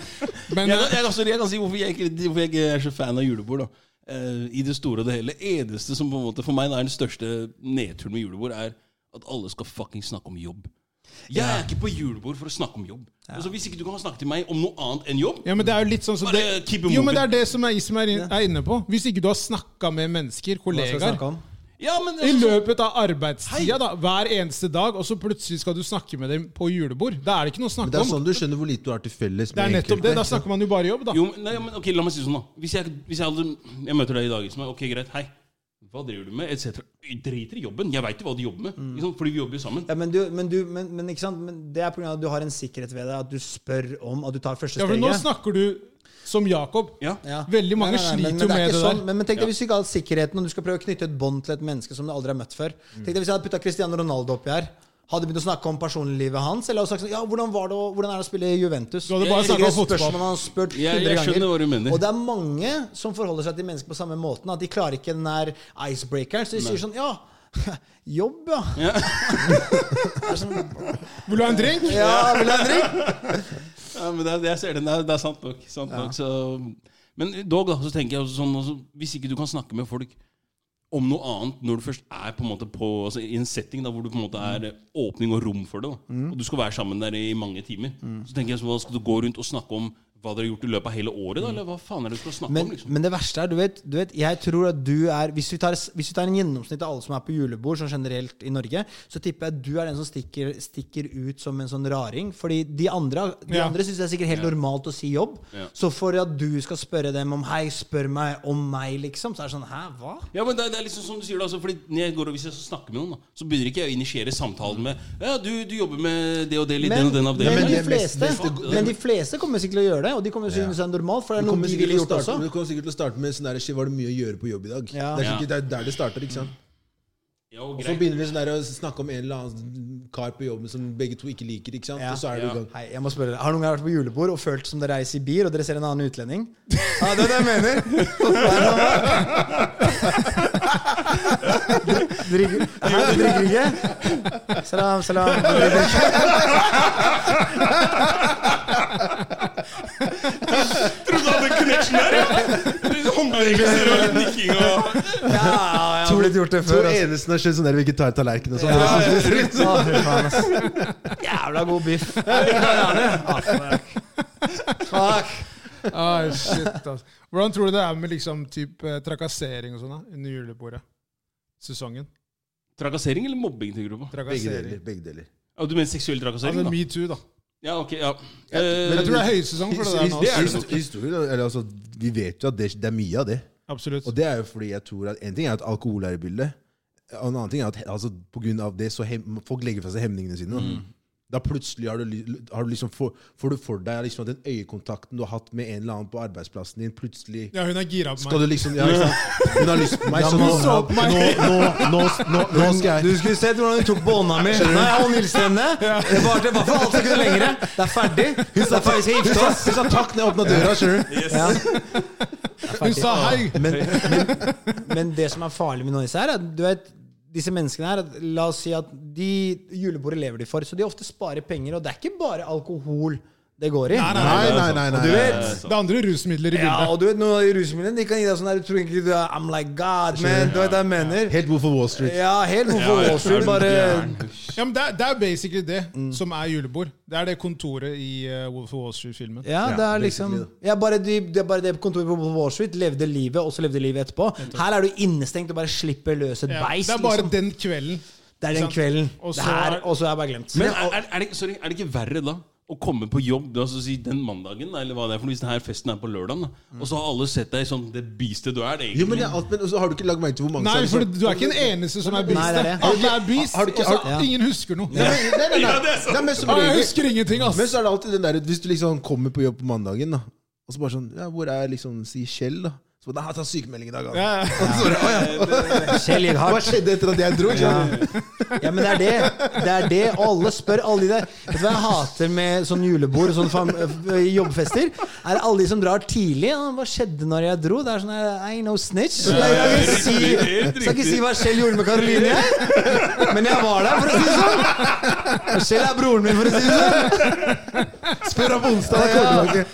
[SPEAKER 2] Men
[SPEAKER 3] Jeg, kan- jeg, kan- sorry, jeg kan si hvorfor jeg, ikke, hvorfor jeg ikke er så fan av julebord. da Eh, I det store og det hele. Eneste som på en måte for meg er den største nedturen med julebord, er at alle skal fucking snakke om jobb. Jeg er ikke på julebord for å snakke om jobb. Altså, hvis ikke du kan snakke til meg om noe annet enn jobb
[SPEAKER 2] Ja, men det er jo litt sånn som
[SPEAKER 3] Bare
[SPEAKER 2] det,
[SPEAKER 3] keep it
[SPEAKER 2] Jo, men
[SPEAKER 3] moving.
[SPEAKER 2] det er det som jeg som er, in- er inne på. Hvis ikke du har snakka med mennesker,
[SPEAKER 1] Hva skal vi
[SPEAKER 2] kollegaer,
[SPEAKER 1] snakke om?
[SPEAKER 3] Ja, men
[SPEAKER 2] i
[SPEAKER 3] altså,
[SPEAKER 2] løpet av arbeidstida, da, hver eneste dag, og så plutselig skal du snakke med dem på julebord. Da er det ikke noe å
[SPEAKER 4] Men det
[SPEAKER 2] snakke
[SPEAKER 4] er
[SPEAKER 2] om.
[SPEAKER 4] sånn du skjønner hvor lite du har til felles
[SPEAKER 2] Det er
[SPEAKER 4] med
[SPEAKER 2] nettopp det. Da snakker man jo bare jobb, da.
[SPEAKER 3] Jo, men- nei, men ok, La meg si det sånn, da. Hvis jeg, hvis jeg, hadde, jeg møter deg i dag, liksom, ok, greit, hei. Hva driver du med? Et cetera. Jeg driter i jobben. Jeg veit jo hva du jobber med.
[SPEAKER 2] Mm.
[SPEAKER 3] Ikke sant? Fordi vi jobber jo sammen.
[SPEAKER 1] Ja, men, du, men, du, men, men, ikke sant? men det er pga. at du har en sikkerhet ved deg, at du spør om at du tar første
[SPEAKER 2] Ja, for
[SPEAKER 1] steget.
[SPEAKER 2] nå snakker du som Jakob.
[SPEAKER 3] Ja.
[SPEAKER 1] Ja.
[SPEAKER 2] Veldig mange sliter jo
[SPEAKER 1] er
[SPEAKER 2] med
[SPEAKER 1] ikke
[SPEAKER 2] det
[SPEAKER 1] sånn.
[SPEAKER 2] der.
[SPEAKER 1] Men, men tenk
[SPEAKER 3] Ja.
[SPEAKER 1] deg hvis du ikke har hatt sikkerheten, og du skal prøve å knytte et bånd til et menneske som du aldri har møtt før. Tenk deg hvis jeg hadde putta Cristiano Ronaldo oppi her. Hadde begynt å snakke om personlivet hans? Eller hadde sagt sånn, ja, hvordan, var det, å- hvordan er det å spille i Juventus?
[SPEAKER 2] Du hadde
[SPEAKER 3] bare
[SPEAKER 1] Det er
[SPEAKER 2] snakket
[SPEAKER 1] sikkert
[SPEAKER 2] om
[SPEAKER 1] et
[SPEAKER 2] fotball.
[SPEAKER 1] spørsmål han har spurt
[SPEAKER 3] Jeg-
[SPEAKER 1] 100
[SPEAKER 3] jeg skjønner
[SPEAKER 1] ganger.
[SPEAKER 3] hva du mener.
[SPEAKER 1] Og det er mange som forholder seg til mennesker på samme måten. At de klarer ikke den der icebreakeren. Så de sier sånn, ja Jobb, ja.
[SPEAKER 3] Ja.
[SPEAKER 1] Det er sånn,
[SPEAKER 2] Vil du ha en drink?
[SPEAKER 1] ja, vil du ha en drink?
[SPEAKER 3] Ja, men det, er- jeg ser den. Det er, det er sant nok. Sant nok så, men dog, da, så tenker jeg også sånn altså, Hvis ikke du kan snakke med folk om noe annet når du først er på en måte på, altså, i en setting da, hvor du på en måte er åpning og rom for det, da, og du skal være sammen der i mange timer, så tenker jeg så hva skal du gå rundt og snakke om hva dere har gjort i løpet av hele året, da? Eller hva faen er det du skal snakke
[SPEAKER 1] Men,
[SPEAKER 3] om? liksom?
[SPEAKER 1] men det verste er, du vet, du vet Jeg tror at du er hvis vi, tar, hvis vi tar en gjennomsnitt av alle som er på julebord Sånn generelt i Norge, så tipper jeg at du er den som stikker, stikker ut som en sånn raring. Fordi de andre, de
[SPEAKER 2] Ja.
[SPEAKER 1] andre syns det er sikkert helt normalt å si jobb.
[SPEAKER 3] Ja.
[SPEAKER 1] Så for at du skal spørre dem om 'hei, spør meg om meg', liksom, så er det sånn 'hæ, hva?'
[SPEAKER 3] Ja, men det, er- det er liksom som du sier da, altså, fordi når jeg går og Hvis jeg skal snakke med noen, da, så begynner ikke jeg å initiere samtalen med Ja, du, du jobber med det og det litt, den og den
[SPEAKER 1] men,
[SPEAKER 3] avdelingen.
[SPEAKER 1] de
[SPEAKER 4] det er mest-
[SPEAKER 1] fleste,
[SPEAKER 3] mest-
[SPEAKER 1] men de fleste kommer sikkert til å gjøre det, og de kommer til å synes det er normalt. For det er
[SPEAKER 4] Du
[SPEAKER 1] noe
[SPEAKER 4] kommer
[SPEAKER 1] de
[SPEAKER 4] sikkert
[SPEAKER 1] ville
[SPEAKER 4] til å
[SPEAKER 1] gjort
[SPEAKER 4] starte,
[SPEAKER 1] også.
[SPEAKER 4] du kommer sikkert til å starte med sånn der, shit, var det mye å gjøre på jobb i dag?
[SPEAKER 1] Ja.
[SPEAKER 4] Det er sikkert det er der det starter, ikke sant?
[SPEAKER 3] Ja, og
[SPEAKER 4] Og så
[SPEAKER 3] greit.
[SPEAKER 4] begynner de sånn der å snakke om en eller annen kar på jobben som begge to ikke liker, ikke sant?
[SPEAKER 1] Ja.
[SPEAKER 4] Og så er det
[SPEAKER 3] Ja.
[SPEAKER 4] i gang.
[SPEAKER 1] Hei, jeg må spørre dere. Har noen gang vært på julebord og følt som dere er i Sibir, og dere ser en annen utlending? Ja, det er det jeg mener. Drikker Hæ, du drikker ikke? Salam, salam. Du drikker ikke.
[SPEAKER 3] Trodde du hadde connection der, ja! Håndbevegelser og nikking og
[SPEAKER 1] Ja, jeg har blitt gjort det
[SPEAKER 4] Så
[SPEAKER 1] før. altså. ass.
[SPEAKER 4] eneste som har skjedd sånn der, vi ikke tar tallerken og sånn.
[SPEAKER 1] Ja,
[SPEAKER 4] Det er
[SPEAKER 1] ja,
[SPEAKER 4] sånn-
[SPEAKER 1] ja. Å, fy faen, ass. Jævla god biff. Ja, gjerne. Ah, fuck. Fuck.
[SPEAKER 2] Ah, shit, altså. Hvordan tror du det er med liksom, typ, eh, trakassering og sånn da, under julebordet? Sesongen.
[SPEAKER 3] Trakassering eller mobbing, tenker du på?
[SPEAKER 4] Begge
[SPEAKER 2] Trakassering.
[SPEAKER 4] deler. Begge deler.
[SPEAKER 3] Ja, du mener seksuell trakassering,
[SPEAKER 2] Altså
[SPEAKER 3] da?
[SPEAKER 2] metoo, da.
[SPEAKER 3] Ja, ok, ja.
[SPEAKER 4] Ja,
[SPEAKER 3] Eh,
[SPEAKER 2] Jeg tror det er høysesong for det der nå.
[SPEAKER 3] Det er det
[SPEAKER 4] Hist-
[SPEAKER 3] nok.
[SPEAKER 4] Historien, eller altså, vi vet jo at det, det er mye av det.
[SPEAKER 2] Absolutt.
[SPEAKER 4] Og det er jo fordi jeg tror at en ting er at alkohol er i bildet. Og en annen ting er at altså, på grunn av det så hem, folk legger fra seg hemningene sine. Da,
[SPEAKER 3] Mm.
[SPEAKER 4] da plutselig har du, ly- har du liksom for, får du for deg liksom at den øyekontakten du har hatt med en eller annen på arbeidsplassen din, plutselig
[SPEAKER 2] Ja, hun er gira på
[SPEAKER 4] skal
[SPEAKER 2] meg.
[SPEAKER 4] du liksom, ja, ikke sant? Hun har lyst på meg, så nå,
[SPEAKER 2] hun så på
[SPEAKER 4] nå,
[SPEAKER 2] meg.
[SPEAKER 4] nå, nå, nå, nå skal
[SPEAKER 1] Du
[SPEAKER 4] jeg
[SPEAKER 1] skulle sett hvordan hun tok på hånda mi. Nei, jeg holdt Nils-stemme. Det varte bare for alt jeg kunne lengre. Det er ferdig. Hun sa faen, vi skal
[SPEAKER 4] Hun
[SPEAKER 1] gifte
[SPEAKER 4] sa
[SPEAKER 1] oss.
[SPEAKER 4] hun sa takk når jeg åpna døra, skjønner du.
[SPEAKER 1] Ja.
[SPEAKER 2] Hun sa hei!
[SPEAKER 1] Men, men, men det som er farlig med noe av disse her, er at du vet, disse menneskene her, at la oss si at de julebordet lever de for, så de ofte sparer penger, og det er ikke bare alkohol det går i.
[SPEAKER 4] Nei, nei, nei. nei,
[SPEAKER 1] Du
[SPEAKER 4] nei.
[SPEAKER 1] vet,
[SPEAKER 2] Det er andre rusmidler i
[SPEAKER 1] ja,
[SPEAKER 2] bildet.
[SPEAKER 1] og du vet, noen av de rusmidlene, de kan gi deg sånn der, du tror ikke du er I'm like God, man. Du vet hva jeg mener?
[SPEAKER 4] Helt Wolf of Wall Street.
[SPEAKER 1] Ja, helt hvorfor
[SPEAKER 3] Ja, ja,
[SPEAKER 1] Wall Street
[SPEAKER 3] er du
[SPEAKER 1] bare
[SPEAKER 3] gæren?
[SPEAKER 2] Ja, men det, er- det er basically det
[SPEAKER 4] Mm.
[SPEAKER 2] som er julebord. Det er det kontoret i eh, Wolf of Wall Street-filmen.
[SPEAKER 1] Ja, det er liksom
[SPEAKER 4] basically,
[SPEAKER 1] ja, bare de, Det er bare det kontoret på Wall Street levde livet, og så levde livet etterpå. Her er du innestengt og bare slipper løs et
[SPEAKER 2] Ja,
[SPEAKER 1] beist.
[SPEAKER 2] det er bare
[SPEAKER 1] liksom.
[SPEAKER 2] den kvelden.
[SPEAKER 4] Sånn
[SPEAKER 1] det er den
[SPEAKER 2] sant?
[SPEAKER 1] kvelden.
[SPEAKER 2] Og
[SPEAKER 1] Det
[SPEAKER 2] så
[SPEAKER 1] her,
[SPEAKER 2] er-
[SPEAKER 1] og så er jeg bare glemt.
[SPEAKER 3] Men er, er, er, det, sorry, er det ikke verre da å komme på jobb da, så si, den mandagen, da, eller hva det er for noe, hvis denne festen er på lørdagen, da, og så har alle sett deg som det beastet du er? Det,
[SPEAKER 4] Jo,
[SPEAKER 3] egentlig.
[SPEAKER 4] men, det er alt, men så har du ikke lagt merke til hvor mange
[SPEAKER 2] Nei,
[SPEAKER 4] som
[SPEAKER 2] for
[SPEAKER 4] sånn-
[SPEAKER 2] du er ikke den eneste som er beast.
[SPEAKER 1] Nei, det er det.
[SPEAKER 2] Alle er beast,
[SPEAKER 4] Har du
[SPEAKER 2] og
[SPEAKER 4] ikke-
[SPEAKER 2] så
[SPEAKER 1] har-
[SPEAKER 2] ingen husker noe.
[SPEAKER 4] Nei, nei, nei, nei.
[SPEAKER 3] Ja, det er sant.
[SPEAKER 4] Nei, men som
[SPEAKER 2] Å, jeg
[SPEAKER 4] regel-
[SPEAKER 2] husker ingenting, altså. ass!
[SPEAKER 4] Men så er det alltid den der Hvis du liksom kommer på jobb på mandagen, da og så bare sånn ja, 'Hvor er liksom si Kjell', da? Så bare 'Nei, ta sykemelding i dag', han.
[SPEAKER 2] Ja, ja.
[SPEAKER 4] Og så bare, «Å, ja.
[SPEAKER 1] Kjell gikk
[SPEAKER 4] Hva
[SPEAKER 1] hardt.
[SPEAKER 4] skjedde etter at jeg dro? ikke sant?
[SPEAKER 1] Ja, men det er det. Det er det. Og alle spør alle de der. Vet du hva jeg hater med sånn julebord og sånn fam- øh, jobbfester? Er alle de som drar tidlig. «Å, Hva skjedde når jeg dro? Det er sånn I ain't no snitch. Jeg skal ikke si, skal ikke si hva Kjell gjorde med Karoline, jeg. Men jeg var der, for å si det sånn. Og Kjell er broren min, for å si det sånn. Spør om onsdag. jeg kommer tilbake.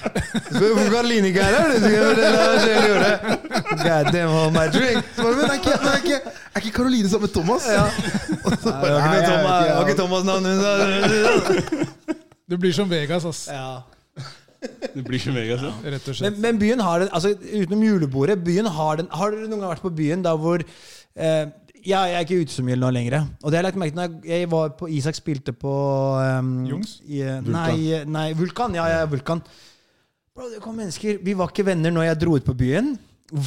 [SPEAKER 1] Spør hvorfor Karoline ikke er her. du skal fortelle hva Kjell gjorde. God damn, all my drink.
[SPEAKER 4] Så bare, Men er ikke, men er ikke, er ikke Karoline sammen med Thomas?
[SPEAKER 1] Ja.
[SPEAKER 4] Og
[SPEAKER 1] Det
[SPEAKER 4] så bare,
[SPEAKER 1] var
[SPEAKER 4] «Nei,
[SPEAKER 1] ikke,
[SPEAKER 4] jeg
[SPEAKER 1] Thomas, det var ikke
[SPEAKER 4] vet ikke,
[SPEAKER 1] Thomas navnet hun sa.
[SPEAKER 2] Du blir som Vegas, ass.
[SPEAKER 1] Ja.
[SPEAKER 3] det blir sånn. ikke Vegas, ja.
[SPEAKER 2] Rett og slett.
[SPEAKER 1] Men, men byen har den, altså utenom julebordet byen har, den, har dere noen gang vært på byen der hvor eh, ja, Jeg er ikke ute så mye nå lenger. Og det har jeg lagt merke til når jeg, jeg var på Isak spilte på eh,
[SPEAKER 2] Jungs?
[SPEAKER 1] I, eh, Nei, nei, Vulkan. Ja, jeg er Vulkan. Bro, det kom mennesker. Vi var ikke venner når jeg dro ut på byen.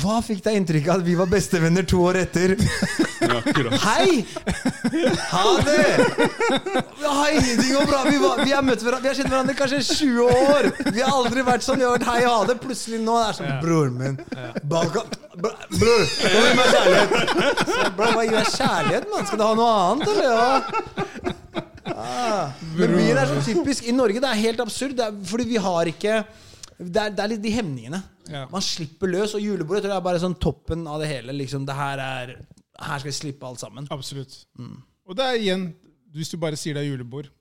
[SPEAKER 1] Hva fikk deg inntrykk av at vi var bestevenner to år etter?
[SPEAKER 3] ja akkurat.
[SPEAKER 1] Hei! Ha det! Hei, det går bra. Vi, var, vi, har møtt hverandre, vi har kjent hverandre kanskje i 20 år. Vi har aldri vært sånn. Vi har vært hei og ha det. Plutselig nå er det sånn Broren min. Balka, bro, bror, kom gi meg kjærlighet. Så, jeg, bro, hva gir jeg kjærlighet, mann? Skal du ha noe annet, eller? Ja. Ah, men byen er så typisk. I Norge det er helt absurd, det er, fordi vi har ikke det er, det er litt de hemningene.
[SPEAKER 2] Ja.
[SPEAKER 1] Man slipper løs, og julebordet tror jeg er bare sånn toppen av det hele. Liksom, det her, er, her skal vi slippe alt sammen.
[SPEAKER 2] Absolutt.
[SPEAKER 1] Mm.
[SPEAKER 2] Og det er igjen, hvis du bare sier det er julebord,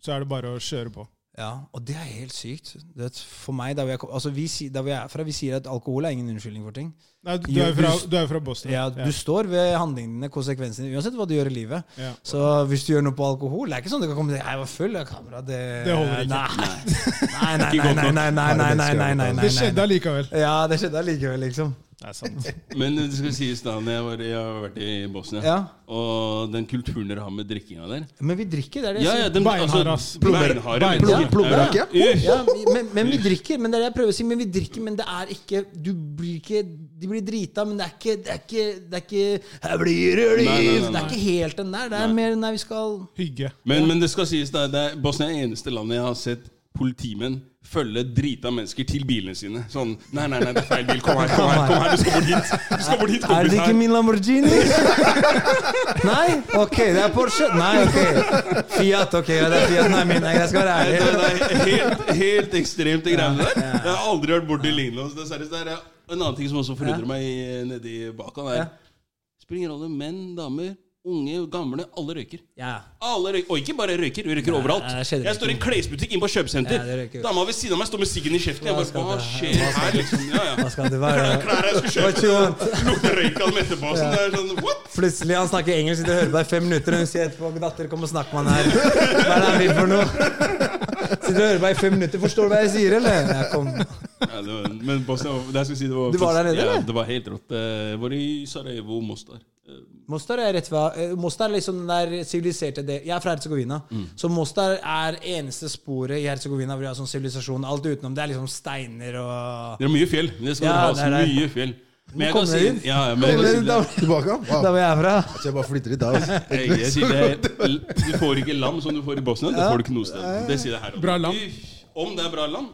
[SPEAKER 2] så er det bare å kjøre på.
[SPEAKER 1] Ja, og det er helt sykt. Du vet, for meg, der hvor jeg, kom- altså, vi, si- der hvor jeg er fra, vi sier at alkohol er ingen unnskyldning for ting.
[SPEAKER 2] Nei, du er jo fra, du er jo fra Boston.
[SPEAKER 1] Ja, du står ved handlingene dine, konsekvensene dine, uansett hva du gjør i livet.
[SPEAKER 2] Ja.
[SPEAKER 1] Så hvis du gjør noe på alkohol Det er ikke sånn du kan komme til Jeg var full, ja, kamera. Det,
[SPEAKER 2] Det holder ikke.
[SPEAKER 1] Nei, nei, nei, nei, nei, nei, nei, nei, nei, nei, nei.
[SPEAKER 2] Det skjedde allikevel.
[SPEAKER 1] Ja, det skjedde allikevel, liksom.
[SPEAKER 2] Det er sant.
[SPEAKER 3] Men det skal sies da, når jeg, var, jeg har vært i Bosnia,
[SPEAKER 1] Ja.
[SPEAKER 3] og den kulturen dere har med drikkinga der
[SPEAKER 1] Men vi drikker, det er det jeg
[SPEAKER 3] ja,
[SPEAKER 1] sier.
[SPEAKER 3] ja, dem-
[SPEAKER 2] Beinhard, ass.
[SPEAKER 4] Plomber-
[SPEAKER 3] beinharde
[SPEAKER 2] bein-
[SPEAKER 3] mennesker.
[SPEAKER 4] plom- plomberakk, ja.
[SPEAKER 3] Ja,
[SPEAKER 1] Ja,
[SPEAKER 3] ja.
[SPEAKER 1] vi- men, men vi drikker, men det er det jeg prøver å si. Men vi drikker, men det er ikke Du blir ikke De blir drita, men det er ikke Det er ikke, det er ikke Her blir det liv!
[SPEAKER 3] Nei, nei, nei,
[SPEAKER 1] Det er
[SPEAKER 3] nei.
[SPEAKER 1] ikke helt den der. Det er
[SPEAKER 3] Nei.
[SPEAKER 1] mer Nei, vi skal
[SPEAKER 2] Hygge.
[SPEAKER 3] Men, men det skal sies da, det er Bosnia er det eneste landet jeg har sett politimenn følge drita mennesker til bilene sine. Sånn Nei, nei, nei, det er feil bil. Kom her, kom her, kom her du skal bort hit. Du skal bort hit,
[SPEAKER 1] Er det
[SPEAKER 3] kompis
[SPEAKER 1] ikke
[SPEAKER 3] her.
[SPEAKER 1] min Lamborghini? Nei? Ok, det er Porsche. Nei, ok. Fiat, ok. Ja, det er Fiat. Nei, min. Nei, jeg skal være
[SPEAKER 3] Det er,
[SPEAKER 1] ærlig.
[SPEAKER 3] det er helt, helt ekstremt, det greiene der. Jeg har aldri vært borti lignende. så det er seriøst, det er- En annen ting som også forundrer meg i- nedi Balkan,
[SPEAKER 1] Ja.
[SPEAKER 3] er Spiller ingen rolle. Menn, damer, unge, gamle. Alle røyker.
[SPEAKER 1] Ja.
[SPEAKER 3] Alle røyker, Og ikke bare røyker, vi røyker overalt.
[SPEAKER 1] nei, det skjedde
[SPEAKER 3] Jeg står i en klesbutikk inne på kjøpesenter.
[SPEAKER 1] Ja, det røyker.
[SPEAKER 3] Dama ved siden av meg står med siggen i kjeften.
[SPEAKER 1] Hva
[SPEAKER 3] Jeg bare,
[SPEAKER 1] skal
[SPEAKER 3] Hva
[SPEAKER 1] det her?
[SPEAKER 3] skjer her, liksom? Ja, ja.
[SPEAKER 1] Hva skal det være?
[SPEAKER 3] Klær jeg skulle
[SPEAKER 1] What you want?
[SPEAKER 3] kjøpe. Lukter røyk av dem etterpå. Så det er sånn, what?
[SPEAKER 1] Plutselig han snakker engelsk, sitter og hører på deg i fem minutter, og hun sier etterpå Datter, kom og snakk med han her. Hva er det han vil for noe? Sitter og hører på deg i fem minutter. Forstår du hva jeg sier, eller? Ja, kom.
[SPEAKER 3] Ja, det var, men Bosnia var, det jeg skulle si, det var,
[SPEAKER 1] Du var der nede,
[SPEAKER 3] ja,
[SPEAKER 1] eller?
[SPEAKER 3] det var helt rått. Jeg var i Sarajevo, Mostar. Eh,
[SPEAKER 1] Mostar er rett ved, eh, Mostar er liksom den der siviliserte del. Jeg er fra Herzegovina, så Mostar er eneste sporet i Herzegovina hvor vi har sånn sivilisasjon. Alt utenom det er liksom steiner og
[SPEAKER 3] Det er mye fjell. Det skal
[SPEAKER 1] Ja,
[SPEAKER 3] ja,
[SPEAKER 1] det er det.
[SPEAKER 3] mye fjell. Men jeg
[SPEAKER 1] Kom
[SPEAKER 3] kan
[SPEAKER 1] deg
[SPEAKER 3] si
[SPEAKER 1] inn.
[SPEAKER 3] ja, ja, men jeg kan si det.
[SPEAKER 4] Tilbake?
[SPEAKER 1] Der
[SPEAKER 4] Wow.
[SPEAKER 1] hvor jeg er fra.
[SPEAKER 4] Så jeg bare flytter hit, da. altså.
[SPEAKER 3] Jeg, jeg sier det, du får ikke lam som du får i Bosnia. Det får du ikke noe sted. Det sier det her. også.
[SPEAKER 2] Bra lam.
[SPEAKER 3] Uff, Om det er bra lam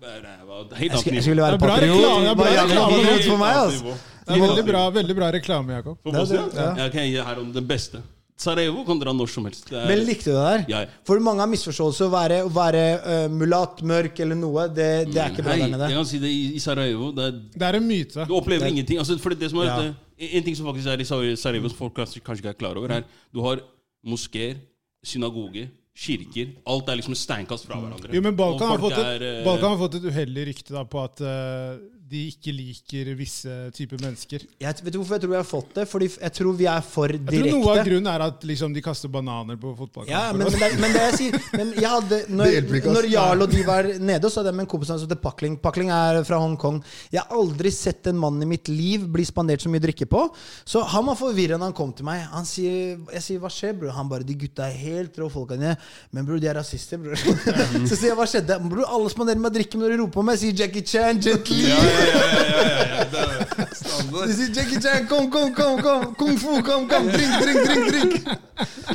[SPEAKER 3] det er- eh, det var et Helt
[SPEAKER 1] Jeg skulle,
[SPEAKER 3] annet
[SPEAKER 1] jeg
[SPEAKER 3] nivå.
[SPEAKER 1] skulle
[SPEAKER 2] Det
[SPEAKER 1] være
[SPEAKER 2] er bra reklame, det er bra
[SPEAKER 1] Bare jævlig
[SPEAKER 2] reklame.
[SPEAKER 1] idiot for meg,
[SPEAKER 3] Helt annet
[SPEAKER 1] altså.
[SPEAKER 3] nivå.
[SPEAKER 2] Det er veldig bra, veldig bra reklame, Jakob.
[SPEAKER 3] For
[SPEAKER 1] Det er det,
[SPEAKER 3] Bosnia?
[SPEAKER 1] ja.
[SPEAKER 3] Jeg kan gi her om det beste. Sarajevo kan dra når som helst. Det er-
[SPEAKER 1] Men likte du det der?
[SPEAKER 3] Ja, ja.
[SPEAKER 1] For mange har misforståelse. Å være, å være eh, mulatt, mørk eller noe, det, det er ikke bra
[SPEAKER 3] Hei,
[SPEAKER 1] der nede.
[SPEAKER 3] Jeg kan si det i, i Sarajevo. Det er,
[SPEAKER 2] Det er en myte.
[SPEAKER 3] du opplever ingenting. Altså, for det som er,
[SPEAKER 1] Ja.
[SPEAKER 3] det- En ting som faktisk er i Sar- Sarajevo som folk kanskje kanskje ikke er klar over, er du har moskeer, synagoger, kirker Alt
[SPEAKER 1] Mm.
[SPEAKER 3] er liksom steinkast fra hverandre.
[SPEAKER 2] Jo, men Balkan
[SPEAKER 3] Og
[SPEAKER 2] har,
[SPEAKER 3] folk
[SPEAKER 2] fått et,
[SPEAKER 3] er, eh,
[SPEAKER 2] Balkan har fått et uheldig rykte da, på at eh, de ikke liker visse typer mennesker.
[SPEAKER 1] Jeg, vet du hvorfor jeg tror vi har fått det? Fordi f- jeg tror vi er for
[SPEAKER 2] Jeg tror noe av
[SPEAKER 1] direkte.
[SPEAKER 2] grunnen er at liksom, de kaster bananer på fotballkamper.
[SPEAKER 1] Ja, men, men, det, men det jeg sier men jeg hadde,
[SPEAKER 4] Det hjelper
[SPEAKER 1] Når,
[SPEAKER 4] ikke, ass.
[SPEAKER 1] når Jarl og de var nede, så hadde jeg med en kompis som heter Pakling. Pakling er fra Hongkong. Jeg har aldri sett en mann i mitt liv bli spandert så mye drikke på. Så han var forvirra da han kom til meg. Han sier, jeg sier 'hva skjer', bror? Han bare 'de gutta er helt rå folka dine'. Men bror, de er rasister, bror. Så sier jeg 'hva skjedde'? Bror, alle spanderer meg drikke, men når de roper på meg, sier Jackie Chan, Jet Li.
[SPEAKER 3] Ja, ja, ja, ja, ja, ja, ja. Det er
[SPEAKER 1] De
[SPEAKER 3] standard.
[SPEAKER 1] sier Jackie Chan, kom, kom, kom, kom! Kung fu, kom, kom! Drink, drink, drink! drink.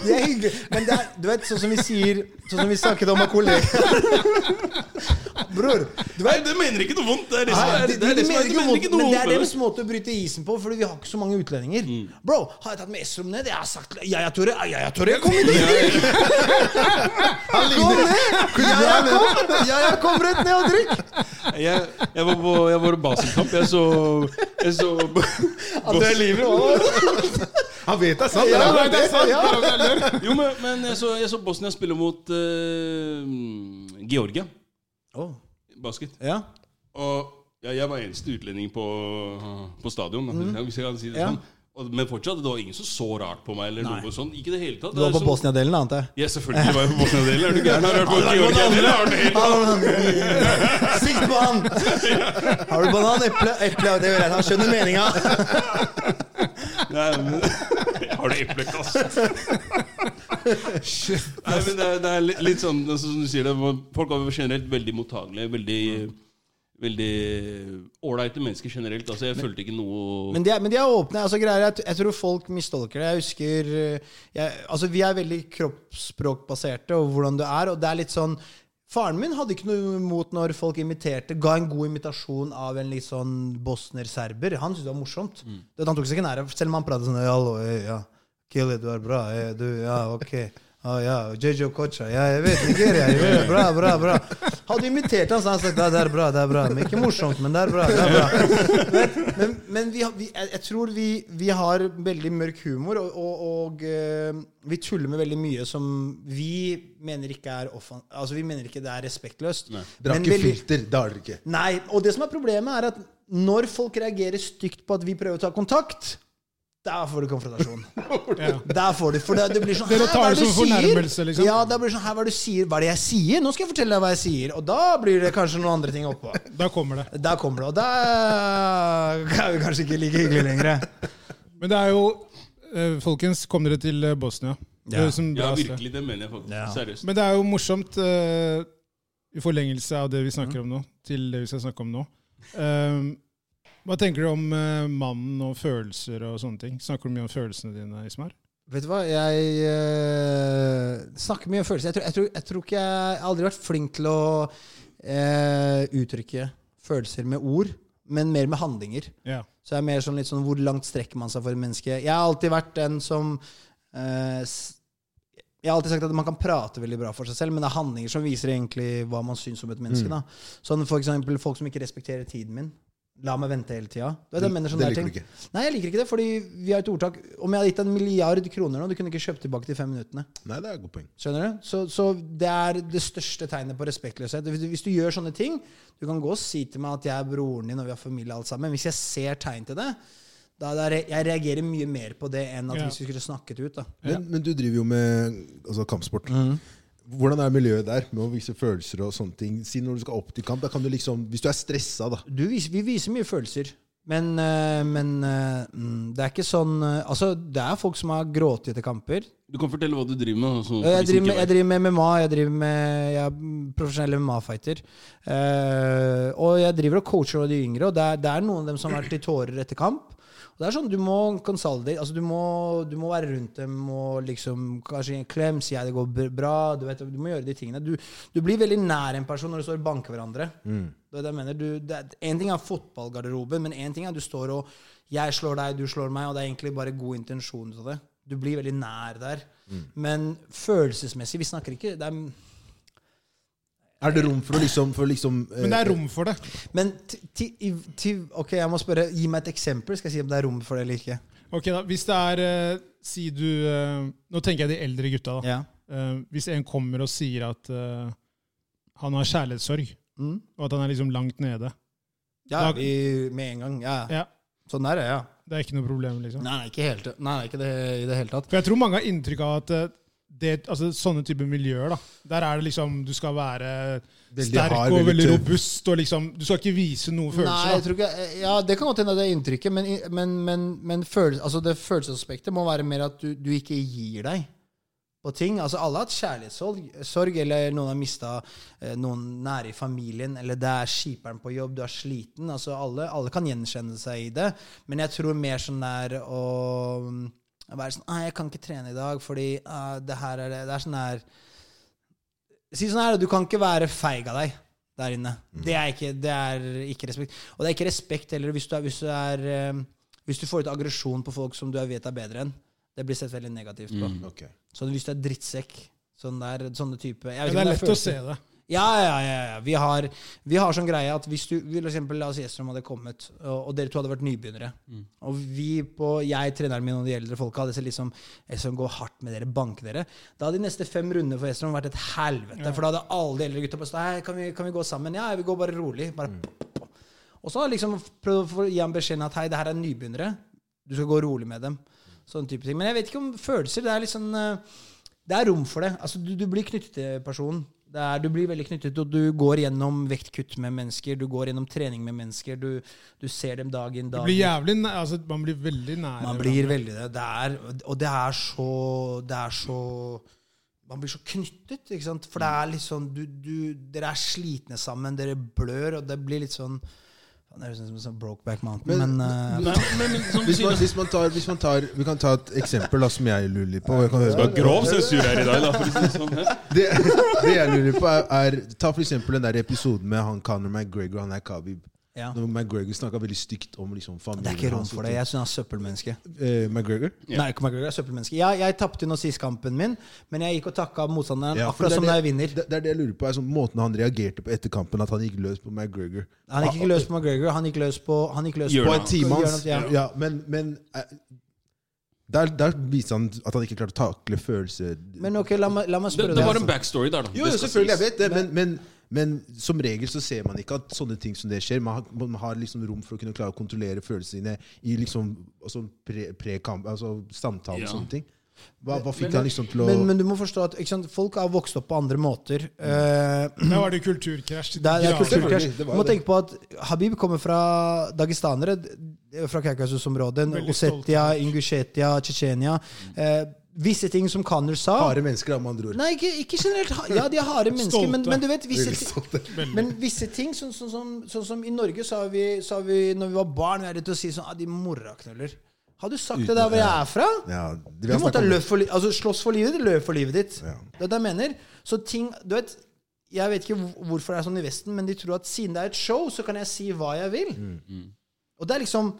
[SPEAKER 1] Det er hyggelig. Men det er, du vet, sånn som vi sier Sånn som vi snakket om med kollegaer Bror, du
[SPEAKER 3] Nei,
[SPEAKER 1] vet
[SPEAKER 3] det mener ikke noe vondt. Det er det som
[SPEAKER 1] Nei,
[SPEAKER 3] er
[SPEAKER 1] de,
[SPEAKER 3] det
[SPEAKER 1] de,
[SPEAKER 3] er det som
[SPEAKER 1] mener
[SPEAKER 3] er- de
[SPEAKER 1] ikke
[SPEAKER 3] mener
[SPEAKER 1] vondt,
[SPEAKER 3] ikke noe
[SPEAKER 1] men det er
[SPEAKER 3] vondt.
[SPEAKER 1] deres måte å bryte isen på, fordi vi har ikke så mange utlendinger. Bro, har jeg tatt med Esrom ned? Jeg har sagt Ja, ja, Tore. Ja, ja, Tore. Kom hit! Kom ned! Ja, ja, kom. Ja, ja, kom rett ned og drikk!
[SPEAKER 3] Jeg, jeg var på jeg var i basekamp. Jeg så Jeg så
[SPEAKER 1] Det er livet òg.
[SPEAKER 4] Han vet det er sant!
[SPEAKER 2] Ja,
[SPEAKER 4] Ja,
[SPEAKER 2] det er sant! bare om det er løgn.
[SPEAKER 3] Jo, men, men jeg, så, jeg så Bosnia spille mot eh, Georgia basket.
[SPEAKER 1] Ja.
[SPEAKER 3] Og ja, jeg var eneste utlending på, på stadion. da, Hvis jeg kan si det
[SPEAKER 1] Mhm. Ja.
[SPEAKER 3] sånn. Og, men fortsatt, det var ingen som så rart på meg. eller noe sånn. Ikke i det hele tatt.
[SPEAKER 1] Du var
[SPEAKER 3] Det er
[SPEAKER 1] på
[SPEAKER 3] sånn-
[SPEAKER 1] Bosnia-delen, antar jeg?
[SPEAKER 3] Ja, selvfølgelig var jeg på Bosnia-delen. Er du gæren? Har du hørt på Georgia-delen? Har du helt
[SPEAKER 1] Sikt på han! Har du banan, eple, eple og det er greit. Han skjønner meninga.
[SPEAKER 3] Nei, men Jeg har det eplekast. Nei, men det er, det er litt, litt sånn altså, som du sier det, Folk er generelt veldig mottagelige. Veldig Veldig ålreite mennesker generelt. Altså, jeg følte ikke noe
[SPEAKER 1] Men de er, men de er åpne. altså greier, jeg, jeg tror folk mistolker det. Jeg husker eh, jeg, altså Vi er veldig kroppsspråkbaserte, og hvordan du er. Og det er litt sånn Faren min hadde ikke noe imot når folk imiterte, ga en god imitasjon av en litt sånn bosner-serber. Han syntes det var morsomt. Det, han tok seg ikke nær, selv om han pratet sånn Hallo, eh, ja. Kille, du er bra. eh, Du, ja, ok. Ja, ja, Jejo Kocha. Ja, jeg vet Nigeria. Jeg vet, bra, bra, bra. Hadde imitert han, så hadde han sagt ja, det er bra, det er bra. Men ikke morsomt, men det er bra. det er bra. Men, men, men vi, har- vi, jeg jeg tror vi, vi har veldig mørk humor, og, og, og eh, vi tuller med veldig mye som vi mener ikke er offan... Altså, vi mener ikke det er respektløst.
[SPEAKER 4] Drakk
[SPEAKER 1] Men
[SPEAKER 4] ikke
[SPEAKER 1] veldig-
[SPEAKER 4] filter, det har dere ikke.
[SPEAKER 1] Nei, og det som er problemet, er at når folk reagerer stygt på at vi prøver å ta kontakt, der får du konfrontasjon. Der får du, for det, det blir sånn
[SPEAKER 2] Dere
[SPEAKER 1] «Hæ,
[SPEAKER 2] tar
[SPEAKER 1] hva er
[SPEAKER 2] det
[SPEAKER 1] du
[SPEAKER 2] som
[SPEAKER 1] sier?»
[SPEAKER 2] fornærmelse, liksom.
[SPEAKER 1] Ja, det blir sånn, her, hva er det du sier? Hva er det jeg sier? Nå skal jeg fortelle deg hva jeg sier. Og da blir det kanskje noen andre ting oppå.
[SPEAKER 2] Da kommer det.
[SPEAKER 1] Der kommer det, og da er vi kanskje ikke like hyggelige lenger.
[SPEAKER 2] Men det er jo eh, Folkens, kom dere til eh, Bosnia. Det
[SPEAKER 1] Ja.
[SPEAKER 2] høres som
[SPEAKER 3] Ja,
[SPEAKER 2] bra sted.
[SPEAKER 3] virkelig. Det mener jeg faktisk.
[SPEAKER 1] Ja.
[SPEAKER 3] Seriøst.
[SPEAKER 2] Men det er jo morsomt, eh, i forlengelse av det vi snakker om nå, til det vi skal snakke om nå. Ehm, hva tenker du om eh, mannen og følelser og sånne ting? Snakker du mye om følelsene dine, Ismar?
[SPEAKER 1] Vet du hva, jeg eh, snakker mye om følelser. Jeg tror, jeg, tror, jeg tror ikke jeg, jeg har aldri vært flink til å eh, uttrykke følelser med ord, men mer med handlinger.
[SPEAKER 2] Ja.
[SPEAKER 1] Så jeg er mer sånn litt sånn hvor langt strekker man seg for et menneske. Jeg har alltid vært den som eh, s- Jeg har alltid sagt at man kan prate veldig bra for seg selv, men det er handlinger som viser egentlig hva man syns om et menneske.
[SPEAKER 4] Mm.
[SPEAKER 1] da. Sånn for eksempel folk som ikke respekterer tiden min. La meg vente hele tida. Du vet, jeg mener sånne
[SPEAKER 4] Mm, Det
[SPEAKER 1] der
[SPEAKER 4] liker
[SPEAKER 1] ting.
[SPEAKER 4] du ikke.
[SPEAKER 1] Nei, jeg liker ikke det, fordi vi har et ordtak Om jeg hadde gitt deg en milliard kroner nå, du kunne ikke kjøpt tilbake de fem minuttene.
[SPEAKER 4] Nei, det er et godt poeng.
[SPEAKER 1] Skjønner du? Så, så det er det største tegnet på respektløshet. Hvis du, hvis du gjør sånne ting Du kan gå og si til meg at jeg er broren din, og vi har familie, alt sammen. Men hvis jeg ser tegn til det, da da re- jeg reagerer mye mer på det enn at
[SPEAKER 2] Ja.
[SPEAKER 1] hvis vi skulle snakket ut. da.
[SPEAKER 4] Men, men du driver jo med altså, kampsport.
[SPEAKER 1] Mhm.
[SPEAKER 4] Hvordan er miljøet der med å vise følelser og sånne ting? Si når du skal opp til kamp, da kan du liksom, hvis du er stressa, da.
[SPEAKER 1] Du viser, vi viser mye følelser. Men, eh, men eh, mm, det er ikke sånn eh, Altså, det er folk som har grått etter kamper.
[SPEAKER 3] Du kan fortelle hva du driver med.
[SPEAKER 1] Jeg
[SPEAKER 3] Altså, hvis ikke
[SPEAKER 1] driver, med, jeg
[SPEAKER 3] vet.
[SPEAKER 1] driver med MMA. Jeg, driver med, jeg er profesjonell MMA-fighter. Eh, og jeg driver og coacher de yngre, og det er, det er noen av dem som har vært i tårer etter kamp. Og det er sånn, Du må consolidate, altså du må, du må være rundt dem og liksom, kanskje gi en klem, si at det går b- bra. Du, vet, du må gjøre de tingene. Du, du blir veldig nær en person når du står og banker hverandre. Det er det jeg mener. Du, det er, en ting er fotballgarderoben, men en ting er du står og jeg slår deg, du slår meg, og det er egentlig bare god intensjon ut av det. Du blir veldig nær der. Men følelsesmessig, vi snakker ikke det er,
[SPEAKER 4] Er det rom for å liksom, for å liksom eh,
[SPEAKER 2] Men det er rom for det.
[SPEAKER 1] Men ti, ti, i- ti, ok, jeg må spørre, gi meg et eksempel, skal jeg si om det er rom for det eller ikke.
[SPEAKER 2] Ok da, Hvis det er eh, Si du eh, Nå tenker jeg de eldre gutta. da.
[SPEAKER 1] Ja.
[SPEAKER 2] Eh, hvis en kommer og sier at eh, han har kjærlighetssorg,
[SPEAKER 1] Mm.
[SPEAKER 2] og at han er liksom langt nede
[SPEAKER 1] Ja,
[SPEAKER 2] Da-
[SPEAKER 1] vi, med en gang. Ja.
[SPEAKER 2] Ja,
[SPEAKER 1] Sånn er det, ja.
[SPEAKER 2] Det er ikke noe problem, liksom.
[SPEAKER 1] Nei, nei, ikke, helt, nei, nei, ikke det, i det hele tatt.
[SPEAKER 2] For jeg tror mange har inntrykk av at eh, det, altså, sånne type miljøer, da, der er det liksom Du skal være
[SPEAKER 4] Veldig
[SPEAKER 2] sterk
[SPEAKER 4] hard,
[SPEAKER 2] og
[SPEAKER 4] veldig
[SPEAKER 2] veldig
[SPEAKER 4] tøff.
[SPEAKER 2] robust, og liksom Du skal ikke vise noen
[SPEAKER 1] Nei, jeg
[SPEAKER 2] følelser.
[SPEAKER 1] tror ikke, eh, ja, Det kan godt hende det er inntrykket, men, men, men, men følelse, altså det følelsesaspektet må være mer at du, du ikke gir deg på ting. Altså Alle har hatt kjærlighetssorg, sorg, eller noen har mista eh, noen nære i familien, eller det er skiperen på jobb, du er sliten. Altså Alle, alle kan gjenkjenne seg i det, men jeg tror mer sånn der å være sånn «Nei, 'Jeg kan ikke trene i dag, fordi ah, det her er det Det er sånn her Si sånn her, du kan ikke være feig av deg der inne. Det, er ikke, det er ikke respekt. Og det er ikke respekt heller hvis du, er, hvis du, er, eh, hvis du får ut aggresjon på folk som du vet er bedre enn. Det blir sett veldig negativt på.
[SPEAKER 4] Ok.
[SPEAKER 1] Så hvis du er drittsekk, sånn der, sånne type jeg vet
[SPEAKER 2] Ja,
[SPEAKER 1] ikke
[SPEAKER 2] det
[SPEAKER 1] om
[SPEAKER 2] er lett å
[SPEAKER 1] følelser.
[SPEAKER 2] se det.
[SPEAKER 1] Ja, ja, ja. ja. Vi, har, vi har sånn greie at hvis du for eksempel, La oss si Estrom hadde kommet, og, og dere to hadde vært nybegynnere. Og vi på, jeg, treneren min og de eldre folka hadde sett liksom Estrom gå hardt med dere, banke dere. Da hadde de neste fem rundene for Estrom vært et helvete. For da hadde alle de eldre gutta bare sagt Hei, kan vi, kan vi gå sammen? Ja, vi går bare rolig. Bare og så har jeg liksom prøvd å gi ham beskjeden at hei, det her er nybegynnere. Du skal gå rolig med dem. Sånn type ting. Men jeg vet ikke om følelser. Det er litt sånn eh, Det er rom for det. Altså, du, du blir knyttet til personen. Det er, du blir veldig knyttet, og du går gjennom vektkutt med mennesker. Du går gjennom trening med mennesker. Du, du ser dem dag inn,
[SPEAKER 2] Det
[SPEAKER 1] dag
[SPEAKER 2] blir
[SPEAKER 1] ut.
[SPEAKER 2] jævlig, næ- altså, man blir veldig nær.
[SPEAKER 1] Man blir veldig det. det er, og det er så Det er så Man blir så knyttet, ikke sant? For det
[SPEAKER 4] Mm.
[SPEAKER 1] er litt sånn du, du, Dere er slitne sammen, dere blør, og det blir litt sånn Faen, Det høres ut som en sånn Brokeback Mountain, men,
[SPEAKER 4] Men-
[SPEAKER 1] eh,
[SPEAKER 3] Nei, men, men som du
[SPEAKER 4] Hvis man,
[SPEAKER 3] sier da-
[SPEAKER 4] hvis man tar, hvis man tar, vi kan ta et eksempel da, som jeg lurer litt på. og Jeg kan høre
[SPEAKER 3] Det var grov sensur her i dag, da, for å si det sånn.
[SPEAKER 4] det, det jeg lurer på, er, er Ta for eksempel den der episoden med han Conor McGregor og han der Khabib.
[SPEAKER 1] ja.
[SPEAKER 4] Når McGregor snakka veldig stygt om liksom, familien
[SPEAKER 1] Det er ikke rom
[SPEAKER 4] hans og
[SPEAKER 1] for det.
[SPEAKER 4] ting.
[SPEAKER 1] Jeg syns han er søppelmenneske.
[SPEAKER 4] Eh, McGregor?
[SPEAKER 3] Ja.
[SPEAKER 1] Nei, ikke McGregor, jeg er søppelmenneske. Jeg, jeg tapte jo nå sist kampen min, men jeg gikk og takka motstanderen
[SPEAKER 4] Ja, for
[SPEAKER 1] akkurat
[SPEAKER 4] det er
[SPEAKER 1] som
[SPEAKER 4] det-
[SPEAKER 1] da jeg vinner.
[SPEAKER 4] Det, det er det jeg lurer på, er sånn, måten han reagerte på etter kampen, at han gikk løs på McGregor.
[SPEAKER 1] Han gikk ikke løs på McGregor, han gikk løs på Han gikk løs
[SPEAKER 3] Gjør
[SPEAKER 1] på
[SPEAKER 4] På
[SPEAKER 3] det.
[SPEAKER 4] en time hans.
[SPEAKER 1] Ja.
[SPEAKER 4] Ja. men, men eh, der, der viste han at han ikke klarte å takle følelser.
[SPEAKER 1] Men ok, la meg, la meg
[SPEAKER 3] Det,
[SPEAKER 1] spørre
[SPEAKER 3] det
[SPEAKER 1] deg. altså.
[SPEAKER 3] var en backstory der, da.
[SPEAKER 4] Jo,
[SPEAKER 3] Det
[SPEAKER 4] jo,
[SPEAKER 3] skal
[SPEAKER 4] selvfølgelig, jeg
[SPEAKER 3] sies.
[SPEAKER 4] vet det, men, men, men som regel så ser man ikke at sånne ting som det skjer. Man har, man har liksom rom for å kunne klare å kontrollere følelsene sine i liksom altså pre, pre-kamp, altså samtale
[SPEAKER 3] Ja.
[SPEAKER 4] og sånne ting. Hva, hva fikk han liksom til å
[SPEAKER 1] Men, men du må forstå at ikke sant, folk er vokst opp på andre måter. Eh,
[SPEAKER 2] Da var det kulturkrasj. til
[SPEAKER 1] Det er, det er
[SPEAKER 2] grader.
[SPEAKER 1] kulturkrasj.
[SPEAKER 4] Selvfølgelig, det var
[SPEAKER 1] Du må
[SPEAKER 4] det.
[SPEAKER 1] tenke på at Habib kommer fra dagestanere, d- fra Kaukasus-området.
[SPEAKER 2] Veldig stolt.
[SPEAKER 1] Ossetia, Ingusjetia, Tsjetsjenia. Eh, visse ting som Khanur sa
[SPEAKER 4] Harde mennesker, da, med andre ord.
[SPEAKER 1] Nei, ikke, ikke generelt. ha- Ja, de er harde mennesker, men,
[SPEAKER 2] Stolte.
[SPEAKER 1] men du vet visse,
[SPEAKER 4] Veldig
[SPEAKER 1] ti-
[SPEAKER 4] stolte.
[SPEAKER 1] men visse ting sånn, sånn, som- sånn som i Norge, så har vi, så har vi når vi var barn, vi er litt til å si sånn ah, De moraknuller. Har du sagt det der hvor jeg er fra?
[SPEAKER 4] Ja, det
[SPEAKER 1] Du måtte ha løp for, li- altså, slåss for livet ditt, løp for livet ditt. Det er det jeg mener. Så ting Du vet, jeg vet ikke hvor- hvorfor det er sånn i Vesten, men de tror at siden det er et show, så kan jeg si hva jeg vil.
[SPEAKER 3] Mm.
[SPEAKER 1] Og det er liksom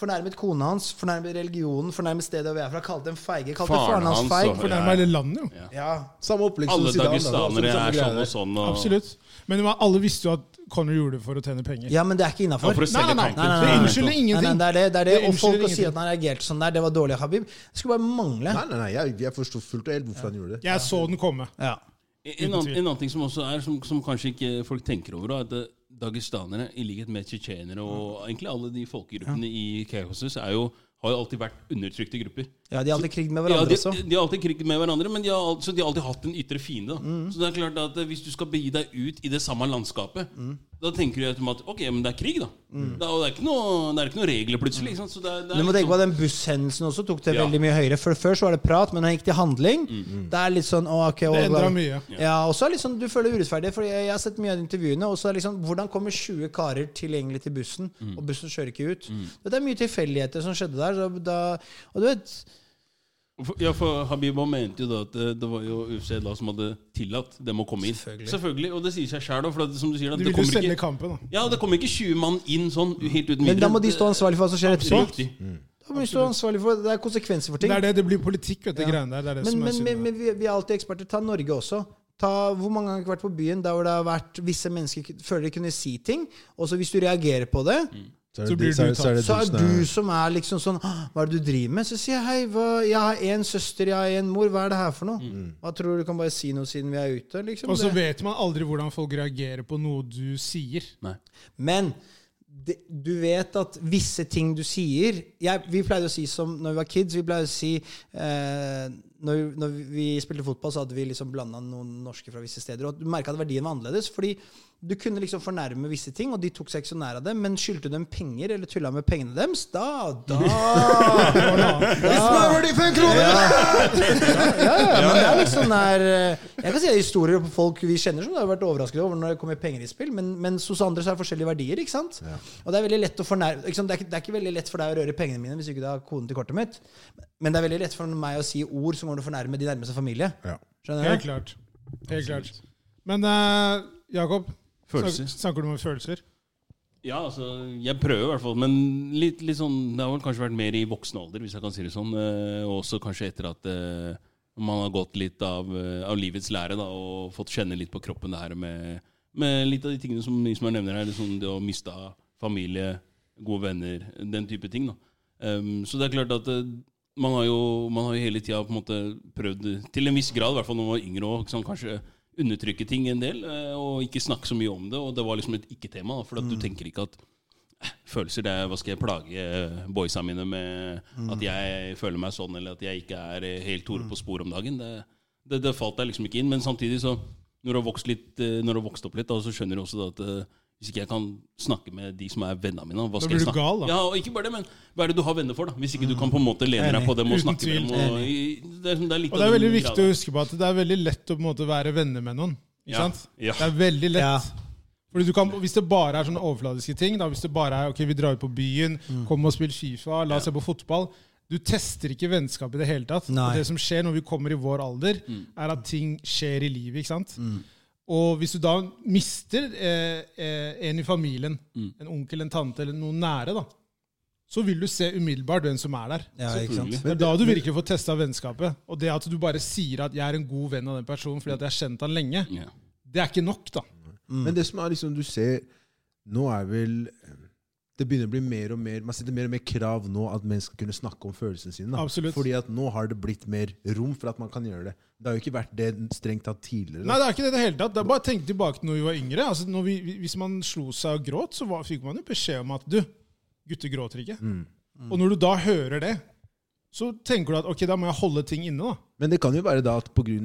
[SPEAKER 1] Fornærmet kona hans, fornærmet religionen, fornærmet stedet hvor vi er fra. Kalte dem feige. Kalte
[SPEAKER 3] Faren
[SPEAKER 1] faren hans
[SPEAKER 3] hans
[SPEAKER 1] feig.
[SPEAKER 3] og-
[SPEAKER 1] for-
[SPEAKER 2] Fornærma hele landet, jo.
[SPEAKER 1] Ja.
[SPEAKER 4] Samme opplegg som
[SPEAKER 3] Alle
[SPEAKER 4] Zidane. da, det
[SPEAKER 3] dagestanere
[SPEAKER 4] var samme
[SPEAKER 3] er
[SPEAKER 4] greie
[SPEAKER 3] sånn
[SPEAKER 4] der.
[SPEAKER 3] og sånn. Og...
[SPEAKER 2] Absolutt. Men man- alle visste jo at Conor gjorde det for å tjene penger.
[SPEAKER 1] ja, men det er ikke
[SPEAKER 3] Ja,
[SPEAKER 1] innafor.
[SPEAKER 3] for å selge
[SPEAKER 2] nei,
[SPEAKER 3] tanken.
[SPEAKER 1] nei,
[SPEAKER 2] Det
[SPEAKER 1] nei.
[SPEAKER 2] unnskylder
[SPEAKER 1] Nei, nei,
[SPEAKER 2] ingenting.
[SPEAKER 1] det er det. det, er det.
[SPEAKER 2] Det
[SPEAKER 1] Og folk
[SPEAKER 2] unnskylder
[SPEAKER 1] å si at han reagerte sånn der, det var dårlig av Habib. Det skulle bare mangle.
[SPEAKER 4] Nei, nei, nei, jeg, jeg forstår fullt og helt hvorfor han gjorde det.
[SPEAKER 2] Jeg så den komme.
[SPEAKER 1] Ja.
[SPEAKER 3] En annen, en annen ting som også er, som, som kanskje ikke folk tenker over, da, er at eh, dagestanere, i likhet med tsjetsjenere og egentlig alle de folkegruppene i Kaukasus, er jo, har jo alltid vært undertrykte grupper.
[SPEAKER 1] ja, de har alltid krig med
[SPEAKER 3] Ja,
[SPEAKER 1] hverandre
[SPEAKER 3] de,
[SPEAKER 1] også.
[SPEAKER 3] de har alltid kriget med hverandre, men de har, al- så de har alltid hatt en ytre fiende. da.
[SPEAKER 1] Mm.
[SPEAKER 3] Så det er klart at eh, Hvis du skal begi deg ut i det samme landskapet,
[SPEAKER 1] Mm.
[SPEAKER 3] da tenker du automatisk ok, men det er krig, da. Det, er, og det, er ikke noe, det er ikke noe regler plutselig. Ikke sant? Så det, er- det er
[SPEAKER 1] Du må
[SPEAKER 3] liksom-
[SPEAKER 1] tenke på at den busshendelsen også tok det
[SPEAKER 3] Ja. Mm,
[SPEAKER 1] veldig mye høyere. For Før så var det prat, men når det gikk til handling Det er litt sånn å, ok, å,
[SPEAKER 2] Det endra
[SPEAKER 1] bla-
[SPEAKER 2] mye.
[SPEAKER 1] Ja, og så er det litt sånn, Du føler urettferdig, for jeg, jeg har sett mye av de intervjuene. og så er det liksom, Hvordan kommer 20 karer tilgjengelig til bussen,
[SPEAKER 3] Mm.
[SPEAKER 1] og bussen kjører ikke ut? Det er mye tilfeldigheter som skjedde der. Så da, og du vet,
[SPEAKER 3] For- Ja, for Habibo mente jo da at eh, det, det var jo UFC da som hadde tillatt dem å komme inn.
[SPEAKER 1] Selvfølgelig.
[SPEAKER 3] Og det sier seg sjæl, for at, som du sier, da,
[SPEAKER 2] De
[SPEAKER 3] det
[SPEAKER 2] ville jo
[SPEAKER 3] kommer
[SPEAKER 2] selge
[SPEAKER 3] ikke
[SPEAKER 2] kampen, da.
[SPEAKER 3] Ja, det kommer ikke 20 mann inn sånn helt uten
[SPEAKER 1] Men da må de stå ansvarlig Mm. for hva som skjer etterpå.
[SPEAKER 3] Riktig.
[SPEAKER 1] Da må de stå ansvarlig for, Det er konsekvenser for ting.
[SPEAKER 2] Det er det det blir politikk, vet du, greiene der. Det er det
[SPEAKER 1] Men,
[SPEAKER 2] som er
[SPEAKER 1] men,
[SPEAKER 2] synd.
[SPEAKER 1] men,
[SPEAKER 2] med det.
[SPEAKER 1] men vi, vi er alltid eksperter. Ta Norge også. Ta, hvor mange ganger har vi ikke vært på byen der hvor det har vært visse mennesker k- føler de kunne si ting, og så hvis du reagerer på det,
[SPEAKER 4] Så, er
[SPEAKER 2] Så
[SPEAKER 4] det-
[SPEAKER 2] blir
[SPEAKER 4] så er
[SPEAKER 2] du
[SPEAKER 4] det- så er det
[SPEAKER 1] så er
[SPEAKER 4] som
[SPEAKER 1] du som er liksom sånn «Åh, Hva er det du driver med? Så sier jeg hei, hva, jeg har én søster, jeg har én mor, hva er det her for noe? Hva tror du du kan bare si noe siden vi er ute? Liksom.
[SPEAKER 2] Og så
[SPEAKER 1] Det-
[SPEAKER 2] vet man aldri hvordan folk reagerer på noe du sier.
[SPEAKER 3] Nei.
[SPEAKER 1] Men det, du vet at visse ting du sier jeg, Vi pleide å si som når vi var kids Vi pleide å si eh, når, når vi spilte fotball, så hadde vi liksom blanda noen norske fra visse steder. Og du merka at verdien var annerledes. Fordi du kunne liksom fornærme visse ting, og de tok seg ikke så nær av det. Men skyldte du dem penger, eller tulla med pengene deres, da Da! da
[SPEAKER 4] 45 kroner!
[SPEAKER 1] ja, ja, men det er litt sånn der eh, Jeg kan si det er historier på folk vi kjenner som det har vært overrasket over når det kommer penger i spill, men mens hos andre så er det forskjellige verdier, ikke sant? Og det er veldig lett å fornærme ikke sant? Det, er ikke, det er ikke veldig lett for deg å røre pengene mine hvis ikke du har koden til kortet mitt, men det er veldig lett for meg å si ord som kommer til å fornærme de nærmeste familie.
[SPEAKER 4] Ja.
[SPEAKER 1] Skjønner
[SPEAKER 2] Helt
[SPEAKER 1] du?
[SPEAKER 2] klart. Helt klart. Men eh, Jakob,
[SPEAKER 3] Følelser.
[SPEAKER 2] snak- snakker du om følelser?
[SPEAKER 3] Ja, altså, jeg prøver i hvert fall, men litt, litt sånn, det har vel kanskje vært mer i voksen alder, hvis jeg kan si det sånn. eh, Og også kanskje etter at eh, man har gått litt av, eh, av livets lære da, og fått kjenne litt på kroppen det her med, med litt av de tingene som Ismar nevner her, liksom det å miste familie, gode venner, den type ting. da. Em, så det er klart at eh, man har jo, man har jo hele tida på en måte prøvd, til en viss grad, i hvert fall når man var yngre òg, sånn, kanskje undertrykke ting en del, eh, og ikke snakke så mye om det. Og det var liksom et ikke-tema, da, for at du
[SPEAKER 2] Mm.
[SPEAKER 3] tenker ikke at eh, følelser det er, Hva skal jeg plage eh, boysa mine med?
[SPEAKER 2] Mm.
[SPEAKER 3] At jeg føler meg sånn, eller at jeg ikke er eh, helt Tore på sporet om dagen. Det, det, det falt deg liksom ikke inn. Men samtidig, så når du har vokst, litt, eh, når du har vokst opp litt, da, så skjønner du også da, at eh, hvis ikke jeg kan snakke med de som er vennene mine, hva skal
[SPEAKER 2] blir
[SPEAKER 3] jeg
[SPEAKER 2] du
[SPEAKER 3] snakke
[SPEAKER 2] gal, da.
[SPEAKER 3] Ja, og ikke bare det, men hva er det du har venner for, da? Hvis ikke du kan på en måte lene deg på dem og
[SPEAKER 2] Uten
[SPEAKER 3] snakke med dem.
[SPEAKER 2] tvil.
[SPEAKER 3] Og, i- det, er, det er litt
[SPEAKER 2] Og det er
[SPEAKER 3] av
[SPEAKER 2] veldig
[SPEAKER 3] den
[SPEAKER 2] viktig
[SPEAKER 3] graden.
[SPEAKER 2] å huske på at det er veldig lett å på en måte være venner med noen. Ikke
[SPEAKER 3] Ja,
[SPEAKER 2] sant?
[SPEAKER 3] ja.
[SPEAKER 2] Det er veldig lett.
[SPEAKER 1] Ja.
[SPEAKER 2] Fordi du kan, Hvis det bare er sånne overfladiske ting, da, hvis det bare er ok, vi drar ut på byen,
[SPEAKER 1] Mm.
[SPEAKER 2] kom og spill Fifa, la oss se på fotball Du tester ikke vennskap i det hele tatt.
[SPEAKER 1] Nei. Mm.
[SPEAKER 2] Og det som skjer når vi kommer i vår alder, er at ting skjer i livet. ikke sant? Og hvis du da mister eh, eh, en i familien,
[SPEAKER 1] Mm.
[SPEAKER 2] en onkel, en tante eller noen nære, da, så vil du se umiddelbart hvem som er der.
[SPEAKER 1] Ja, ikke sant?
[SPEAKER 2] Det er da du virkelig får testa vennskapet. Og det at du bare sier at 'jeg er en god venn av den personen fordi at jeg har kjent han lenge',
[SPEAKER 1] Mm.
[SPEAKER 3] Ja.
[SPEAKER 2] det er ikke nok, da. Mm.
[SPEAKER 4] Men det som er liksom, du ser Nå er vel eh, Det begynner å bli mer og mer Man setter mer og mer krav nå at menn skal kunne snakke om følelsene sine. Da.
[SPEAKER 2] Absolutt.
[SPEAKER 4] Fordi at nå har det blitt mer rom for at man kan gjøre det. Det har jo ikke vært det strengt tatt tidligere.
[SPEAKER 2] Nei, det er ikke det i det hele tatt. Det er bare tenk tilbake til når vi var yngre. Altså, når vi, hvis man slo seg og gråt, så var, fikk man jo beskjed om at 'du, gutter gråter ikke'. Og når du da hører det, så tenker du at 'ok, da må jeg holde ting inne', da.
[SPEAKER 4] Men det kan jo være da at pga.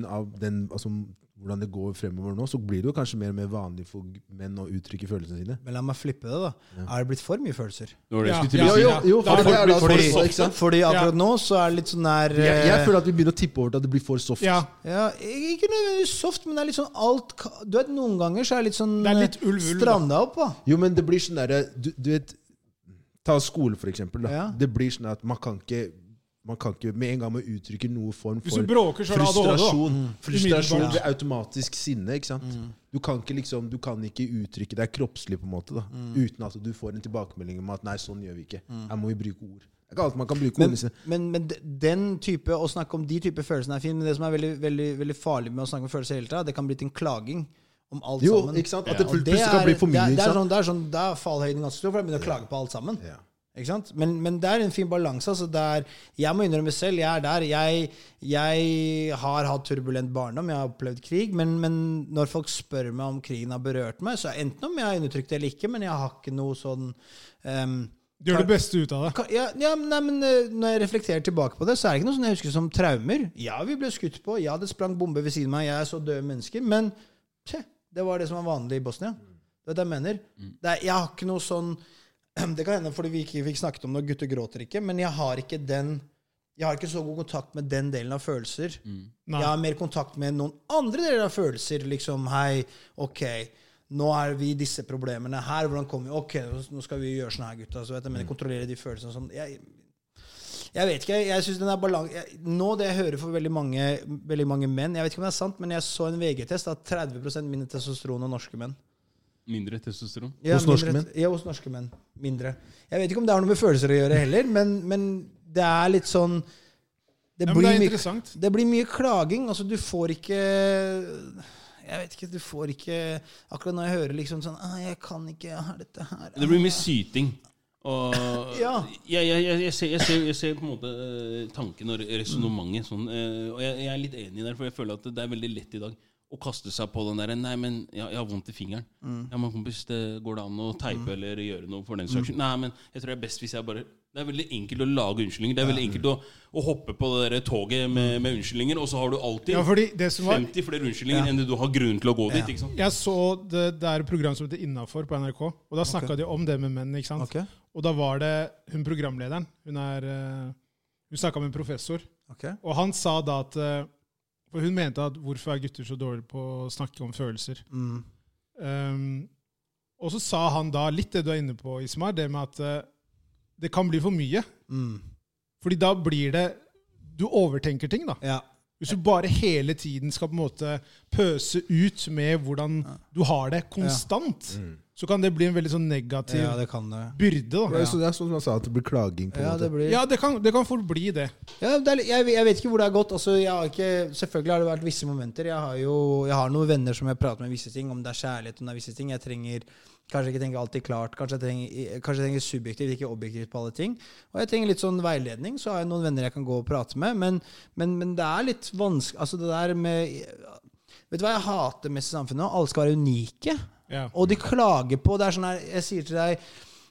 [SPEAKER 4] Altså, hvordan det går fremover nå, så blir det jo kanskje mer og mer vanlig for menn å uttrykke følelsene sine.
[SPEAKER 1] Men la meg flippe det, da. Er det blitt for mye følelser?
[SPEAKER 3] Det var det jeg
[SPEAKER 2] Ja.
[SPEAKER 3] skulle til å
[SPEAKER 2] Jo,
[SPEAKER 3] si.
[SPEAKER 2] jo, jo,
[SPEAKER 4] for det er da
[SPEAKER 1] Fordi,
[SPEAKER 4] for soft, ikke sant?
[SPEAKER 1] fordi akkurat nå så er det litt sånn der
[SPEAKER 4] Jeg,
[SPEAKER 1] eh,
[SPEAKER 4] jeg føler at vi begynner å tippe over til at det blir for soft.
[SPEAKER 2] Ja,
[SPEAKER 1] Ja, ikke nødvendigvis soft, men det er litt sånn alt ka- Du vet, Noen ganger så er det litt sånn
[SPEAKER 2] Det er litt ulv, ulv, da.
[SPEAKER 1] stranda opp, da.
[SPEAKER 4] Jo, men det blir sånn derre du, du vet Ta skole, for eksempel. Da.
[SPEAKER 1] Ja.
[SPEAKER 4] Det blir sånn at man kan ikke man kan ikke med en gang man uttrykker noe form
[SPEAKER 2] Hvis du
[SPEAKER 4] for
[SPEAKER 2] bråker, så er det ADHD, da. Mm.
[SPEAKER 4] frustrasjon. Frustrasjon
[SPEAKER 2] Umiddelbart. Mm.
[SPEAKER 4] ved automatisk sinne. ikke sant? Du kan ikke liksom, du kan ikke uttrykke deg kroppslig på en måte da,
[SPEAKER 2] Mm.
[SPEAKER 4] uten at du får en tilbakemelding om at 'nei, sånn gjør vi ikke'. Her må vi bruke ord. Det er ikke alt man kan bruke
[SPEAKER 1] Men,
[SPEAKER 4] ordene sine.
[SPEAKER 1] men, men de- den type, å snakke om de type følelsene er fint, men det som er veldig, veldig, veldig farlig med å snakke om følelser hele tida, det kan bli til en klaging om alt
[SPEAKER 4] Jo,
[SPEAKER 1] sammen.
[SPEAKER 4] ikke sant? At det
[SPEAKER 1] Og
[SPEAKER 4] plutselig kan bli for mye.
[SPEAKER 1] Det er, det
[SPEAKER 4] ikke
[SPEAKER 1] er,
[SPEAKER 4] sant?
[SPEAKER 1] sånn, det er sånn, da er fallhøyden ganske stor, for jeg begynner å klage på alt sammen.
[SPEAKER 4] Ja.
[SPEAKER 1] Ikke sant? Men, men det er en fin balanse. Altså det er- jeg må innrømme selv, jeg er der. Jeg, jeg har hatt turbulent barndom, jeg har opplevd krig, men, men når folk spør meg om krigen har berørt meg, så enten om jeg har undertrykt det eller ikke, men jeg har ikke noe sånn ehm,
[SPEAKER 2] du gjør det beste ut av det.
[SPEAKER 1] ka- ja, ja, men nei, men eh, Når jeg reflekterer tilbake på det, så er det ikke noe sånn jeg husker som traumer. Ja, vi ble skutt på, ja, det sprang bombe ved siden av meg, jeg så døde mennesker, men tje, det var det som var vanlig i Bosnia. Det er det jeg mener. Det er, jeg har ikke noe sånn Det kan hende fordi vi ikke fikk snakket om det, og gutter gråter ikke, men jeg har ikke den jeg har ikke så god kontakt med den delen av følelser.
[SPEAKER 2] Nei.
[SPEAKER 1] Jeg har mer kontakt med noen andre deler av følelser. Liksom, hei, ok, nå er vi i disse problemene her, hvordan kommer vi? Ok, nå skal vi gjøre sånn her, gutta. Så vet jeg, men kontrollere de følelsene og sånn. Jeg, jeg vet ikke, jeg, jeg synes den er balan- jeg, Nå det jeg hører for veldig mange, veldig mange menn, jeg vet ikke om det er sant, men jeg så en VG-test at 30 mindre testosteron enn norske menn.
[SPEAKER 3] Mindre testosteron.
[SPEAKER 1] Ja,
[SPEAKER 4] Hos norske
[SPEAKER 1] mindre-
[SPEAKER 4] menn?
[SPEAKER 1] Ja, hos norske menn. Mindre. Jeg vet ikke om det har noe med følelser å gjøre heller, men, men det er litt sånn det
[SPEAKER 2] Ja, men
[SPEAKER 1] blir,
[SPEAKER 2] det er
[SPEAKER 1] mye,
[SPEAKER 2] interessant.
[SPEAKER 1] det blir mye klaging. Altså, du får ikke Jeg vet ikke, du får ikke Akkurat når jeg hører liksom sånn «Ah, 'Jeg kan ikke, jeg har dette her
[SPEAKER 3] Det blir mye syting. Og
[SPEAKER 1] Ja.
[SPEAKER 3] jeg, jeg, jeg, jeg, ser, jeg, ser, jeg ser på en måte eh, tanken og resonnementet. Sånn, eh, og jeg, jeg er litt enig der, for jeg føler at det er veldig lett i dag å kaste seg på den derre 'Nei, men jeg, jeg har vondt i fingeren'.
[SPEAKER 2] Mm.
[SPEAKER 3] Ja, men kompis, det går det an å teipe eller gjøre noe for den saks
[SPEAKER 2] Mm.
[SPEAKER 3] skyld? Nei, men jeg tror det er best hvis jeg bare Det er veldig enkelt å lage unnskyldninger. Det er veldig enkelt å, å hoppe på det der toget med, med unnskyldninger, og så har du alltid
[SPEAKER 2] Ja, fordi det som var
[SPEAKER 3] 50 flere unnskyldninger enn det du har grunn til å gå dit. ikke sant?
[SPEAKER 2] Jeg så det, det er et program som heter Innafor på NRK, og da snakka de om det med menn. ikke sant?
[SPEAKER 1] Ok.
[SPEAKER 2] Og da var det hun programlederen. Hun er eh, Hun snakka med en professor,
[SPEAKER 1] Ok.
[SPEAKER 2] og han sa da at eh, For hun mente at hvorfor er gutter så dårlige på å snakke om følelser?
[SPEAKER 1] Mm.
[SPEAKER 2] Um, og så sa han da litt det du er inne på, Ismar, det med at eh, det kan bli for mye.
[SPEAKER 1] Mm.
[SPEAKER 2] Fordi da blir det Du overtenker ting, da.
[SPEAKER 1] Ja.
[SPEAKER 2] Hvis du bare hele tiden skal på en måte pøse ut med hvordan du har det konstant, så kan det bli en veldig sånn negativ
[SPEAKER 1] ja, det kan det.
[SPEAKER 2] byrde.
[SPEAKER 4] Det
[SPEAKER 2] da.
[SPEAKER 4] er sånn, det er sånn som han sa, at det blir klaging. på en
[SPEAKER 1] Ja,
[SPEAKER 4] måte.
[SPEAKER 1] det blir
[SPEAKER 2] Ja, det kan, det kan fort bli det.
[SPEAKER 1] Ja, det er, litt- jeg, jeg vet ikke hvor det har gått. Altså, jeg har ikke, selvfølgelig har det vært visse momenter. Jeg har jo jeg har noen venner som jeg prater med om visse ting, om det er kjærlighet, om det er visse ting. Jeg trenger kanskje ikke tenke alltid klart. Kanskje jeg trenger, kanskje jeg trenger subjektivt, ikke objektivt på alle ting. Og jeg trenger litt sånn veiledning. Så har jeg noen venner jeg kan gå og prate med. Men, men, men det er litt vanskelig Altså, det der med Vet du hva jeg hater mest i samfunnet nå? Alle skal være unike.
[SPEAKER 2] Ja.
[SPEAKER 1] Og de klager på Det er sånn her Jeg sier til deg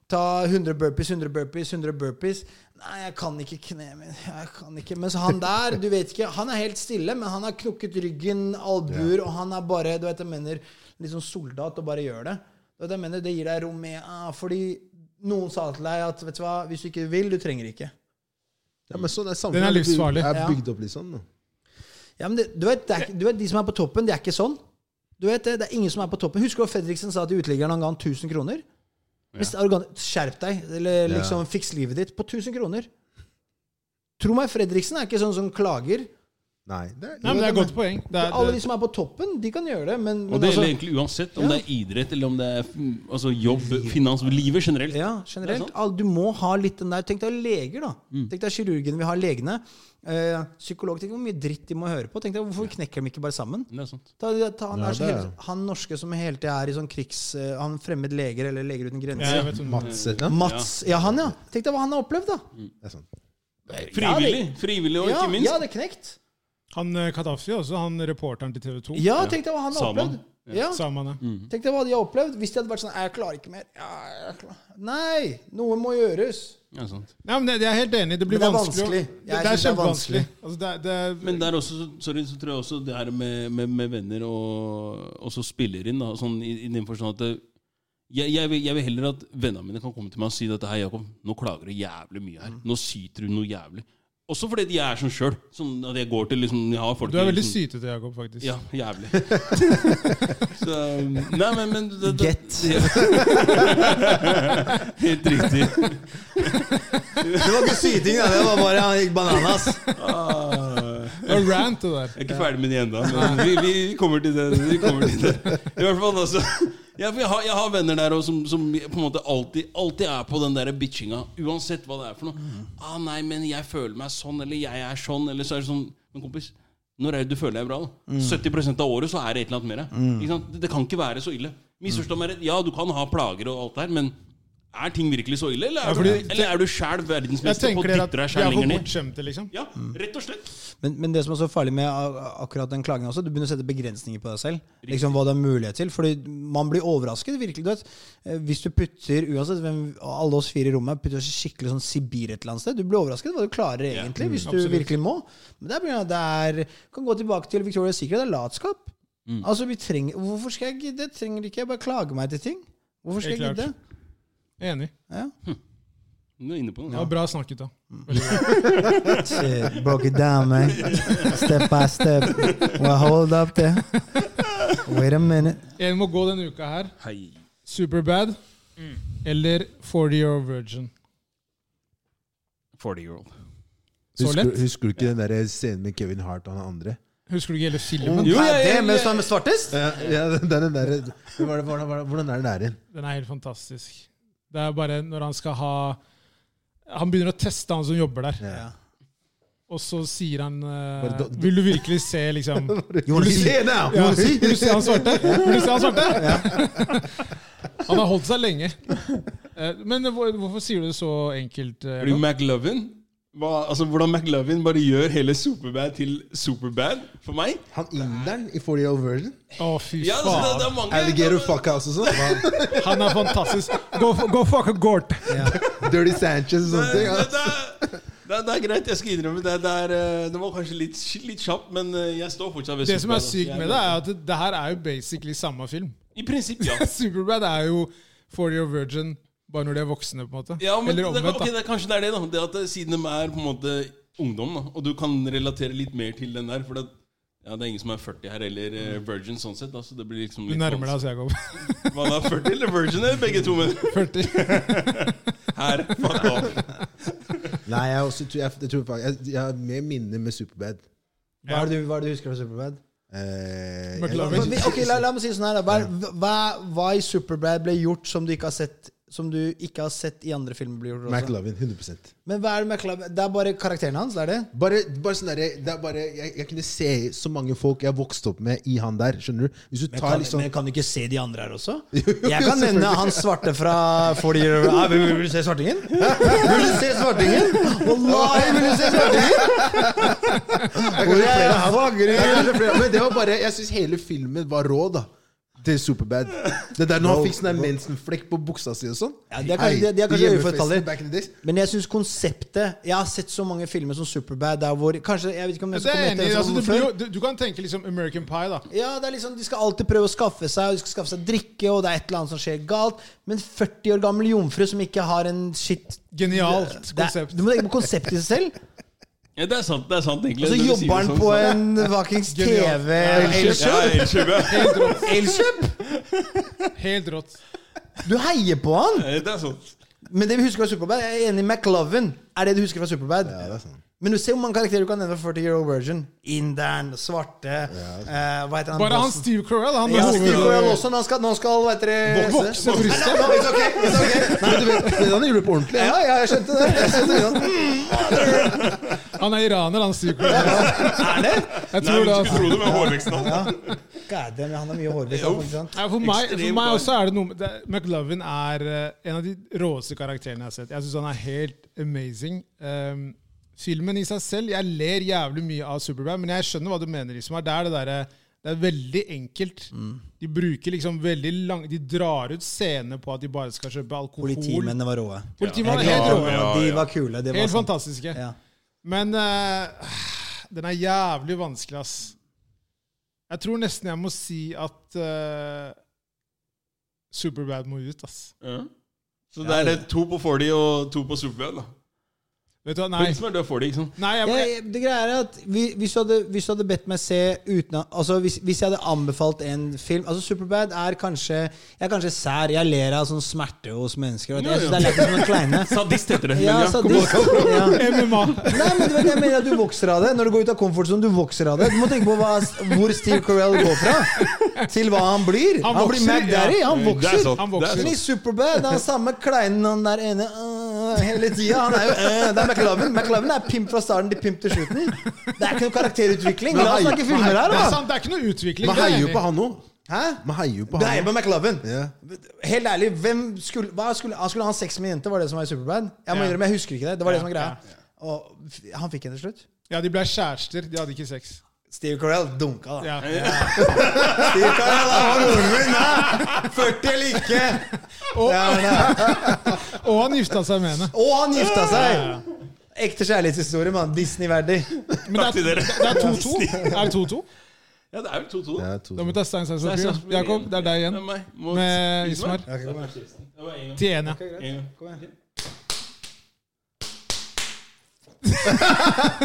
[SPEAKER 1] Ta 100 burpees, 100 burpees, 100 burpees. Nei, jeg kan ikke kneet mitt. Jeg kan ikke. Mens han der, du vet ikke Han er helt stille, men han har knukket ryggen, albuer, og han er bare Du vet, jeg mener Litt sånn soldat og bare gjør det. Du vet, jeg mener Det gir deg rom med ah, Fordi noen sa til deg at vet du hva, hvis du ikke vil, du trenger ikke.
[SPEAKER 4] Ja, men sånn er samfunnet.
[SPEAKER 2] Den er livsfarlig.
[SPEAKER 4] Det
[SPEAKER 1] Ja.
[SPEAKER 4] er bygd opp litt sånn. da.
[SPEAKER 1] Ja, men det, du, vet, det er, ikke- du vet, De som er på toppen, det er ikke sånn. Du vet Det det er ingen som er på toppen. Husker du hva Fredriksen sa til uteliggeren han ga han 1000 kroner? Mest arrogant, Skjerp deg, eller
[SPEAKER 4] Ja.
[SPEAKER 1] liksom fiks livet ditt på 1000 kroner. Tro meg, Fredriksen er ikke sånn som klager.
[SPEAKER 4] Nei, det er,
[SPEAKER 2] Nei, men det er et godt poeng. Det er,
[SPEAKER 1] Alle de
[SPEAKER 2] det,
[SPEAKER 1] som er på toppen, de kan gjøre det, men, men
[SPEAKER 3] Og det
[SPEAKER 1] altså,
[SPEAKER 3] gjelder egentlig uansett om
[SPEAKER 1] Ja.
[SPEAKER 3] det er idrett eller om det er mm, altså, jobb, finans, livet generelt.
[SPEAKER 1] Ja, generelt.
[SPEAKER 3] Det er
[SPEAKER 1] Al- Du må ha litt den der Tenk deg leger, da. Tenk deg kirurgen. Vi har legene. Eh, psykolog. Tenk hvor mye dritt de må høre på. Tenk deg, Hvorfor knekker de ikke bare sammen?
[SPEAKER 3] Det er sant.
[SPEAKER 1] Ta, ta han,
[SPEAKER 4] Ja,
[SPEAKER 1] der som
[SPEAKER 4] det er-
[SPEAKER 1] hele, han norske som hele tida er i sånn krigs... eh, Han fremmed leger eller Leger uten
[SPEAKER 2] ja, jeg
[SPEAKER 1] grenser.
[SPEAKER 2] vet om-
[SPEAKER 4] Mats, ja.
[SPEAKER 1] Mats. Ja, han, ja. Tenk deg hva han har opplevd, da.
[SPEAKER 4] Det er sånn. sant.
[SPEAKER 3] Frivillig, frivillig og
[SPEAKER 1] Ja,
[SPEAKER 3] ikke minst.
[SPEAKER 1] ja det er knekt.
[SPEAKER 2] han eh, Gaddafi også, han reporteren til TV 2.
[SPEAKER 1] Ja, tenk deg hva han har
[SPEAKER 3] Saman.
[SPEAKER 1] opplevd. Ja.
[SPEAKER 2] Samene.
[SPEAKER 3] Mm.
[SPEAKER 1] Tenk deg hva de har opplevd. Hvis de hadde vært sånn Jeg klarer ikke mer. Ja, jeg klarer. Nei! Noe må gjøres.
[SPEAKER 3] Ja, sant.
[SPEAKER 2] Nei, men det- Jeg er helt enig. Det blir
[SPEAKER 1] Men det er
[SPEAKER 2] vanskelig. å-
[SPEAKER 1] vanskelig. Jeg
[SPEAKER 2] Det, det
[SPEAKER 1] synes
[SPEAKER 2] er
[SPEAKER 1] det er vanskelig.
[SPEAKER 2] kjempevanskelig. Altså, det, er- det, er-
[SPEAKER 3] Men der også, sorry, så tror jeg også det her med, med, med venner og, og så spiller inn, da, sånn i, i den forstand at det, jeg, jeg, vil, jeg vil heller at vennene mine kan komme til meg og si dette her, Jakob, nå klager du jævlig mye
[SPEAKER 1] Mm.
[SPEAKER 3] her. Nå syter du noe jævlig. Også fordi at jeg er sånn sjøl. Sånn at jeg går til liksom, jeg har folk
[SPEAKER 2] du er veldig
[SPEAKER 3] liksom-
[SPEAKER 2] sytete, Jakob, faktisk.
[SPEAKER 3] Ja, jævlig. så, um, nei, men, men det, det,
[SPEAKER 1] Get.
[SPEAKER 3] Helt riktig.
[SPEAKER 1] Det var ikke syting, det var bare han gikk bananas.
[SPEAKER 3] Ah.
[SPEAKER 2] Det var rant, det der.
[SPEAKER 3] Jeg er ikke ferdig med de ennå, men vi, vi kommer til det. Vi kommer til det. I hvert fall altså ja, for jeg, har, jeg har venner der også, som, som på en måte alltid, alltid er på den der bitchinga. Uansett hva det er for noe.
[SPEAKER 2] Mhm.
[SPEAKER 3] Ah, 'Nei, men jeg føler meg sånn', eller 'jeg er sånn', eller så er det sånn Men kompis, når er det du føler deg bra? da?
[SPEAKER 2] Mm.
[SPEAKER 3] 70 av året så er det et eller annet mer. Ikke sant? Det, det kan ikke være så ille.
[SPEAKER 2] Mm.
[SPEAKER 3] Misforstå meg rett. Ja, du kan ha plager og alt det her, men er ting virkelig så ille? Eller er
[SPEAKER 2] Ja, fordi-
[SPEAKER 3] du, eller er du sjæl
[SPEAKER 2] Jeg
[SPEAKER 3] verdensmester på å
[SPEAKER 2] tenker dere at
[SPEAKER 3] dytte deg
[SPEAKER 2] vi
[SPEAKER 3] sjæl
[SPEAKER 2] er for
[SPEAKER 3] lenger ned?
[SPEAKER 2] bortskjemte, liksom.
[SPEAKER 3] Ja, rett og slett.
[SPEAKER 1] Men, men det som er så farlig med a- akkurat den klagen også, du begynner å sette begrensninger på deg selv. Liksom Hva du har mulighet til. Fordi man blir overrasket, virkelig. Du vet. Eh, Hvis du putter uansett hvem, alle oss fire i rommet putter oss i skikkelig sånn Sibir et eller annet sted, du blir overrasket hva du klarer egentlig, hvis du
[SPEAKER 2] Mm. absolutt.
[SPEAKER 1] virkelig må. Men det er på grunn av at det er Kan gå tilbake til Victoria's Secret, det er latskap.
[SPEAKER 2] Mm.
[SPEAKER 1] Altså, vi trenger Hvorfor skal jeg gidde? Trenger ikke jeg bare klage meg til ting? Hvorfor skal
[SPEAKER 2] Helt
[SPEAKER 1] jeg
[SPEAKER 2] klart.
[SPEAKER 1] gidde?
[SPEAKER 2] Enig.
[SPEAKER 1] Ja.
[SPEAKER 3] Du er inne på
[SPEAKER 2] Det
[SPEAKER 3] den.
[SPEAKER 2] var bra snakket, da.
[SPEAKER 1] Shit, broke it down, man. Step by step. Well, hold up there. Wait a minute.
[SPEAKER 2] En må gå denne uka her.
[SPEAKER 3] Hei.
[SPEAKER 2] Superbad eller 40 Year Virgin.
[SPEAKER 3] 40 year old.
[SPEAKER 2] Så
[SPEAKER 4] Husker,
[SPEAKER 2] lett.
[SPEAKER 4] husker du ikke den der scenen med Kevin Hart og han andre?
[SPEAKER 2] Husker du ikke hele filmen?
[SPEAKER 3] Jo, jeg- jeg-
[SPEAKER 1] mens du er med svartest?
[SPEAKER 4] Ja, ja den der, den der, hvordan, var det- hvordan, var det- hvordan er den der igjen?
[SPEAKER 2] Den er helt fantastisk. Det er bare når han skal ha Han begynner å teste han som jobber der,
[SPEAKER 4] Ja.
[SPEAKER 2] og så sier han eh,
[SPEAKER 4] Bare da- da-
[SPEAKER 2] Vil du virkelig se, liksom
[SPEAKER 1] You wanna see?
[SPEAKER 4] Se now!
[SPEAKER 2] ja, Vil du se han svarte? Vil du se han svarte? Han har holdt seg lenge. Eh, Men hvor- hvorfor sier du det så enkelt? eh,
[SPEAKER 3] Er du
[SPEAKER 2] Jakob?
[SPEAKER 3] McLovin? hva, altså, hvordan McLovin bare gjør hele Superbad til Superbad for meg.
[SPEAKER 4] Han inderen i 40 Year Old Version.
[SPEAKER 2] Å, fy
[SPEAKER 3] Ja, altså, det,
[SPEAKER 2] faen.
[SPEAKER 3] det er mange
[SPEAKER 4] Alligator fuckhouse og sånn.
[SPEAKER 2] Han er fantastisk. Go, go fuck a gort.
[SPEAKER 4] Dirty Sanchez og sånne ting.
[SPEAKER 3] det,
[SPEAKER 4] ja.
[SPEAKER 3] det, er- det, er- det er greit, jeg skal innrømme det. Det, er, eh, det var kanskje litt, litt kjapt, men eh, jeg står fortsatt ved
[SPEAKER 2] Det som er
[SPEAKER 3] Superbad, altså.
[SPEAKER 2] sykt
[SPEAKER 3] Jeg-
[SPEAKER 2] med det, er at det her er jo basically samme film.
[SPEAKER 3] I prinsipp, ja.
[SPEAKER 2] Superbad er jo 40 Year Virgin bare når de er voksne, på en måte.
[SPEAKER 3] ja men,
[SPEAKER 2] Eller
[SPEAKER 3] det,
[SPEAKER 2] omvendt.
[SPEAKER 3] ok,
[SPEAKER 2] da.
[SPEAKER 3] det, er kanskje det er det, da. Det at det, siden de er på en måte ungdom, da, og du kan relatere litt mer til den der. For det, ja, det er ingen som er 40 her, eller eh, virgin sånn sett. Da, så det blir liksom
[SPEAKER 2] Du
[SPEAKER 3] litt
[SPEAKER 2] nærmer deg, altså, Jakob.
[SPEAKER 3] vanskelig. Man er 40 eller virgin, eller begge to, men
[SPEAKER 2] 40.
[SPEAKER 3] her fuck off.
[SPEAKER 4] Nei, jeg, er også, jeg, jeg tror faktisk jeg, jeg har mer minner med Superbad.
[SPEAKER 1] Hva er det du, hva er det du husker fra Superbad?
[SPEAKER 4] Eh,
[SPEAKER 2] McLovin.
[SPEAKER 1] Men, ok, la, la meg si det sånn her, da. Hva, hva, hva i Superbad ble gjort som du ikke har sett Som du ikke har sett i andre filmer bli gjort? også?
[SPEAKER 4] jeg- McLovin. 100
[SPEAKER 1] Men hva er det McLovin Det er bare karakteren hans, det er det?
[SPEAKER 4] Bare, bare sånn derre det er bare, jeg, jeg kunne se så mange folk jeg vokste opp med i han der. Skjønner du? Hvis du
[SPEAKER 1] Men
[SPEAKER 4] tar
[SPEAKER 1] kan,
[SPEAKER 4] liksom
[SPEAKER 1] men kan du ikke se de andre her også?
[SPEAKER 4] jo,
[SPEAKER 1] Jeg kan nevne
[SPEAKER 4] selvfølgelig.
[SPEAKER 1] han svarte fra 40 Year Old Ah, Vil vil du se svartingen? Vil du se svartingen? Wallahi, vil du se svartingen? Hvor er jeg?
[SPEAKER 4] Jeg kan ikke flere, Men det var bare Jeg syns hele filmen var rå, da. Til Superbad. Det der når han fikk sånn der mensenflekk på buksa si og sånn.
[SPEAKER 1] Ja, det er kanskje-
[SPEAKER 4] Hei,
[SPEAKER 1] det- det er kanskje
[SPEAKER 4] hjemmefesten
[SPEAKER 1] uforklarlig.
[SPEAKER 4] back in the days.
[SPEAKER 1] Men jeg syns konseptet Jeg har sett så mange filmer som Superbad der hvor Kanskje, jeg vet ikke om jeg
[SPEAKER 2] Det
[SPEAKER 1] skal
[SPEAKER 2] er jeg
[SPEAKER 1] komme til
[SPEAKER 2] enig i.
[SPEAKER 1] det
[SPEAKER 2] Altså,
[SPEAKER 1] sånn som
[SPEAKER 2] det blir
[SPEAKER 1] før.
[SPEAKER 2] jo, du, du kan tenke liksom American Pie, da.
[SPEAKER 1] Ja, det er liksom, De skal alltid prøve å skaffe seg og de skal skaffe seg drikke, og det er et eller annet som skjer galt. Men 40 år gammel jomfru som ikke har en shit
[SPEAKER 2] Genialt
[SPEAKER 1] Det er,
[SPEAKER 2] konsept.
[SPEAKER 1] du må tenke på konseptet i seg selv.
[SPEAKER 3] Ja, det er sant, det er sant egentlig.
[SPEAKER 1] Og
[SPEAKER 2] Altså,
[SPEAKER 1] så
[SPEAKER 3] når du sier
[SPEAKER 1] jobber
[SPEAKER 3] det
[SPEAKER 1] han
[SPEAKER 3] sånn,
[SPEAKER 1] på
[SPEAKER 3] så-
[SPEAKER 1] en fuckings
[SPEAKER 2] Genialt.
[SPEAKER 1] TV
[SPEAKER 3] Ja,
[SPEAKER 1] Elkjøp.
[SPEAKER 3] Ja, Elkjøp, ja.
[SPEAKER 1] Elkjøp!
[SPEAKER 2] Helt rått.
[SPEAKER 1] Du heier på han!
[SPEAKER 3] Det er sant.
[SPEAKER 1] Men det vi husker fra Superbad, jeg er enig med McLovin. Er det du husker fra Superbad?
[SPEAKER 4] Ja, det er sant.
[SPEAKER 1] Men du ser hvor mange karakterer du kan nevne. 40 Year Old Virgin, Inderen, Svarte eh, Hva heter han?
[SPEAKER 2] Bare han Steve Carell, han
[SPEAKER 1] Ja,
[SPEAKER 2] er
[SPEAKER 1] Steve Carell
[SPEAKER 2] hoved...
[SPEAKER 1] også. Når han skal, når han skal hva heter det
[SPEAKER 2] Vokse brystet.
[SPEAKER 1] Nei, nei, it's okay, it's okay.
[SPEAKER 4] Nei, du vet, det er han gjorde det på ordentlig.
[SPEAKER 1] Ja, ja, jeg skjønte det. Jeg skjønte det.
[SPEAKER 2] Han er iraner, han Steve Carell.
[SPEAKER 1] Er det?
[SPEAKER 2] Jeg tror
[SPEAKER 3] Nei, men
[SPEAKER 2] det,
[SPEAKER 3] du
[SPEAKER 2] altså.
[SPEAKER 3] skulle tro det med hårveksten hans.
[SPEAKER 1] God damn, han har mye hårvekst. han, ikke sant?
[SPEAKER 2] Nei, for, meg, for
[SPEAKER 3] Ekstremt
[SPEAKER 2] meg
[SPEAKER 3] bra.
[SPEAKER 2] også er det noe med det, McLovin er eh, en av de råeste karakterene jeg har sett. Jeg syns han er helt amazing. Ehm, filmen i seg selv Jeg ler jævlig mye av Superbad, men jeg skjønner hva du mener. Liksom. Det, er det, derre- det er veldig enkelt.
[SPEAKER 3] Mm.
[SPEAKER 2] De bruker liksom veldig lang De drar ut scener på at de bare skal kjøpe alkohol.
[SPEAKER 1] Politimennene var råe.
[SPEAKER 2] Politimennene
[SPEAKER 1] Jeg
[SPEAKER 2] er
[SPEAKER 1] er
[SPEAKER 2] helt
[SPEAKER 1] glad
[SPEAKER 2] rå.
[SPEAKER 1] for
[SPEAKER 3] Ja,
[SPEAKER 1] at De
[SPEAKER 3] ja.
[SPEAKER 1] var kule. Det var
[SPEAKER 2] Helt
[SPEAKER 1] sånn.
[SPEAKER 2] fantastiske.
[SPEAKER 1] Ja.
[SPEAKER 2] Men eh, den er jævlig vanskelig, ass. Jeg tror nesten jeg må si at eh, Superbad må ut, ass.
[SPEAKER 3] Ja. Så det er det to på 40 og to på Superbad, da.
[SPEAKER 2] Vet du hva,
[SPEAKER 3] Nei.
[SPEAKER 2] nei.
[SPEAKER 3] Som er død 40, ikke sant?
[SPEAKER 2] nei jeg,
[SPEAKER 1] Jeg, det greia er at vi, hvis, du hadde, hvis du hadde bedt meg se uten å- Altså hvis, hvis jeg hadde anbefalt en film Altså Superbad er kanskje Jeg er kanskje sær. Jeg ler av sånn smerte hos mennesker. Og jeg synes det er lættis som en kleine.
[SPEAKER 3] Sadist heter det.
[SPEAKER 1] Ja,
[SPEAKER 3] men
[SPEAKER 1] sadist. Ja.
[SPEAKER 2] MMA.
[SPEAKER 1] Nei, men du vet, jeg mener at du vokser av det. Når du går ut av komfortsonen, du vokser av det. Du må tenke på hva, hvor Steve Carell går fra, til hva han blir.
[SPEAKER 2] Han
[SPEAKER 1] Han, blir
[SPEAKER 2] vokser,
[SPEAKER 1] Mac Daddy.
[SPEAKER 2] ja.
[SPEAKER 1] Han
[SPEAKER 3] Det er
[SPEAKER 1] vokser.
[SPEAKER 3] sant.
[SPEAKER 2] Han
[SPEAKER 3] det
[SPEAKER 2] vokser.
[SPEAKER 3] er
[SPEAKER 1] Men i
[SPEAKER 3] sant.
[SPEAKER 1] Superbad, han samme kleinen han der ene øh, hele tida. Han er jo øh, Det er McLovin. McLovin er pimp fra starten til pimp til slutten. Det er ikke noe karakterutvikling. La oss snakke filmer her,
[SPEAKER 2] Det er
[SPEAKER 1] da!
[SPEAKER 2] sant, det er ikke noe utvikling.
[SPEAKER 4] Man
[SPEAKER 2] det er
[SPEAKER 4] heier
[SPEAKER 2] jeg
[SPEAKER 4] jo på
[SPEAKER 2] enig i.
[SPEAKER 4] han òg.
[SPEAKER 1] Hæ?
[SPEAKER 4] Man heier jo på
[SPEAKER 1] Det er
[SPEAKER 4] han.
[SPEAKER 1] jo McLovin.
[SPEAKER 4] Ja.
[SPEAKER 1] Helt ærlig, hvem skulle, hva skulle, han skulle ha sex med en jente, var det som var i Superbad? Jeg må
[SPEAKER 2] Ja.
[SPEAKER 1] innrømme, jeg husker ikke det. Det var det som var
[SPEAKER 2] Ja,
[SPEAKER 1] greia. Og f- han fikk henne til slutt.
[SPEAKER 2] Ja, de ble kjærester. De hadde ikke sex.
[SPEAKER 1] Steve Carell dunka, da.
[SPEAKER 2] Ja.
[SPEAKER 1] Steve Carell han var moren min! hæ? 40 eller ikke!
[SPEAKER 2] Og,
[SPEAKER 1] Ja, nei.
[SPEAKER 2] og han gifta seg med henne.
[SPEAKER 1] Og han gifta seg! Ekte kjærlighetshistorie, mann. Disney-verdig.
[SPEAKER 2] Men
[SPEAKER 3] Takk til
[SPEAKER 2] det er
[SPEAKER 3] dere.
[SPEAKER 2] 2-2. Er det 2-2?
[SPEAKER 3] Ja, det er vel 2-2.
[SPEAKER 4] Det
[SPEAKER 3] da.
[SPEAKER 4] er to-
[SPEAKER 2] Da må vi ta stein, saks,
[SPEAKER 3] Det er
[SPEAKER 2] papir.
[SPEAKER 3] sant.
[SPEAKER 2] da. Jakob, det er deg igjen.
[SPEAKER 3] Det er meg. Mot
[SPEAKER 2] Med Ismar.
[SPEAKER 1] Ja, ok, kom her.
[SPEAKER 3] Det var en gang.
[SPEAKER 2] Til én, ja.
[SPEAKER 3] En gang.
[SPEAKER 1] Kom igjen.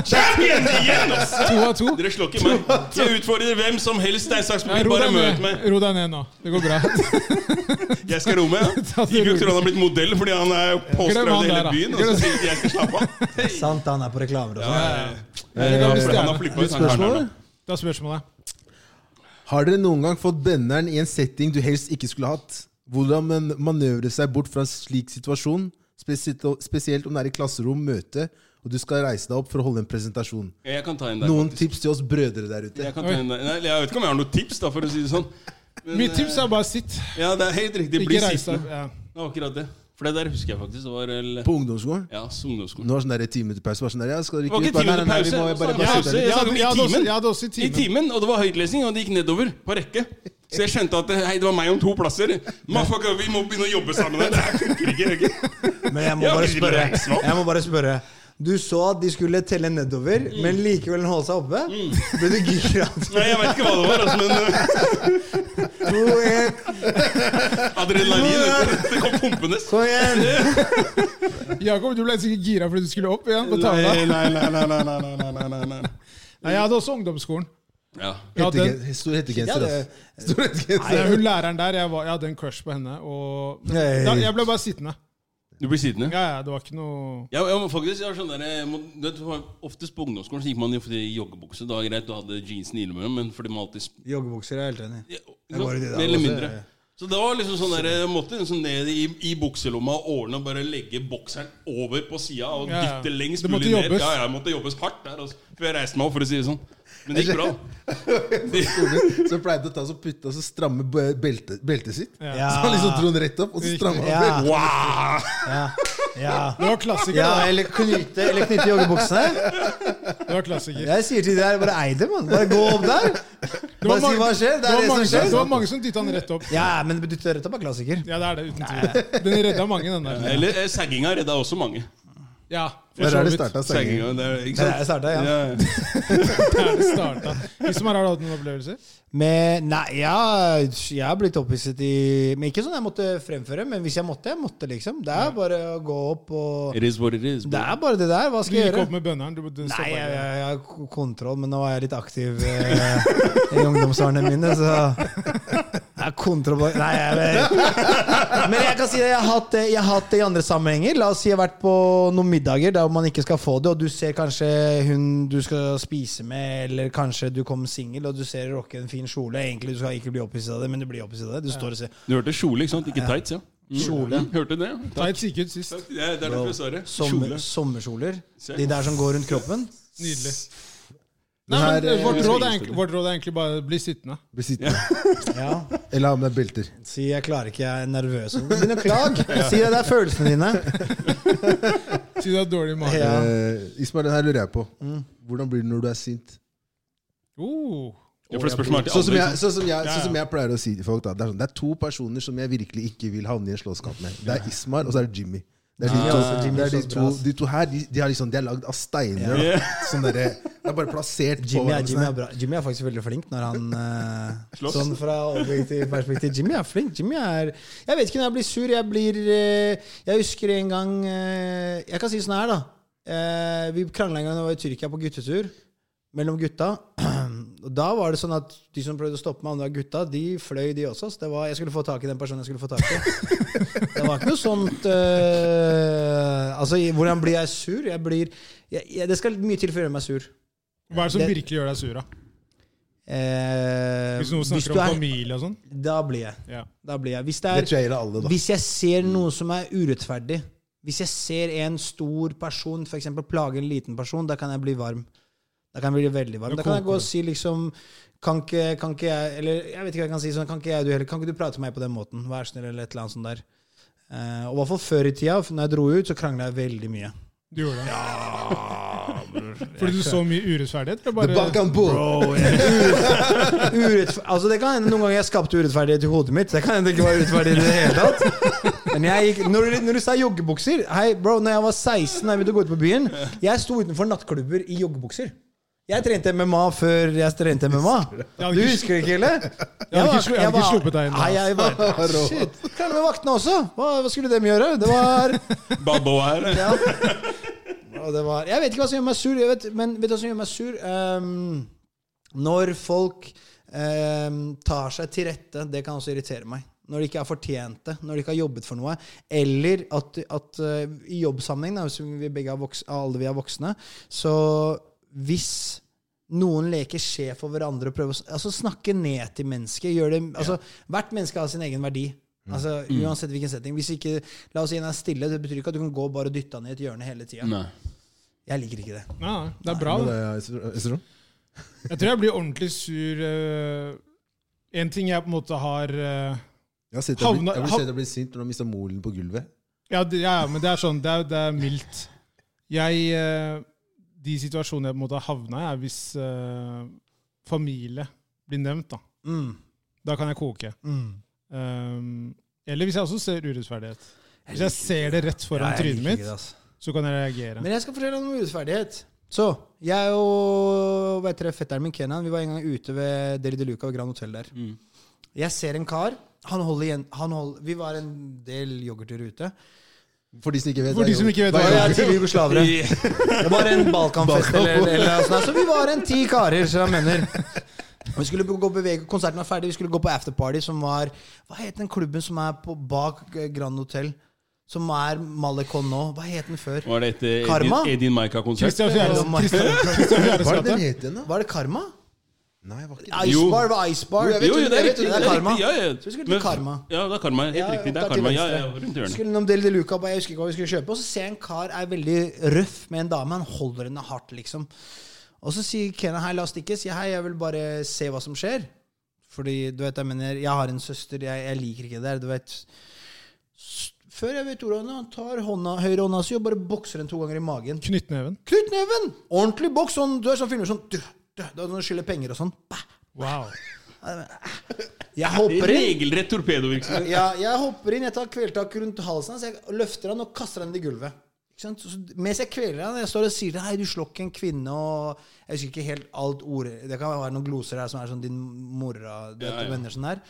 [SPEAKER 3] Champion igjen, altså! ass!
[SPEAKER 2] To av to.
[SPEAKER 3] Dere slår ikke meg. Jeg utfordrer hvem som helst. Stein, saks,
[SPEAKER 2] Nei,
[SPEAKER 3] papir.
[SPEAKER 2] Ro
[SPEAKER 3] Bare
[SPEAKER 2] deg
[SPEAKER 3] møt
[SPEAKER 2] ned.
[SPEAKER 3] meg.
[SPEAKER 2] Ro deg ned nå. Det går bra.
[SPEAKER 3] Jeg skal roe meg.
[SPEAKER 2] Ta det
[SPEAKER 3] Ibjørg tror
[SPEAKER 2] rolig.
[SPEAKER 3] han har blitt modell fordi han er påstrødd
[SPEAKER 2] han
[SPEAKER 3] i
[SPEAKER 2] der, da.
[SPEAKER 3] hele byen. Og så sier de, jeg skal slappe av.
[SPEAKER 1] Sant, han er på reklamer også.
[SPEAKER 2] Det kan bli
[SPEAKER 3] Han har
[SPEAKER 2] stjerne.
[SPEAKER 3] flippa ut. han karen
[SPEAKER 4] Spørsmål?
[SPEAKER 3] der, da.
[SPEAKER 2] Da er spørsmålet.
[SPEAKER 4] Har dere noen gang fått benderen i en setting du helst ikke skulle hatt? Hvordan man manøvre seg bort fra en slik situasjon, spesielt, spesielt om det er i klasserom, møte, og du skal reise deg opp for å holde en presentasjon?
[SPEAKER 3] Jeg kan ta en der.
[SPEAKER 4] Noen tips til oss brødre der ute?
[SPEAKER 3] Jeg, kan ta en der. Nei, jeg vet ikke om jeg har noen tips, da, for å si det sånn. Men, eh,
[SPEAKER 2] Mitt tips er bare sitt.
[SPEAKER 3] Ja, det er helt riktig. Bli
[SPEAKER 2] Ikke reis deg. Ja.
[SPEAKER 3] sittende. Det var akkurat det. For det der husker jeg faktisk. Det var vel
[SPEAKER 4] På ungdomsskolen.
[SPEAKER 3] Ja, ungdomsskolen.
[SPEAKER 4] Nå var det sånn der ti minutter pause. Var sånn der, ja, skal dere
[SPEAKER 3] Det var
[SPEAKER 4] ikke
[SPEAKER 3] ikke ti
[SPEAKER 4] bare-
[SPEAKER 3] minutter
[SPEAKER 4] nei, nei, vi
[SPEAKER 3] pause.
[SPEAKER 4] må
[SPEAKER 3] og så
[SPEAKER 1] Sånn,
[SPEAKER 4] bare-
[SPEAKER 3] var det
[SPEAKER 4] bare-
[SPEAKER 3] pause. Jeg snakket om
[SPEAKER 2] Jeg hadde
[SPEAKER 3] i
[SPEAKER 2] også-
[SPEAKER 3] timen.
[SPEAKER 2] jeg hadde også i
[SPEAKER 3] I
[SPEAKER 2] timen.
[SPEAKER 3] timen, og det var høytlesning, og det gikk nedover på rekke. Så jeg skjønte at hei, det var meg om to plasser. Motherfucker, vi må begynne å jobbe sammen her. Det her funker ikke. ikke.
[SPEAKER 1] Men jeg må
[SPEAKER 3] Ja,
[SPEAKER 1] bare
[SPEAKER 3] vi
[SPEAKER 1] spørre.
[SPEAKER 3] relax nå.
[SPEAKER 1] Jeg må bare spørre. Du så at de skulle telle nedover, men likevel holde seg oppe? Ble du gira?
[SPEAKER 3] Nei, jeg vet ikke hva det var, altså, men uh,
[SPEAKER 1] To, en,
[SPEAKER 3] adrenalin vet du, Det kom pumpende.
[SPEAKER 1] kom igjen!
[SPEAKER 2] Jakob, du ble sikkert gira fordi du skulle opp igjen på tavla.
[SPEAKER 3] Nei, nei, nei, nei, nei, nei, nei, nei, nei, nei.
[SPEAKER 2] Nei, jeg hadde også ungdomsskolen.
[SPEAKER 3] Ja.
[SPEAKER 2] Jeg hadde,
[SPEAKER 4] Hettegenser- Stor hettegenser,
[SPEAKER 1] Ja,
[SPEAKER 4] ass.
[SPEAKER 1] det-
[SPEAKER 4] Stor
[SPEAKER 2] nei,
[SPEAKER 4] hettegenser.
[SPEAKER 2] hun læreren der, jeg, var, jeg hadde en crush på henne. Og,
[SPEAKER 1] Nei.
[SPEAKER 2] da, jeg ble bare sittende.
[SPEAKER 3] Du blir sittende?
[SPEAKER 2] Ja, ja, det var ikke noe
[SPEAKER 3] Ja, ja, men faktisk, jeg har sånn der, jeg må, du vet, for Oftest på ungdomsskolen så gikk man jo fordi i joggebukse. Da var det greit, du hadde jeansen innimellom, men fordi man alltid sp-
[SPEAKER 1] Joggebukser er jeg helt enig. i.
[SPEAKER 3] ja,
[SPEAKER 1] Jeg var i de der
[SPEAKER 3] Mer eller
[SPEAKER 1] også,
[SPEAKER 3] mindre.
[SPEAKER 1] jeg-
[SPEAKER 3] Så det var liksom sånn der, jeg måtte liksom ned i, i bukselomma og årene og bare legge bokseren over på sida og
[SPEAKER 2] Ja, ja.
[SPEAKER 3] dytte lengst
[SPEAKER 2] Det
[SPEAKER 3] mulig
[SPEAKER 2] måtte
[SPEAKER 3] ned.
[SPEAKER 2] jobbes.
[SPEAKER 3] Ja, ja, jeg måtte jobbes hardt der, altså, før jeg reiste meg opp, for å si det sånn. Men det gikk bra.
[SPEAKER 4] Så pleide å ta så putte og så stramme be- belte, beltet sitt.
[SPEAKER 1] Ja.
[SPEAKER 4] Så han liksom dro den rett opp, og så stramma han
[SPEAKER 1] Ja.
[SPEAKER 4] beltet.
[SPEAKER 3] Wow!
[SPEAKER 1] Ja. ja.
[SPEAKER 2] Det var klassiker.
[SPEAKER 1] ja
[SPEAKER 2] da.
[SPEAKER 1] eller knyte, eller knyte joggebuksene.
[SPEAKER 2] Det var klassiker.
[SPEAKER 1] Jeg sier til de der, bare ei det, mann. Bare gå opp der.
[SPEAKER 2] Det var
[SPEAKER 1] Bare si hva skjer. Det
[SPEAKER 2] var
[SPEAKER 1] er det
[SPEAKER 2] mange,
[SPEAKER 1] som skjer.
[SPEAKER 2] det var mange som dytta den rett opp.
[SPEAKER 1] Ja, men du tør rett opp er klassiker.
[SPEAKER 2] Ja, det er det, uten tvil. Den redda mange, den der.
[SPEAKER 3] Eller eh, sagginga redda også mange.
[SPEAKER 2] Ja, for
[SPEAKER 4] Der
[SPEAKER 2] så
[SPEAKER 4] er det
[SPEAKER 2] vidt.
[SPEAKER 4] starta sanging.
[SPEAKER 3] Sagginga, det er- ikke
[SPEAKER 1] Det er
[SPEAKER 3] sant?
[SPEAKER 1] der jeg startet, ja.
[SPEAKER 3] Ja, ja.
[SPEAKER 2] Der det starta. De som har hatt noen opplevelser?
[SPEAKER 1] Men nei, ja, jeg har blitt opphisset i Men ikke sånn jeg måtte fremføre, men hvis jeg måtte, jeg måtte, liksom. Det er bare å gå opp og
[SPEAKER 3] It is what it is. bro.
[SPEAKER 1] Det er bare det der. Hva
[SPEAKER 2] Du
[SPEAKER 1] skal jeg
[SPEAKER 2] gikk
[SPEAKER 1] gjøre?
[SPEAKER 2] opp med bønneren? Du, du
[SPEAKER 1] Nei,
[SPEAKER 2] stoppet
[SPEAKER 1] jeg,
[SPEAKER 2] ikke.
[SPEAKER 1] jeg, jeg har k- kontroll, men nå er jeg litt aktiv eh, i ungdomsårene mine, så Jeg har kontroll på Nei, jeg vet Men jeg kan si det, jeg har hatt det, jeg har hatt det i andre sammenhenger. La oss si jeg har vært på noen middager der man ikke skal få det, og du ser kanskje hun du skal spise med, eller kanskje du kom singel, og du ser rocke en fin kjole. Egentlig du skal ikke bli opphisset av det, men du blir opphisset av det. Du står og ser
[SPEAKER 3] Du hørte kjole, ikke sant? Ikke tights, ja. Mm.
[SPEAKER 1] Kjole.
[SPEAKER 3] Hørte du det?
[SPEAKER 2] Tights gikk ut sist.
[SPEAKER 3] Det er derfor jeg sa det.
[SPEAKER 1] sommer, sommerkjoler.
[SPEAKER 3] Ser.
[SPEAKER 1] De der som går rundt kroppen.
[SPEAKER 2] Nydelig. Nei,
[SPEAKER 4] Den her
[SPEAKER 2] men eh, vårt
[SPEAKER 4] eh,
[SPEAKER 2] råd, er egentlig, vårt råd er egentlig bare bli sittende.
[SPEAKER 4] blir sittende.
[SPEAKER 1] Ja.
[SPEAKER 4] Eller ha med deg belter.
[SPEAKER 1] Si 'jeg klarer ikke, jeg er nervøs'. Begynn å klage! Si det, det er følelsene dine.
[SPEAKER 2] Si du har dårlig mage.
[SPEAKER 1] Ja. Mm.
[SPEAKER 4] Eh, Ismail, den her lurer jeg på. Hvordan blir det når du er sint?
[SPEAKER 2] Oh.
[SPEAKER 3] Ja, for det spørs om det er
[SPEAKER 4] Sånn som,
[SPEAKER 3] til
[SPEAKER 4] jeg,
[SPEAKER 3] andre.
[SPEAKER 4] sånn, som jeg, sånn
[SPEAKER 2] ja.
[SPEAKER 4] som jeg pleier å si til folk, da. Det er, sånn, det er to personer som jeg virkelig ikke vil havne i en slåsskamp med. Det er Ismail, og så er det Jimmy. Det er de
[SPEAKER 1] Ja,
[SPEAKER 4] to,
[SPEAKER 1] ja, ja.
[SPEAKER 4] det er de
[SPEAKER 1] Jimmy er så
[SPEAKER 4] to,
[SPEAKER 1] bra,
[SPEAKER 4] de to her de, de, er liksom, de er lagd av steiner. da. Sånn derre- det er bare plassert på
[SPEAKER 1] Jimmy er,
[SPEAKER 4] hverandre
[SPEAKER 1] Jimmy, er
[SPEAKER 4] sånn her.
[SPEAKER 1] bra. Jimmy er faktisk veldig flink når han eh,
[SPEAKER 3] Slåss.
[SPEAKER 1] Sånn fra objektiv perspektiv. Jimmy er flink. Jimmy er Jeg vet ikke når jeg blir sur. Jeg blir eh, Jeg husker en gang eh, Jeg kan si sånn her, da. Eh, vi krangla en gang da vi var i Tyrkia på guttetur mellom gutta. Og da var det sånn at de som prøvde å stoppe meg, om det var gutta, de fløy, de også. Så det var, jeg skulle få tak i den personen jeg skulle få tak i. Det var ikke noe sånt eh, Altså, i- hvordan blir jeg sur? Jeg blir jeg, jeg, Det skal mye til for å gjøre meg sur.
[SPEAKER 2] Hva er det som
[SPEAKER 1] Det-
[SPEAKER 2] virkelig gjør deg sur? da?
[SPEAKER 1] Eh,
[SPEAKER 2] Hvis noen snakker
[SPEAKER 1] du
[SPEAKER 2] om
[SPEAKER 1] er-
[SPEAKER 2] familie og sånn?
[SPEAKER 1] Da blir jeg.
[SPEAKER 2] Ja.
[SPEAKER 1] Da blir jeg. Hvis, det
[SPEAKER 4] Det
[SPEAKER 1] er,
[SPEAKER 4] tror jeg gjelder alle, da.
[SPEAKER 1] hvis jeg ser noe som er urettferdig, hvis jeg ser en stor person for eksempel, plage en liten person, da kan jeg bli varm. Da kan jeg bli veldig varm. Da
[SPEAKER 2] Da
[SPEAKER 1] kan jeg gå
[SPEAKER 2] koker
[SPEAKER 1] og si liksom kan ikke, kan ikke jeg Eller jeg vet ikke hva jeg kan si sånn. Kan ikke jeg du heller? Kan ikke du prate med meg på den måten? Vær snill, eller et eller annet sånt der. Eh, og i hvert fall før i tida, for når jeg dro ut, så krangla jeg veldig mye.
[SPEAKER 2] Du gjorde det? Fordi du så mye urettferdighet? eller
[SPEAKER 4] The
[SPEAKER 2] Bare,
[SPEAKER 4] Balkan Bull!
[SPEAKER 1] Urettf altså det kan hende Noen ganger jeg skapte urettferdighet i hodet mitt. Det kan hende det ikke var urettferdig i det hele tatt. Men jeg gikk, når, du- når du sa joggebukser Hei, bro, når jeg var 16 da jeg begynte å gå ut på byen, jeg sto utenfor nattklubber i joggebukser. Jeg trente MMA før jeg trente MMA. Du husker det ikke, eller?
[SPEAKER 2] Jeg hadde ikke slu- jeg hadde ikke sluppet deg inn da,
[SPEAKER 1] Nei, jeg var Shit. Krangla med vaktene også. Hva, hva skulle dem gjøre? Det var
[SPEAKER 3] Balboa her. eh.
[SPEAKER 1] ja. Og det var, jeg vet ikke hva som gjør meg sur, jeg vet, men vet du hva som gjør meg sur? Ehm, når folk ehm, tar seg til rette, det kan også irritere meg. Når de ikke er fortjente, når de ikke har jobbet for noe. Eller at, at eh, i jobbsammenheng, da, som vi begge er voks, alle vi er voksne, så hvis noen leker sjef over andre og prøver å s- altså, snakke ned til mennesket gjør det, altså, Hvert menneske har sin egen verdi. Altså, uansett hvilken setting. Hvis ikke, la oss si en er stille, det betyr ikke at du kan gå og bare dytte han i et hjørne hele tida.
[SPEAKER 3] Nei.
[SPEAKER 1] Jeg liker ikke det.
[SPEAKER 2] ja, det er bra.
[SPEAKER 4] Men
[SPEAKER 2] da.
[SPEAKER 4] det er- jeg- jeg- jeg-
[SPEAKER 2] Jeg tror jeg blir ordentlig sur. eh, En ting jeg på en måte har eh,
[SPEAKER 4] Jeg har sett deg bli-
[SPEAKER 2] Havna-
[SPEAKER 4] jeg har
[SPEAKER 2] hav-
[SPEAKER 4] sett deg bli sint når du har mista molen på gulvet.
[SPEAKER 2] Ja, det, ja, ja, men det er sånn. Det er, det er mildt. Jeg eh, De situasjonene jeg på en måte har havna i, er hvis eh, familie blir nevnt. Da
[SPEAKER 1] Mm.
[SPEAKER 2] Da kan jeg koke.
[SPEAKER 1] Mm.
[SPEAKER 2] Um, eller hvis jeg også ser urettferdighet. Hvis jeg ser det rett foran
[SPEAKER 1] Ja, jeg
[SPEAKER 2] trynet
[SPEAKER 1] liker
[SPEAKER 2] mitt,
[SPEAKER 1] det, ass.
[SPEAKER 2] så kan jeg reagere.
[SPEAKER 1] Men jeg skal fortelle om urettferdighet. Så, jeg og vet dere, fetteren min Kenan vi var en gang ute ved Deli de Luca ved Grand Hotel der.
[SPEAKER 3] Mm.
[SPEAKER 1] Jeg ser en kar. Han holder igjen han holder, Vi var en del yoghurtturer ute.
[SPEAKER 4] For de som ikke vet.
[SPEAKER 2] For
[SPEAKER 4] det er
[SPEAKER 2] de som
[SPEAKER 4] jo-
[SPEAKER 2] ikke vet
[SPEAKER 1] Ja,
[SPEAKER 2] hva
[SPEAKER 1] jeg
[SPEAKER 2] jeg
[SPEAKER 1] er tidligere jugoslavere. Det var en Balkanfest
[SPEAKER 4] Balkan.
[SPEAKER 1] eller, eller noe sånt. Så vi var en ti karer, så jeg mener. Vi skulle gå og bevege, Konserten var ferdig, vi skulle gå på afterparty, som var Hva het den klubben som er på, bak eh, Grand Hotel? Som er Malecon nå? Hva het den før?
[SPEAKER 3] Var det etter Edin,
[SPEAKER 1] Karma?
[SPEAKER 3] Edin Maika-konsert?
[SPEAKER 2] Christian Fjæres
[SPEAKER 1] Eller-
[SPEAKER 2] Christian Fjæres
[SPEAKER 4] Hva er det den
[SPEAKER 2] gate.
[SPEAKER 4] het igjen, da?
[SPEAKER 1] Var det Karma?
[SPEAKER 4] Nei, var ikke
[SPEAKER 1] Ice
[SPEAKER 3] Jo.
[SPEAKER 1] Bar var Ice Bar.
[SPEAKER 4] Jo, jeg vet
[SPEAKER 3] Jo, jo, det er
[SPEAKER 1] Jeg vet
[SPEAKER 3] riktig.
[SPEAKER 1] Det er karma.
[SPEAKER 3] Ja, ja.
[SPEAKER 1] Så vi skulle til
[SPEAKER 3] Men-
[SPEAKER 1] karma.
[SPEAKER 3] Ja, det er karma. Helt
[SPEAKER 1] Ja,
[SPEAKER 3] riktig. Det
[SPEAKER 1] opptatt
[SPEAKER 3] er
[SPEAKER 1] til
[SPEAKER 3] karma. Ja,
[SPEAKER 1] venstre.
[SPEAKER 3] ja, rundt hjørnet.
[SPEAKER 1] Skulle innom Deli de Luca, bare jeg husker ikke hva vi skulle kjøpe, og så ser jeg en kar er veldig røff med en dame. Han holder henne hardt, liksom. Og så sier Kenna hei, la oss stikke. Sier hei, jeg vil bare se hva som skjer. Fordi, du vet, jeg mener, jeg har en søster, jeg, jeg liker ikke det der, du vet. S- Før jeg vet ordet av det, han tar hånda, høyre hånda si og bare bokser den to ganger i magen.
[SPEAKER 2] Knyttneven.
[SPEAKER 1] Knyttneven! Ordentlig boks, sånn, du er sånn filmer sånn, du, du, du, du skylder penger og sånn. Bah!
[SPEAKER 2] Wow.
[SPEAKER 1] Jeg
[SPEAKER 3] Det er
[SPEAKER 1] hopper inn.
[SPEAKER 3] Regelrett torpedovirksomhet.
[SPEAKER 1] Ja, jeg hopper inn, jeg tar kveltak rundt halsen hans, jeg løfter han og kaster han i gulvet. Ikke sant? Så, så, mens jeg kveler han, jeg står og sier Hei, du slår ikke en kvinne og Jeg husker ikke helt alt ordet Det kan være noen gloser her som er sånn din mora du vet,
[SPEAKER 3] Ja, ja.
[SPEAKER 1] venner sånn der.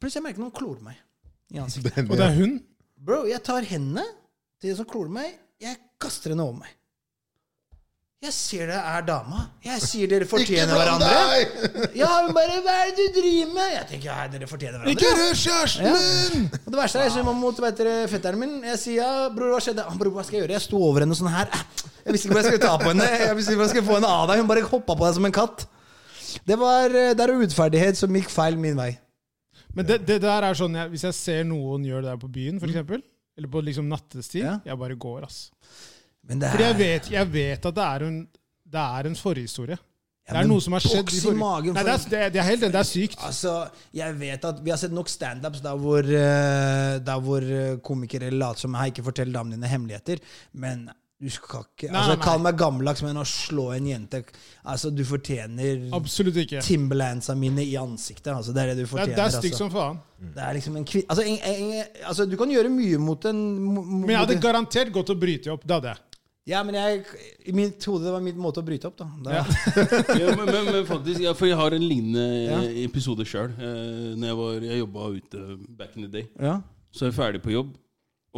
[SPEAKER 1] Plutselig merker jeg noen klor meg i ansiktet.
[SPEAKER 4] den.
[SPEAKER 2] Og det er hun.
[SPEAKER 1] Bro, jeg tar hendene til de som klorer meg, jeg kaster henne over meg. Jeg ser det er dama. Jeg sier dere fortjener hverandre. Ja, hun bare Hva er det du driver med? Jeg tenker ja, dere fortjener hverandre.
[SPEAKER 4] Ikke rør kjæresten min!
[SPEAKER 1] Og det verste er, jeg ser meg mot vet dere, fetteren min. Jeg sier ja, bror, hva skjedde? Han bror, hva skal jeg gjøre? Jeg sto over henne sånn her. Jeg visste ikke hvor jeg skulle ta på henne. Jeg visste ikke hvor jeg skulle få henne av deg. Hun bare hoppa på deg som en katt. Det var eh, der er urettferdighet som gikk feil min vei.
[SPEAKER 2] Men det, det der er sånn, jeg, Hvis jeg ser noen gjør det der på byen, for eksempel, eller på liksom nattestid,
[SPEAKER 1] Mm. Ja.
[SPEAKER 2] jeg bare går. ass.
[SPEAKER 1] Men det
[SPEAKER 2] Fordi jeg
[SPEAKER 1] er
[SPEAKER 2] vet, jeg vet at det er en, det er en forhistorie.
[SPEAKER 1] Ja,
[SPEAKER 2] det er
[SPEAKER 1] men
[SPEAKER 2] noe som har skjedd
[SPEAKER 1] boks i
[SPEAKER 2] forrige-
[SPEAKER 1] magen
[SPEAKER 2] Nei, det er,
[SPEAKER 1] for-
[SPEAKER 2] det, er- det er helt enig, det er sykt.
[SPEAKER 1] Altså, jeg vet at Vi har sett nok standups der hvor, eh, der hvor eh, komikere later som jeg ikke forteller damene dine hemmeligheter. Men du skal ikke
[SPEAKER 2] Nei,
[SPEAKER 1] altså,
[SPEAKER 2] nei.
[SPEAKER 1] Kall meg gammeldags, men å slå en jente Altså, Du fortjener
[SPEAKER 2] Absolutt ikke. Det
[SPEAKER 1] Timberlandsa mine i ansiktet. Altså, det er det du
[SPEAKER 2] er,
[SPEAKER 1] fortjener.
[SPEAKER 2] det er stygt
[SPEAKER 1] altså.
[SPEAKER 2] som faen.
[SPEAKER 1] Det er liksom en kvin... Altså, en, en, altså, du kan gjøre mye mot en mo- mo-
[SPEAKER 2] Men jeg
[SPEAKER 1] mot
[SPEAKER 2] hadde
[SPEAKER 1] en-
[SPEAKER 2] garantert gått og brytet opp. Det hadde jeg.
[SPEAKER 1] Ja, men jeg I mitt hode det var min måte å bryte opp, da. da
[SPEAKER 3] Ja, men, men, men faktisk, ja, for jeg har en lignende eh,
[SPEAKER 1] Ja.
[SPEAKER 3] episode sjøl. Eh, når jeg, var- jeg jobba ute back in the day.
[SPEAKER 1] ja.
[SPEAKER 3] Så er jeg ferdig på jobb,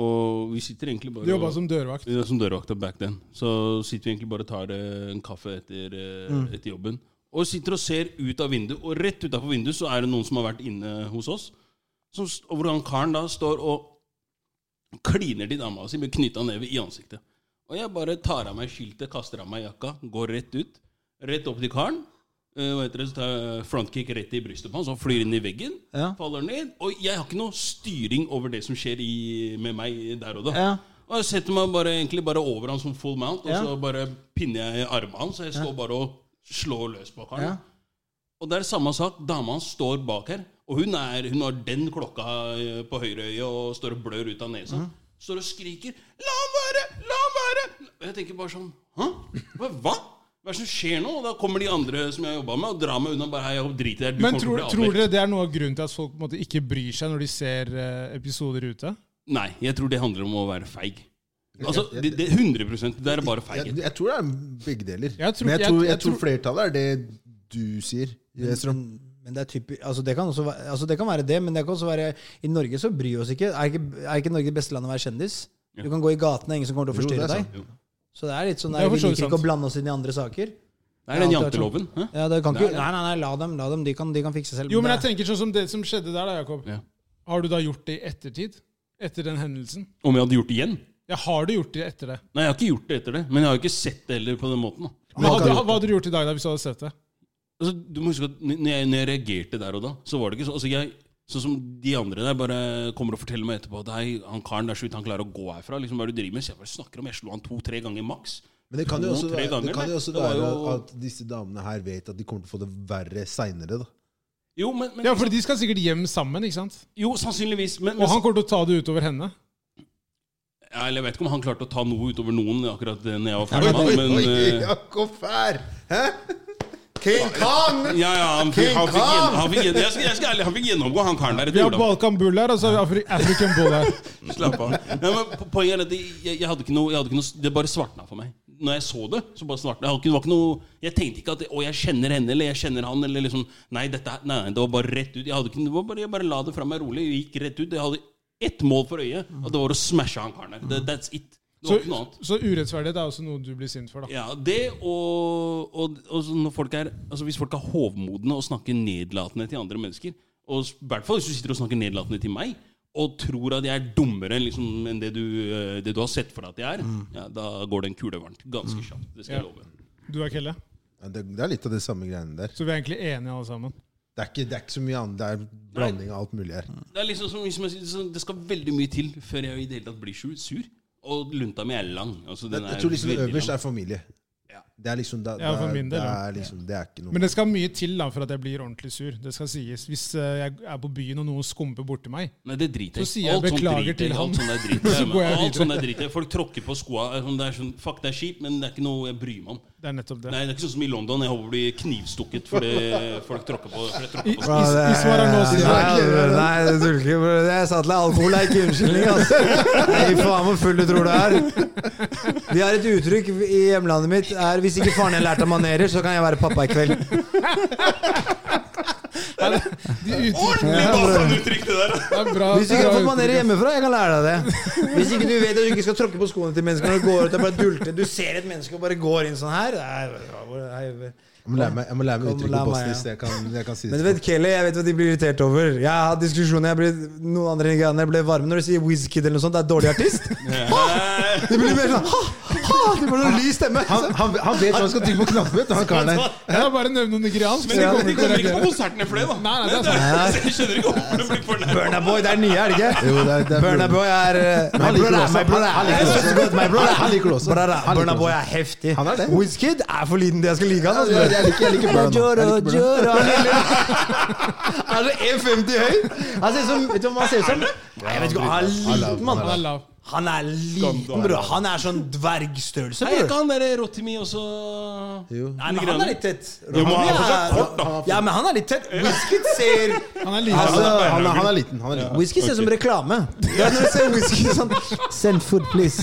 [SPEAKER 3] og vi sitter egentlig
[SPEAKER 2] Du
[SPEAKER 3] bare
[SPEAKER 2] jobba
[SPEAKER 3] og-
[SPEAKER 2] som dørvakt.
[SPEAKER 3] Ja, som dørvakta back then. Så sitter vi egentlig bare og tar eh, en kaffe etter, eh, etter jobben. Og sitter og ser ut av vinduet, og rett utafor vinduet så er det noen som har vært inne hos oss. Som, s- og hvor han karen da står og kliner til dama si med knytta neve i ansiktet. Og jeg bare tar av meg skiltet, kaster av meg jakka, går rett ut. Rett opp til karen. Eh, hva heter det, så tar jeg frontkick rett i brystet på han, så han flyr inn i veggen.
[SPEAKER 1] Ja.
[SPEAKER 3] Faller ned. Og jeg har ikke noe styring over det som skjer i, med meg der og da.
[SPEAKER 1] Ja.
[SPEAKER 3] Og jeg setter meg bare, egentlig bare over han som full mount, og
[SPEAKER 1] Ja.
[SPEAKER 3] så bare pinner jeg armen hans. Så jeg står bare og slår løs på han.
[SPEAKER 1] Ja.
[SPEAKER 3] Og det er samme sak. Dama hans står bak her, og hun, er, hun har den klokka eh, på høyre øye og står og blør ut av nesa.
[SPEAKER 2] Mhm.
[SPEAKER 3] Står og skriker 'La han være! La han være!' Og jeg tenker bare sånn Hæ? Hva? Hva Hva er det som skjer nå? Og da kommer de andre som jeg har jobba med, og drar meg unna. bare «Hei, jeg driter i deg, du
[SPEAKER 2] Men
[SPEAKER 3] kommer til å
[SPEAKER 2] tror,
[SPEAKER 3] bli
[SPEAKER 2] tror
[SPEAKER 3] avmeldt».
[SPEAKER 2] dere det er noe av grunnen til at folk på en måte, ikke bryr seg når de ser eh, episoder ute?
[SPEAKER 3] Nei, jeg tror det handler om å være feig. Altså, det, det, 100 Det er bare feighet.
[SPEAKER 4] Jeg, jeg tror det er begge deler.
[SPEAKER 2] Jeg tror-
[SPEAKER 4] Men jeg
[SPEAKER 2] jeg-
[SPEAKER 4] tror, jeg,
[SPEAKER 2] jeg
[SPEAKER 4] tror
[SPEAKER 2] tror-
[SPEAKER 4] flertallet er det du sier. Strøm.
[SPEAKER 1] Men, men det er typisk altså, det kan også være, altså, det kan være det, men det kan også være I Norge så bryr vi oss ikke. Er ikke, er ikke Norge det beste landet å være kjendis? Du kan gå i gatene, ingen som kommer til å
[SPEAKER 4] Jo, det er
[SPEAKER 1] forstyrre
[SPEAKER 4] sant.
[SPEAKER 1] deg. Så det er litt sånn
[SPEAKER 2] Det
[SPEAKER 1] der,
[SPEAKER 2] er for
[SPEAKER 1] Vi
[SPEAKER 2] så vidt
[SPEAKER 1] liker ikke
[SPEAKER 2] sant.
[SPEAKER 1] å blande oss inn i andre saker.
[SPEAKER 3] Det er den
[SPEAKER 1] Ja, det er sånn.
[SPEAKER 3] janteloven. hæ?
[SPEAKER 1] Ja, det kan ikke,
[SPEAKER 3] Nei,
[SPEAKER 1] nei, nei, nei, la dem. la dem, De kan, de kan fikse selv.
[SPEAKER 2] Jo, men
[SPEAKER 1] det-
[SPEAKER 2] jeg tenker sånn som det som skjedde der, da, Jakob.
[SPEAKER 3] Ja.
[SPEAKER 2] Har du da gjort det i ettertid? Etter den hendelsen?
[SPEAKER 3] Om jeg hadde gjort det igjen?
[SPEAKER 2] Ja, har du gjort det etter det?
[SPEAKER 3] Nei, jeg har ikke gjort det etter det. Men jeg har jo ikke sett det heller på den måten. Da.
[SPEAKER 2] Men hadde, hva hadde du gjort i dag da, hvis du hadde sett det?
[SPEAKER 3] Altså, du må huske at n- når jeg, når jeg reagerte der og da, så var det ikke så, altså jeg, sånn som de andre der bare kommer og forteller meg etterpå at hei, han karen der så vidt han klarer å gå herfra. Liksom, hva er det du driver med? Så jeg bare snakker om Jeg slo han to-tre ganger maks.
[SPEAKER 4] Men det kan jo
[SPEAKER 3] To,
[SPEAKER 4] også
[SPEAKER 3] tre
[SPEAKER 4] være,
[SPEAKER 3] ganger,
[SPEAKER 4] det kan
[SPEAKER 3] nei.
[SPEAKER 4] jo også
[SPEAKER 3] Det var
[SPEAKER 4] være
[SPEAKER 3] jo-
[SPEAKER 4] at disse damene her vet at de kommer til å få det verre seinere.
[SPEAKER 3] Jo, men, men,
[SPEAKER 2] Ja, for de skal sikkert hjem sammen, ikke sant?
[SPEAKER 3] jo sannsynligvis. Men,
[SPEAKER 2] Og
[SPEAKER 3] men
[SPEAKER 2] han kommer til å ta det utover henne.
[SPEAKER 3] Ja, eller jeg vet ikke om han klarte å ta noe utover noen akkurat eh, når jeg var
[SPEAKER 4] Oi,
[SPEAKER 3] ferdig
[SPEAKER 4] oi,
[SPEAKER 3] med han,
[SPEAKER 4] oi,
[SPEAKER 3] men eh,
[SPEAKER 4] Jakob Fær! Hæ? King Kong!
[SPEAKER 3] ja, ja, han fikk,
[SPEAKER 4] King
[SPEAKER 3] han fikk,
[SPEAKER 4] Khan!
[SPEAKER 3] gjennom, han fikk, gjennom- jeg, skal, jeg skal ærlig, han fikk gjennomgå han karen der
[SPEAKER 2] Vi
[SPEAKER 3] etter
[SPEAKER 2] har
[SPEAKER 3] jula.
[SPEAKER 2] Balkan Bull her, og så har vi Afri African Bull her.
[SPEAKER 3] Slapp av. Ja, men po- poenget er at jeg, jeg, hadde ikke noe, jeg hadde ikke noe Det bare svartna for meg. Når jeg så det, så bare svartna jeg. hadde ikke- Det var ikke noe, jeg tenkte ikke at Å, jeg kjenner henne, eller jeg kjenner han, eller liksom Nei, dette er- nei, nei, det var bare rett ut. Jeg, hadde ikke, det var bare, jeg bare la det fra meg rolig. Jeg gikk rett ut. Jeg hadde ett mål for øyet, og det var å smashe han karen der. Det- That's it. Det
[SPEAKER 2] Så,
[SPEAKER 3] var ikke noe annet.
[SPEAKER 2] så urettferdighet er også noe du blir sint for, da.
[SPEAKER 3] Ja, det og, og, og så når folk er, altså Hvis folk er hovmodne og snakker nedlatende til andre mennesker, og s- i hvert fall hvis du sitter og snakker nedlatende til meg, og tror at jeg er dummere liksom, enn det du, eh, det du har sett for deg at jeg er, ja, da går det en kule varmt. Ganske kjapt. Det skal jeg
[SPEAKER 2] Mm. Ja.
[SPEAKER 3] love.
[SPEAKER 2] Du er Kelle.
[SPEAKER 4] Ja, det, det er litt av de samme greiene der.
[SPEAKER 2] Så vi er egentlig enige alle sammen.
[SPEAKER 4] Det er ikke, det er ikke så mye annet. Det er blanding av alt mulig her.
[SPEAKER 3] Det er liksom som, som jeg sier, sånn, det skal veldig mye til før jeg i det hele tatt blir sur. sur. Og lunta mi er lang. Altså, den
[SPEAKER 4] Jeg, jeg
[SPEAKER 3] er
[SPEAKER 4] tror liksom
[SPEAKER 3] veldig
[SPEAKER 4] øverst
[SPEAKER 3] lang.
[SPEAKER 4] er familie.
[SPEAKER 3] Ja.
[SPEAKER 4] Det er liksom da,
[SPEAKER 2] Ja,
[SPEAKER 4] da-
[SPEAKER 2] for min del,
[SPEAKER 4] det,
[SPEAKER 2] ja.
[SPEAKER 4] er liksom, det er ikke noe
[SPEAKER 2] Men det skal mye til da for at jeg blir ordentlig sur. Det skal sies. Hvis eh, jeg er på byen og noen skumper borti meg,
[SPEAKER 3] Nei, det driter
[SPEAKER 2] Så sier jeg
[SPEAKER 3] Alt sånt
[SPEAKER 2] beklager
[SPEAKER 3] driter,
[SPEAKER 2] til
[SPEAKER 3] Alt
[SPEAKER 2] han.
[SPEAKER 3] sånt er drit.
[SPEAKER 2] Så går jeg
[SPEAKER 3] alt
[SPEAKER 2] videre.
[SPEAKER 3] sånt er drit. Folk tråkker på skoa. eh, sånn, Det er sånn, fuck, det er kjipt, men det er ikke noe jeg bryr meg om.
[SPEAKER 2] det er nettopp det.
[SPEAKER 3] Nei, det er ikke sånn som i London. Jeg håper å bli knivstukket fordi folk tråkker på, for jeg
[SPEAKER 2] I,
[SPEAKER 3] tråkker på.
[SPEAKER 2] i, i svaret nå
[SPEAKER 1] Nei,
[SPEAKER 2] sier jeg
[SPEAKER 1] nei, det duger ikke. bro. Jeg sa til deg, alkohol er ikke unnskyldning. ass. Nei, faen hvor full du tror du er. Vi har et uttrykk i hjemlandet mitt er hvis ikke faren din lærte manerer, så kan jeg være pappa i kveld.
[SPEAKER 2] de uttrykk-
[SPEAKER 3] Ordentlig Balkan-uttrykk, det der!
[SPEAKER 2] Det er bra.
[SPEAKER 1] Hvis ikke jeg har fått manerer
[SPEAKER 2] bra uttrykk, ass.
[SPEAKER 1] hjemmefra, jeg kan lære deg det. Hvis ikke du vet at du ikke skal tråkke på skoene til mennesker når du går ut og bare dulter Du ser et menneske og bare går inn sånn her. Det er- hvor- hei.
[SPEAKER 4] Jeg må lære meg, jeg må lære meg
[SPEAKER 1] Kom,
[SPEAKER 4] uttrykk
[SPEAKER 1] la
[SPEAKER 4] på
[SPEAKER 1] meg,
[SPEAKER 4] bosnisk.
[SPEAKER 1] ja.
[SPEAKER 4] Jeg kan, jeg kan si
[SPEAKER 1] Men
[SPEAKER 4] det.
[SPEAKER 1] du vet, Kelly, jeg vet hva de blir irritert over. Jeg har hatt diskusjoner, jeg blir, noen andre indianere ble varme når de sier Wizkid eller noe sånt. Det er dårlig artist. De blir mer sånn ha, ha, De får sånn lys stemme.
[SPEAKER 4] Han, han, han vet hva han skal trykke på knappen, vet du, han karen der.
[SPEAKER 2] Jeg har bare nevnt noe nigeriansk.
[SPEAKER 3] Men
[SPEAKER 2] så
[SPEAKER 3] de
[SPEAKER 2] jeg
[SPEAKER 3] kommer, de
[SPEAKER 2] til å
[SPEAKER 3] kommer ikke
[SPEAKER 2] reagere.
[SPEAKER 3] på konsertene flere, da.
[SPEAKER 2] Nei, nei, det er
[SPEAKER 3] Men det er- Jeg skjønner ikke hvorfor du blir fornærma.
[SPEAKER 1] Burna Boy, det er nye, er det ikke?
[SPEAKER 4] Jo, det er- det er-
[SPEAKER 1] Burna Boy er eh,
[SPEAKER 4] Han
[SPEAKER 1] My
[SPEAKER 4] liker
[SPEAKER 1] brother,
[SPEAKER 4] det også.
[SPEAKER 1] my brother.
[SPEAKER 4] Han liker det
[SPEAKER 1] Jeg
[SPEAKER 4] også.
[SPEAKER 1] synes godt, my brother.
[SPEAKER 4] Han liker det også.
[SPEAKER 1] Brother,
[SPEAKER 4] Han liker
[SPEAKER 1] Burna
[SPEAKER 4] det
[SPEAKER 1] Boy
[SPEAKER 4] også.
[SPEAKER 1] er heftig.
[SPEAKER 4] Han er det.
[SPEAKER 1] Wizkid er for liten til jeg skal like han. altså.
[SPEAKER 4] Jeg jeg liker, jeg liker Burna. Jeg liker Burna.
[SPEAKER 1] Han er så 1,50 høy. Han ser ut som Vet du hva han ser ut som? Nei, Jeg vet ikke, han er
[SPEAKER 4] Han er-
[SPEAKER 1] liten,
[SPEAKER 2] Han er
[SPEAKER 1] mann.
[SPEAKER 2] lav.
[SPEAKER 1] Han er liten, bror. Han er sånn dvergstørrelse,
[SPEAKER 3] Er ikke
[SPEAKER 1] bror.
[SPEAKER 3] han derre Rotimi også
[SPEAKER 4] Jo.
[SPEAKER 1] Nei, men han er litt tett.
[SPEAKER 3] Jo, men han er
[SPEAKER 1] Han
[SPEAKER 3] fortsatt kort, da.
[SPEAKER 1] Ja, men han er litt tett. Whisket ser
[SPEAKER 2] Han er
[SPEAKER 3] Altså,
[SPEAKER 4] Han
[SPEAKER 2] liten.
[SPEAKER 4] er- han er- Han er liten. Han er liten.
[SPEAKER 1] Whisky ser ut som reklame. Ja, når du ser whisky sånn Send food, please.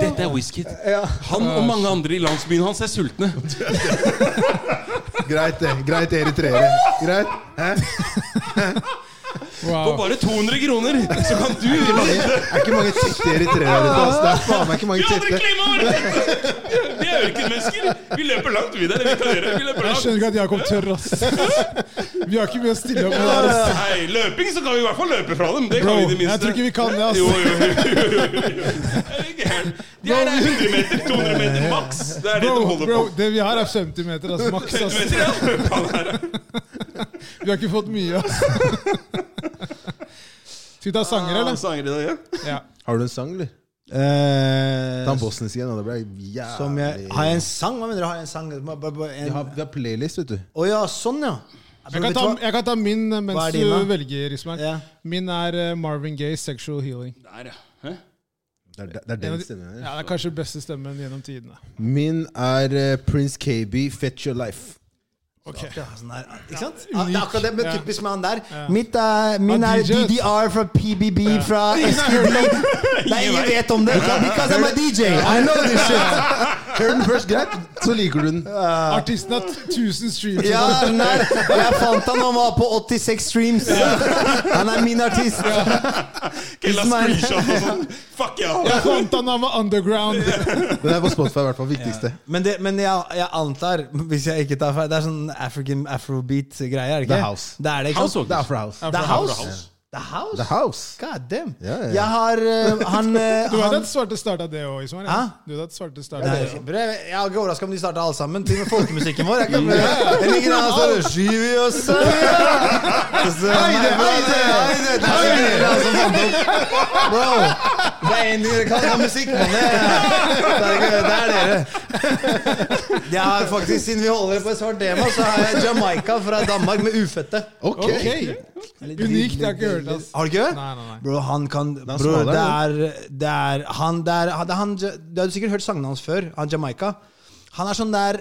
[SPEAKER 3] Dette er Whiskit.
[SPEAKER 1] Ja.
[SPEAKER 3] Han og mange andre i landsbyen hans er sultne.
[SPEAKER 4] Greit, det. Greit, dere treere. Greit. Hæ?
[SPEAKER 3] For
[SPEAKER 2] Wow.
[SPEAKER 3] bare 200 kroner så kan du
[SPEAKER 4] Det er ikke mange tette eritreere her ute. ass. Det er faen meg ikke mange
[SPEAKER 3] Vi andre
[SPEAKER 4] tette.
[SPEAKER 3] klemmer! Vi er ørkenmennesker. Vi løper langt, vi der. Vi kan gjøre det. Vi løper
[SPEAKER 2] Jeg
[SPEAKER 3] langt.
[SPEAKER 2] skjønner ikke at Jakob tør, ass. Vi har ikke mye å stille opp med. ass.
[SPEAKER 3] Nei, løping så kan vi i hvert fall løpe fra dem. Det
[SPEAKER 2] Bro,
[SPEAKER 3] kan vi i det minste.
[SPEAKER 2] jeg tror ikke vi kan det, ass.
[SPEAKER 3] Jo, jo, jo, jo, jo, jo. Er du gæren? De her er 100 meter, 200 meter maks. Det er det de
[SPEAKER 2] Bro,
[SPEAKER 3] holder
[SPEAKER 2] bro,
[SPEAKER 3] på.
[SPEAKER 2] det vi har er 50 meter, ass. Maks, ass.
[SPEAKER 3] 50 meter, ja. Faen, her er-
[SPEAKER 2] Vi har ikke fått mye, ass. Skal vi ta sanger, eller?
[SPEAKER 3] Sanger i dag, ja.
[SPEAKER 2] Ja.
[SPEAKER 4] Har du en sang, eller? Ta en
[SPEAKER 1] Eh,
[SPEAKER 4] bosnisk igjen. da. Det ble jævlig
[SPEAKER 1] som jeg, har jeg en sang? Hva mener du? Har jeg en sang? Bare- bare
[SPEAKER 4] Vi har,
[SPEAKER 1] en-
[SPEAKER 4] vi har playlist, vet du.
[SPEAKER 1] Å ja, sånn, ja.
[SPEAKER 2] Jeg kan, ta, jeg kan ta min eh,
[SPEAKER 1] Hva
[SPEAKER 2] mens
[SPEAKER 1] er
[SPEAKER 2] du
[SPEAKER 1] din, da?
[SPEAKER 2] velger, Ismail.
[SPEAKER 1] Ja.
[SPEAKER 2] Min er eh, Marvin Gaye, 'Sexual Healing'.
[SPEAKER 3] Der, ja. Hæ?
[SPEAKER 4] Det er, det er
[SPEAKER 2] En av
[SPEAKER 4] den
[SPEAKER 2] de-
[SPEAKER 4] stemmen her.
[SPEAKER 2] Ja, det er kanskje beste stemmen gjennom tidene.
[SPEAKER 4] Min er eh, Prince KB, 'Fetch Your Life'.
[SPEAKER 2] Ok.
[SPEAKER 1] Ja, sånn der. Ikke sant?
[SPEAKER 2] Ja,
[SPEAKER 1] Ja, det er akkurat det, men
[SPEAKER 2] unik.
[SPEAKER 1] typisk med han der.
[SPEAKER 2] Ja.
[SPEAKER 1] Mitt er, min
[SPEAKER 2] Ah,
[SPEAKER 1] er
[SPEAKER 2] DJ.
[SPEAKER 1] DDR fra PBB fra SPB. Nei, ingen vet om det. Because I'm a DJ. I know this shit.
[SPEAKER 4] Hør den først, greit, så liker du den.
[SPEAKER 2] Artisten har 1000 streams.
[SPEAKER 1] Ja, den der. Jeg fant han, han var på 86 streams. Han er min artist.
[SPEAKER 3] Kella
[SPEAKER 1] Ismail.
[SPEAKER 3] screenshot og sånn. Fuck ja.
[SPEAKER 2] Jeg fant han han var underground.
[SPEAKER 4] Den er på Spotify, i hvert fall. Viktigste.
[SPEAKER 1] Men, det, men jeg, jeg antar, hvis jeg ikke tar feil, det er sånn African afrobeat-greie, er det ikke?
[SPEAKER 4] Det er house.
[SPEAKER 1] Det er det, ikke sant?
[SPEAKER 4] Det er fra House.
[SPEAKER 1] Det er house? The House?
[SPEAKER 4] The House.
[SPEAKER 1] God damn.
[SPEAKER 4] Ja, ja, ja.
[SPEAKER 1] Jeg har eh, Han, eh,
[SPEAKER 2] Du vet
[SPEAKER 1] han
[SPEAKER 2] at svarte starta det òg i sommer?
[SPEAKER 1] Hæ?
[SPEAKER 2] Ja. Du vet at svarte starta
[SPEAKER 1] Nei,
[SPEAKER 2] det også.
[SPEAKER 1] kjempebra. Jeg er ikke overraska om de starta alle sammen. Til og med folkemusikken vår. Jeg kan Jeg ligger der og så Skyver vi oss Så-
[SPEAKER 2] Heide, heide,
[SPEAKER 1] Heide, heide. altså sånn Bro, det er en dere kan ha musikk, men det det er, ikke, det er dere. Jeg har faktisk, Siden vi holder på et svart tema, så har jeg Jamaica fra Danmark med ufødte.
[SPEAKER 4] Ok!
[SPEAKER 2] Ok! Unikt, jeg har ikke hørt det. ass.
[SPEAKER 1] Har du ikke det?
[SPEAKER 2] Nei, nei, nei.
[SPEAKER 1] Bro, han kan
[SPEAKER 4] er
[SPEAKER 1] Bro,
[SPEAKER 4] smalere,
[SPEAKER 1] det er, det er Han det er, det er han, Du har du sikkert hørt sangene hans før, han Jamaica. Han er sånn der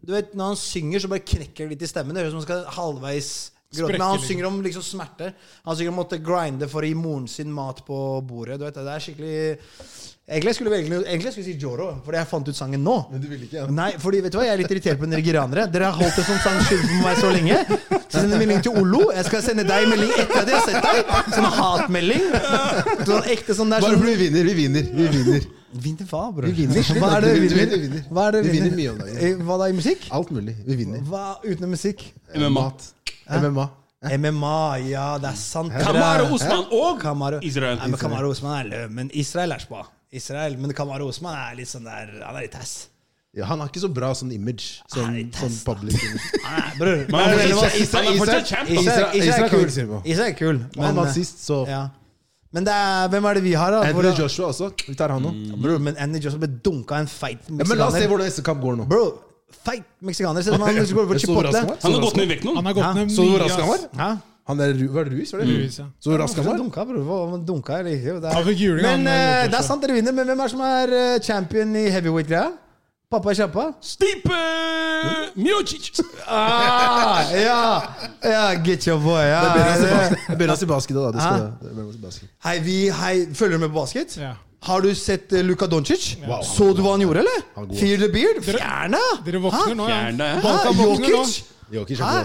[SPEAKER 1] Du vet, Når han synger, så bare knekker det litt i stemmen. Det høres ut som han skal halvveis gråte. Men
[SPEAKER 2] Sprekke
[SPEAKER 1] han
[SPEAKER 2] litt.
[SPEAKER 1] synger om liksom smerte. Han synger om å måtte grinde for å gi moren sin mat på bordet. Du vet, det er skikkelig Egentlig skulle jeg velge, egentlig skulle jeg si Joro, fordi jeg fant ut sangen nå.
[SPEAKER 4] Men du ville ikke, ja.
[SPEAKER 1] Nei, fordi vet du hva, jeg er litt irritert på nigerianere. Dere har holdt det som sang skylden på meg så lenge. Send en melding til Olo. Jeg skal sende deg en melding etter at jeg har sett deg. Som en hatmelding. Sånn ekte sånn der
[SPEAKER 4] Bare
[SPEAKER 1] sånn
[SPEAKER 4] fordi vi vinner, vi vinner. Vi vinner
[SPEAKER 1] Vinner hva, bror?
[SPEAKER 4] Vi vinner.
[SPEAKER 1] Hva er det vi
[SPEAKER 4] Du vinner, du
[SPEAKER 1] vinner?
[SPEAKER 4] vinner.
[SPEAKER 1] Hva er det
[SPEAKER 4] Vi vinner mye om dagen.
[SPEAKER 1] Eh, Hva da, i musikk?
[SPEAKER 4] alt mulig. Vi vinner.
[SPEAKER 1] Hva utenom musikk?
[SPEAKER 3] MMA.
[SPEAKER 4] MMA.
[SPEAKER 1] MMA, ja, det er sant.
[SPEAKER 3] Kamaro Osman og
[SPEAKER 1] Kamaro.
[SPEAKER 3] Israel.
[SPEAKER 1] Nei, men Kamaro Osman er løv, men Israel er spa. Israel, men Kamaro Osman er litt sånn der Han er litt tass.
[SPEAKER 4] Ja, han har ikke så bra sånn image. Sånn,
[SPEAKER 1] Nei, test,
[SPEAKER 4] sånn public image.
[SPEAKER 1] Han er, bror.
[SPEAKER 3] Men han er fortsatt-
[SPEAKER 1] Israel-
[SPEAKER 3] han er
[SPEAKER 4] Israel-
[SPEAKER 3] fortsatt champ. ass.
[SPEAKER 1] Israel, Israel
[SPEAKER 4] Israel
[SPEAKER 1] er
[SPEAKER 4] kan vi
[SPEAKER 1] kul.
[SPEAKER 4] ikke se på.
[SPEAKER 1] Israel er kul
[SPEAKER 4] Og han
[SPEAKER 1] men, eh,
[SPEAKER 4] vant sist, så
[SPEAKER 1] ja. men det er, hvem er det vi har, da?
[SPEAKER 4] Anthony
[SPEAKER 1] Hvordan-
[SPEAKER 4] Joshua også. Vi tar han nå.
[SPEAKER 1] Bror, men Andy Johnson ble dunka av en feit
[SPEAKER 4] Ja, men la oss se
[SPEAKER 1] meksikaner.
[SPEAKER 4] hvordan neste kamp går nå.
[SPEAKER 1] Bro, feit meksikaner. Se som han går på
[SPEAKER 4] Jeg så hvor rask
[SPEAKER 1] Chipotle.
[SPEAKER 4] han var.
[SPEAKER 3] Han har gått ned i vekt nå.
[SPEAKER 2] Han har gått
[SPEAKER 1] Hæ?
[SPEAKER 2] ned
[SPEAKER 4] Så hvor
[SPEAKER 2] mye,
[SPEAKER 4] rask han
[SPEAKER 2] ass.
[SPEAKER 4] var?
[SPEAKER 1] Hæ?
[SPEAKER 4] Han der Ru- Var det Ruiz? Var det
[SPEAKER 2] Ruiz, ja.
[SPEAKER 4] Mm. Så rask han
[SPEAKER 1] Hvorfor
[SPEAKER 4] var?
[SPEAKER 1] Dunka, bror. Hva- hva- Dunka eller ikke? Det
[SPEAKER 2] Han
[SPEAKER 1] er.
[SPEAKER 2] fikk juling,
[SPEAKER 1] Men
[SPEAKER 2] han,
[SPEAKER 1] eh,
[SPEAKER 2] eh,
[SPEAKER 1] det er sant dere vinner, men hvem er det som er eh, champion i heavyweight-greia? Pappa kjappa?
[SPEAKER 3] Stipe Mjocic.
[SPEAKER 1] Ah, ja! ja, get your boy. Ja.
[SPEAKER 4] Bellas i basket, da. Det skal,
[SPEAKER 1] Hæ?
[SPEAKER 4] det er Bellas i basket.
[SPEAKER 1] Hei, vi, hei, følger du med på basket?
[SPEAKER 2] Ja.
[SPEAKER 1] Har du sett eh, Luka Doncic?
[SPEAKER 4] Wow.
[SPEAKER 1] Så du hva han gjorde, eller?
[SPEAKER 4] Han er god.
[SPEAKER 1] Fear the beard? Fjerne!
[SPEAKER 2] Dere våkner nå,
[SPEAKER 3] Fjern
[SPEAKER 2] ja.
[SPEAKER 3] deg.
[SPEAKER 2] Balkan våkner nå.
[SPEAKER 1] Jokic?
[SPEAKER 4] Jokic er god,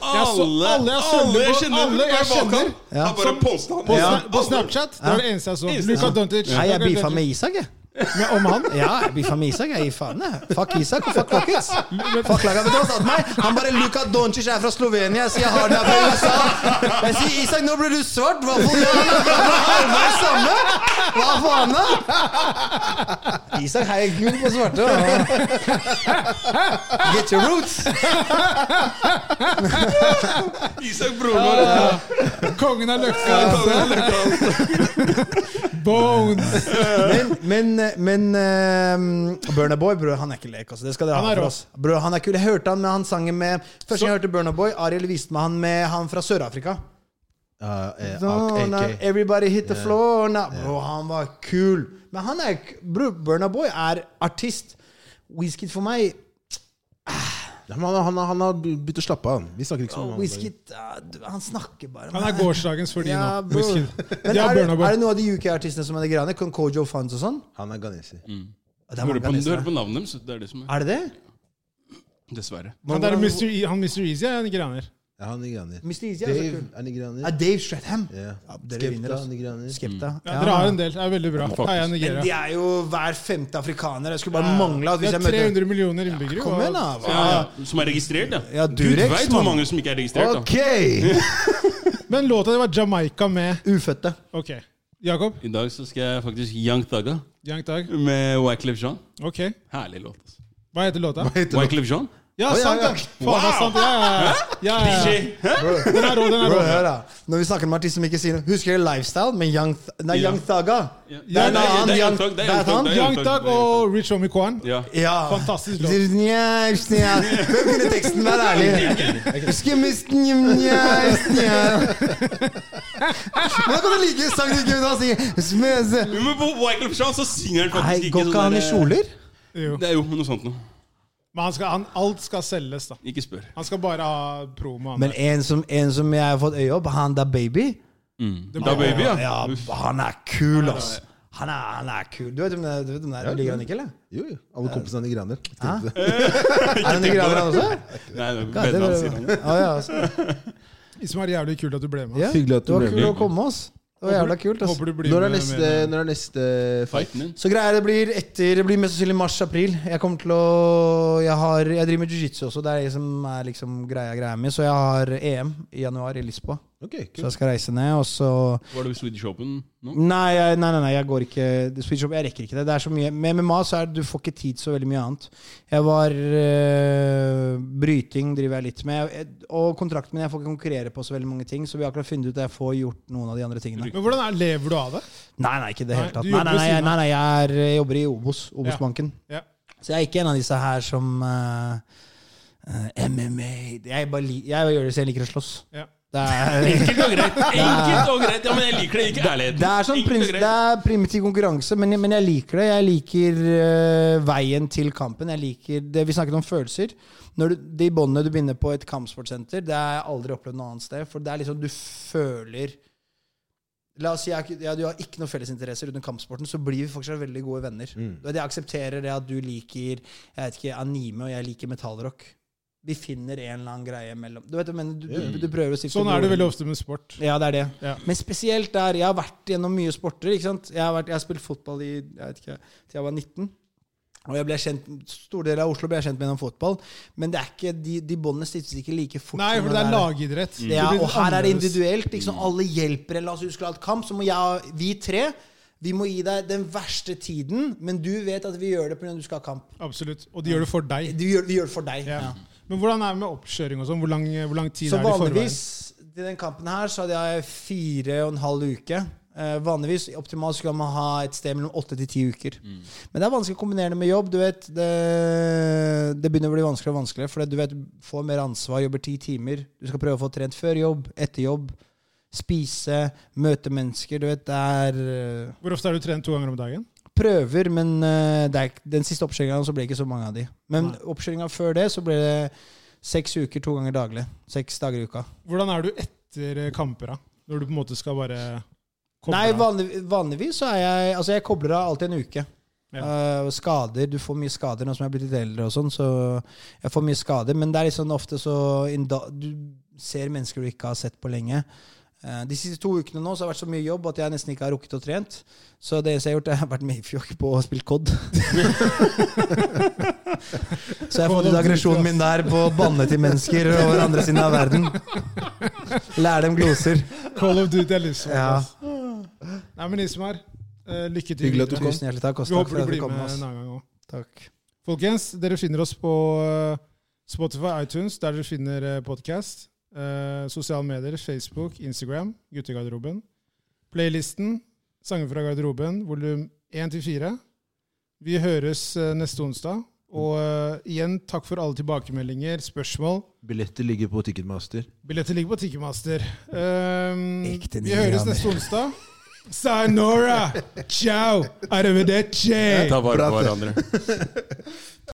[SPEAKER 4] ass.
[SPEAKER 3] Alle,
[SPEAKER 2] alle jeg kjenner
[SPEAKER 3] alle jeg
[SPEAKER 2] på-
[SPEAKER 3] kjenner,
[SPEAKER 2] alle jeg
[SPEAKER 3] er Balkan.
[SPEAKER 2] kjenner.
[SPEAKER 3] Det er Bare påstand.
[SPEAKER 2] På,
[SPEAKER 1] Ja.
[SPEAKER 2] sna på Snapchat det var det eneste jeg så.
[SPEAKER 3] Eneste.
[SPEAKER 2] Luka Doncic.
[SPEAKER 1] Nei, jeg
[SPEAKER 2] Luka
[SPEAKER 1] beefa
[SPEAKER 2] Doncic.
[SPEAKER 1] med Isak, jeg.
[SPEAKER 2] Men Om han?
[SPEAKER 1] Ja, jeg beefa med Isak. Jeg gir faen, jeg. Fuck Isak og fuck Rockets. Fuck laget. Vet du hva han sa til meg? Han bare 'Luka Doncic er fra Slovenia'. Jeg sier 'Harden er fra USA'. Jeg sier 'Isak, nå ble du svart'. Hva faen? Ja, han er fra halvveis samme. Hva faen, da? Isak heier gull på svarte. da. Get your roots.
[SPEAKER 3] Isak, broren vår.
[SPEAKER 2] Kongen av løkka. Bones.
[SPEAKER 1] Men, men, men ehm, Burna Boy, bror, han er ikke lek. Altså. Det skal dere
[SPEAKER 2] Han
[SPEAKER 1] ha
[SPEAKER 2] er
[SPEAKER 1] for
[SPEAKER 2] rå.
[SPEAKER 1] oss. Bror, han er kul. Jeg hørte han med han sangen med Første gang jeg hørte Burna Boy, Ariel viste meg han med han fra Sør-Afrika.
[SPEAKER 4] Eh, eh,
[SPEAKER 1] Don't
[SPEAKER 4] AK.
[SPEAKER 1] let Everybody hit the floor now. Bro, han var kul. Men han er k- Bror, Burna Boy er artist. Wizkid for meg
[SPEAKER 4] Ja, men Han, han, han har begynt å slappe av. han. Vi snakker ikke så mye om han.
[SPEAKER 1] Wizkid ah, du- Han snakker bare.
[SPEAKER 2] Han er gårsdagens for de
[SPEAKER 1] Ja,
[SPEAKER 2] nå.
[SPEAKER 1] bror.
[SPEAKER 2] Whisky.
[SPEAKER 1] Men
[SPEAKER 2] De har
[SPEAKER 1] er, det,
[SPEAKER 2] Burna Boy.
[SPEAKER 1] er det noen av de UK-artistene som er de greiene? Concojo Funds og sånn?
[SPEAKER 4] Han er ghanesi.
[SPEAKER 1] Det
[SPEAKER 3] Du
[SPEAKER 1] er mange
[SPEAKER 3] hører på- Du
[SPEAKER 1] artister.
[SPEAKER 3] hører på navnet deres. Det er det som er.
[SPEAKER 1] Er det det?
[SPEAKER 3] Dessverre.
[SPEAKER 2] Han der Mr. E- han Mr. Easy er en graner.
[SPEAKER 4] Ja, han er nigerianer.
[SPEAKER 1] Mr. Easy er så
[SPEAKER 4] Dave
[SPEAKER 1] kul.
[SPEAKER 4] er nigerianer.
[SPEAKER 1] Ja, Dave Stratham.
[SPEAKER 4] Ja.
[SPEAKER 1] Ja, dere vinner,
[SPEAKER 4] Skepta
[SPEAKER 1] altså.
[SPEAKER 4] nigerianer.
[SPEAKER 1] Skepta.
[SPEAKER 3] Mm.
[SPEAKER 2] Ja, dere har en del. Det er veldig bra.
[SPEAKER 3] Faktisk.
[SPEAKER 2] Heia
[SPEAKER 1] Men
[SPEAKER 2] Nigeria.
[SPEAKER 1] de er jo hver femte afrikaner. Jeg skulle bare mangle at
[SPEAKER 2] Det
[SPEAKER 1] hvis
[SPEAKER 2] er
[SPEAKER 1] jeg møter
[SPEAKER 2] 300 millioner innbyggere.
[SPEAKER 1] Kom igjen, da.
[SPEAKER 2] og-
[SPEAKER 3] Ja, Ah, ja. Som er registrert, ja.
[SPEAKER 1] Ja,
[SPEAKER 3] Gud
[SPEAKER 1] Durex,
[SPEAKER 3] veit hvor
[SPEAKER 1] mann.
[SPEAKER 3] mange som ikke er registrert. da.
[SPEAKER 4] Ok!
[SPEAKER 2] Men låta det var Jamaica med
[SPEAKER 1] Ufødte.
[SPEAKER 2] Ok. Jakob,
[SPEAKER 3] I dag så skal jeg faktisk Young Thugga
[SPEAKER 2] Young Dag.
[SPEAKER 3] med Wyclef Jean.
[SPEAKER 2] Ok.
[SPEAKER 3] Herlig låt. altså.
[SPEAKER 2] Hva heter låta?
[SPEAKER 3] Wyclef Jean?
[SPEAKER 2] Ja,
[SPEAKER 4] Å, ja,
[SPEAKER 2] sant,
[SPEAKER 4] ja.
[SPEAKER 2] ja! Faen, det er sant. Ja, ja, ja. ja, ja, ja.
[SPEAKER 3] Hæ?
[SPEAKER 2] Den er rå, den er
[SPEAKER 1] Bro,
[SPEAKER 2] rå.
[SPEAKER 1] hør da. Når vi snakker om artister som ikke sier noe Husker dere Lifestyle med Young, Th nei,
[SPEAKER 3] Ja.
[SPEAKER 1] Young Thugga?
[SPEAKER 3] Ja.
[SPEAKER 1] Det er en
[SPEAKER 3] Nei,
[SPEAKER 1] annen
[SPEAKER 3] det
[SPEAKER 1] Young
[SPEAKER 3] er Young Thug, det er
[SPEAKER 1] det er
[SPEAKER 3] Young Thug,
[SPEAKER 1] han?
[SPEAKER 3] det er
[SPEAKER 2] Young Thug og Rich Homie Kwan.
[SPEAKER 3] Ja.
[SPEAKER 1] Ja.
[SPEAKER 2] Fantastisk låt.
[SPEAKER 1] Njau, snjau. Hvem kunne teksten? Vær ærlig. Husker misten njau, snjau. Hvordan kan du like en sang du ikke kan si? Smøse.
[SPEAKER 3] Jo, Men på Wyclef Jean så synger han
[SPEAKER 1] Nei,
[SPEAKER 3] faktisk ikke sånn
[SPEAKER 1] går ikke han i
[SPEAKER 3] der- eh,
[SPEAKER 1] kjoler?
[SPEAKER 2] Jo.
[SPEAKER 3] Det er jo noe sånt noe.
[SPEAKER 2] Men han skal, han, alt skal selges, da.
[SPEAKER 3] Ikke spør.
[SPEAKER 2] Han skal bare ha promo. han
[SPEAKER 1] Men
[SPEAKER 2] der.
[SPEAKER 1] en som, en som jeg har fått øye opp, han da baby
[SPEAKER 2] Det
[SPEAKER 3] Mm. Da
[SPEAKER 2] blir-
[SPEAKER 3] baby, ja.
[SPEAKER 1] Ja, han er kul, ass. Han er, han er kul. Du vet om det, du vet om det er?
[SPEAKER 4] Ja,
[SPEAKER 1] du liker han ikke, eller?
[SPEAKER 4] Jo, jo. Alle kompisene er nigerianer.
[SPEAKER 1] Er han ikke graver, han også?
[SPEAKER 3] Nei, det er
[SPEAKER 1] Ja, det
[SPEAKER 3] vennene hans sier han.
[SPEAKER 1] ja, ja, altså.
[SPEAKER 2] Ismael, jævlig kult at du ble med.
[SPEAKER 1] ja.
[SPEAKER 2] ass.
[SPEAKER 4] Hyggelig at du
[SPEAKER 1] Det var
[SPEAKER 4] ble
[SPEAKER 1] kult å
[SPEAKER 4] med.
[SPEAKER 1] komme, ass. Det var jævla kult, ass.
[SPEAKER 2] Håper du blir
[SPEAKER 4] Når er
[SPEAKER 2] med.
[SPEAKER 4] neste,
[SPEAKER 2] mer.
[SPEAKER 4] når er neste fight?
[SPEAKER 3] Fighten din.
[SPEAKER 1] Så greia er det blir etter Det blir mest sannsynlig mars-april. Jeg kommer til å Jeg, har, jeg driver med jiu-jitsu også. Det er det som er liksom greia greia mi. Så jeg har EM i E januar i Lisboa.
[SPEAKER 4] Ok,
[SPEAKER 1] Så
[SPEAKER 4] kult.
[SPEAKER 1] jeg skal reise ned, og så
[SPEAKER 3] Var det Swedish Open nå?
[SPEAKER 1] Nei, jeg, nei, nei, nei, jeg går ikke Switch Shop, jeg rekker ikke det. Det er så mye Med MMA så er det, du får ikke tid til så veldig mye annet. Jeg var eh, Bryting driver jeg litt med. Jeg- Og kontrakten min, jeg får ikke konkurrere på så veldig mange ting, så vi har akkurat funnet ut at jeg får gjort noen av de andre tingene.
[SPEAKER 2] Men hvordan er, lever du av det?
[SPEAKER 1] Nei, nei, ikke i det
[SPEAKER 2] Nei,
[SPEAKER 1] hele tatt.
[SPEAKER 2] du
[SPEAKER 1] Nei,
[SPEAKER 2] jobber
[SPEAKER 1] nei,
[SPEAKER 2] ved
[SPEAKER 1] nei,
[SPEAKER 2] siden
[SPEAKER 1] jeg-
[SPEAKER 2] av.
[SPEAKER 1] nei, nei jeg, er, jeg jobber i Obos, Obos-banken.
[SPEAKER 2] Ja.
[SPEAKER 1] Så jeg er ikke en av disse her som eh, eh, MMA Jeg bare li jeg gjør det så jeg liker å slåss.
[SPEAKER 2] Ja.
[SPEAKER 1] Det er
[SPEAKER 3] Enkelt og greit! Enkelt og greit, Ja, men jeg liker det. Ikke ærlighet.
[SPEAKER 1] Det er, sånn
[SPEAKER 3] Enkelt og
[SPEAKER 1] prins,
[SPEAKER 3] greit.
[SPEAKER 1] det er primitiv konkurranse, men, jeg- men jeg liker det. Jeg liker eh, veien til kampen. Jeg liker det Vi snakket om følelser. Når du, de båndene du binder på et kampsportsenter, det har jeg aldri opplevd noe annet sted. For det er liksom du føler La oss si jeg, ikke- ja, du har ikke noen fellesinteresser rundt kampsporten, så blir vi faktisk veldig gode venner.
[SPEAKER 2] Mm.
[SPEAKER 1] Og Jeg aksepterer det at du liker jeg vet ikke, anime, og jeg liker metallrock. Vi finner en eller annen greie mellom Du vet, jeg mener, du, du, du prøver å stifte
[SPEAKER 2] Sånn er det
[SPEAKER 1] broer.
[SPEAKER 2] veldig ofte med sport.
[SPEAKER 1] Ja, det er det.
[SPEAKER 2] Ja.
[SPEAKER 1] Men spesielt der Jeg har vært gjennom mye sporter. ikke sant? Jeg har, vært, jeg har spilt fotball i, jeg vet ikke, til jeg var 19. Og jeg ble kjent, Store deler av Oslo ble jeg kjent med gjennom fotball. Men det er ikke, de, de båndene stiftes ikke like fort.
[SPEAKER 2] Nei,
[SPEAKER 1] som
[SPEAKER 2] for det er
[SPEAKER 1] der-
[SPEAKER 2] lagidrett. Det
[SPEAKER 1] Mm. Ja,
[SPEAKER 2] blir
[SPEAKER 1] og her er det
[SPEAKER 2] annerledes.
[SPEAKER 1] individuelt. Liksom, alle hjelper. La oss huske at kamp, så må jeg, vi tre vi må gi deg den verste tiden, men du vet at vi gjør det pga. at du skal ha kamp.
[SPEAKER 2] Absolutt. Og de gjør det for deg.
[SPEAKER 1] Du gjør, vi gjør det for deg.
[SPEAKER 2] Ja.
[SPEAKER 1] Ja.
[SPEAKER 2] Men hvordan er det med oppkjøring og sånn? Hvor, lang- hvor lang tid
[SPEAKER 1] Så
[SPEAKER 2] er det i forveien?
[SPEAKER 1] vanligvis til den kampen her så hadde jeg fire og en halv uke. Eh, vanligvis optimalt skulle man ha et sted mellom åtte til ti uker. Men det er vanskelig å kombinere det med jobb. Du vet, det, det begynner å bli vanskeligere og vanskeligere. For du vet, du får mer ansvar, jobber ti timer. Du skal prøve å få trent før jobb, etter jobb. Spise, møte mennesker. Du vet, det er eh,
[SPEAKER 2] Hvor ofte er du trent to ganger om dagen?
[SPEAKER 1] prøver, men eh, det er, ikke- den siste oppkjøringa så ble det ikke så mange av de. Men
[SPEAKER 2] Nei.
[SPEAKER 1] oppkjøringa før det så ble det seks uker to ganger daglig. Seks dager i uka.
[SPEAKER 2] Hvordan er du etter eh, kamper, da? Når du på en måte skal bare koble
[SPEAKER 1] Nei,
[SPEAKER 2] av?
[SPEAKER 1] vanlig, vanligvis så er jeg Altså, jeg kobler av alltid en uke. Eh, skader Du får mye skader nå som jeg er blitt litt eldre, og sånn, så jeg får mye skader. Men det er liksom ofte så in da, Du ser mennesker du ikke har sett på lenge. Eh, De siste to ukene nå så har det vært så mye jobb at jeg nesten ikke har rukket å trent. Så det eneste jeg har gjort, er at jeg har vært med i fjokk på og spilt COD. så jeg har fått ut aggresjonen min der på å banne til mennesker over andre siden av verden. Lære dem gloser.
[SPEAKER 2] Call of Duty er liksom
[SPEAKER 1] Ja.
[SPEAKER 2] ass. Nei, men Ismar, eh, lykke til.
[SPEAKER 4] Hyggelig at du
[SPEAKER 2] videre.
[SPEAKER 4] kom.
[SPEAKER 1] Tusen hjertelig takk. og
[SPEAKER 2] Vi
[SPEAKER 1] takk for
[SPEAKER 2] håper du
[SPEAKER 1] at du
[SPEAKER 2] blir
[SPEAKER 1] kom
[SPEAKER 2] med
[SPEAKER 1] med oss.
[SPEAKER 2] en annen gang òg.
[SPEAKER 1] Takk.
[SPEAKER 2] Folkens, dere finner oss på eh, Spotify, iTunes, der dere finner podkast. Sosiale medier, Facebook, Instagram, Guttegarderoben. Playlisten, Sanger fra garderoben, volum 1-4. Vi høres eh, neste onsdag. Og eh, igjen, takk for alle tilbakemeldinger, spørsmål.
[SPEAKER 4] Billetter ligger på Ticketmaster.
[SPEAKER 2] Billetter ligger på Ticketmaster. Um,
[SPEAKER 1] Ekte
[SPEAKER 2] vi høres
[SPEAKER 1] nigerianer.
[SPEAKER 2] neste onsdag. Sayonara! Ciao! Arrivederci!
[SPEAKER 3] Ta vare på
[SPEAKER 4] Prate.
[SPEAKER 3] hverandre.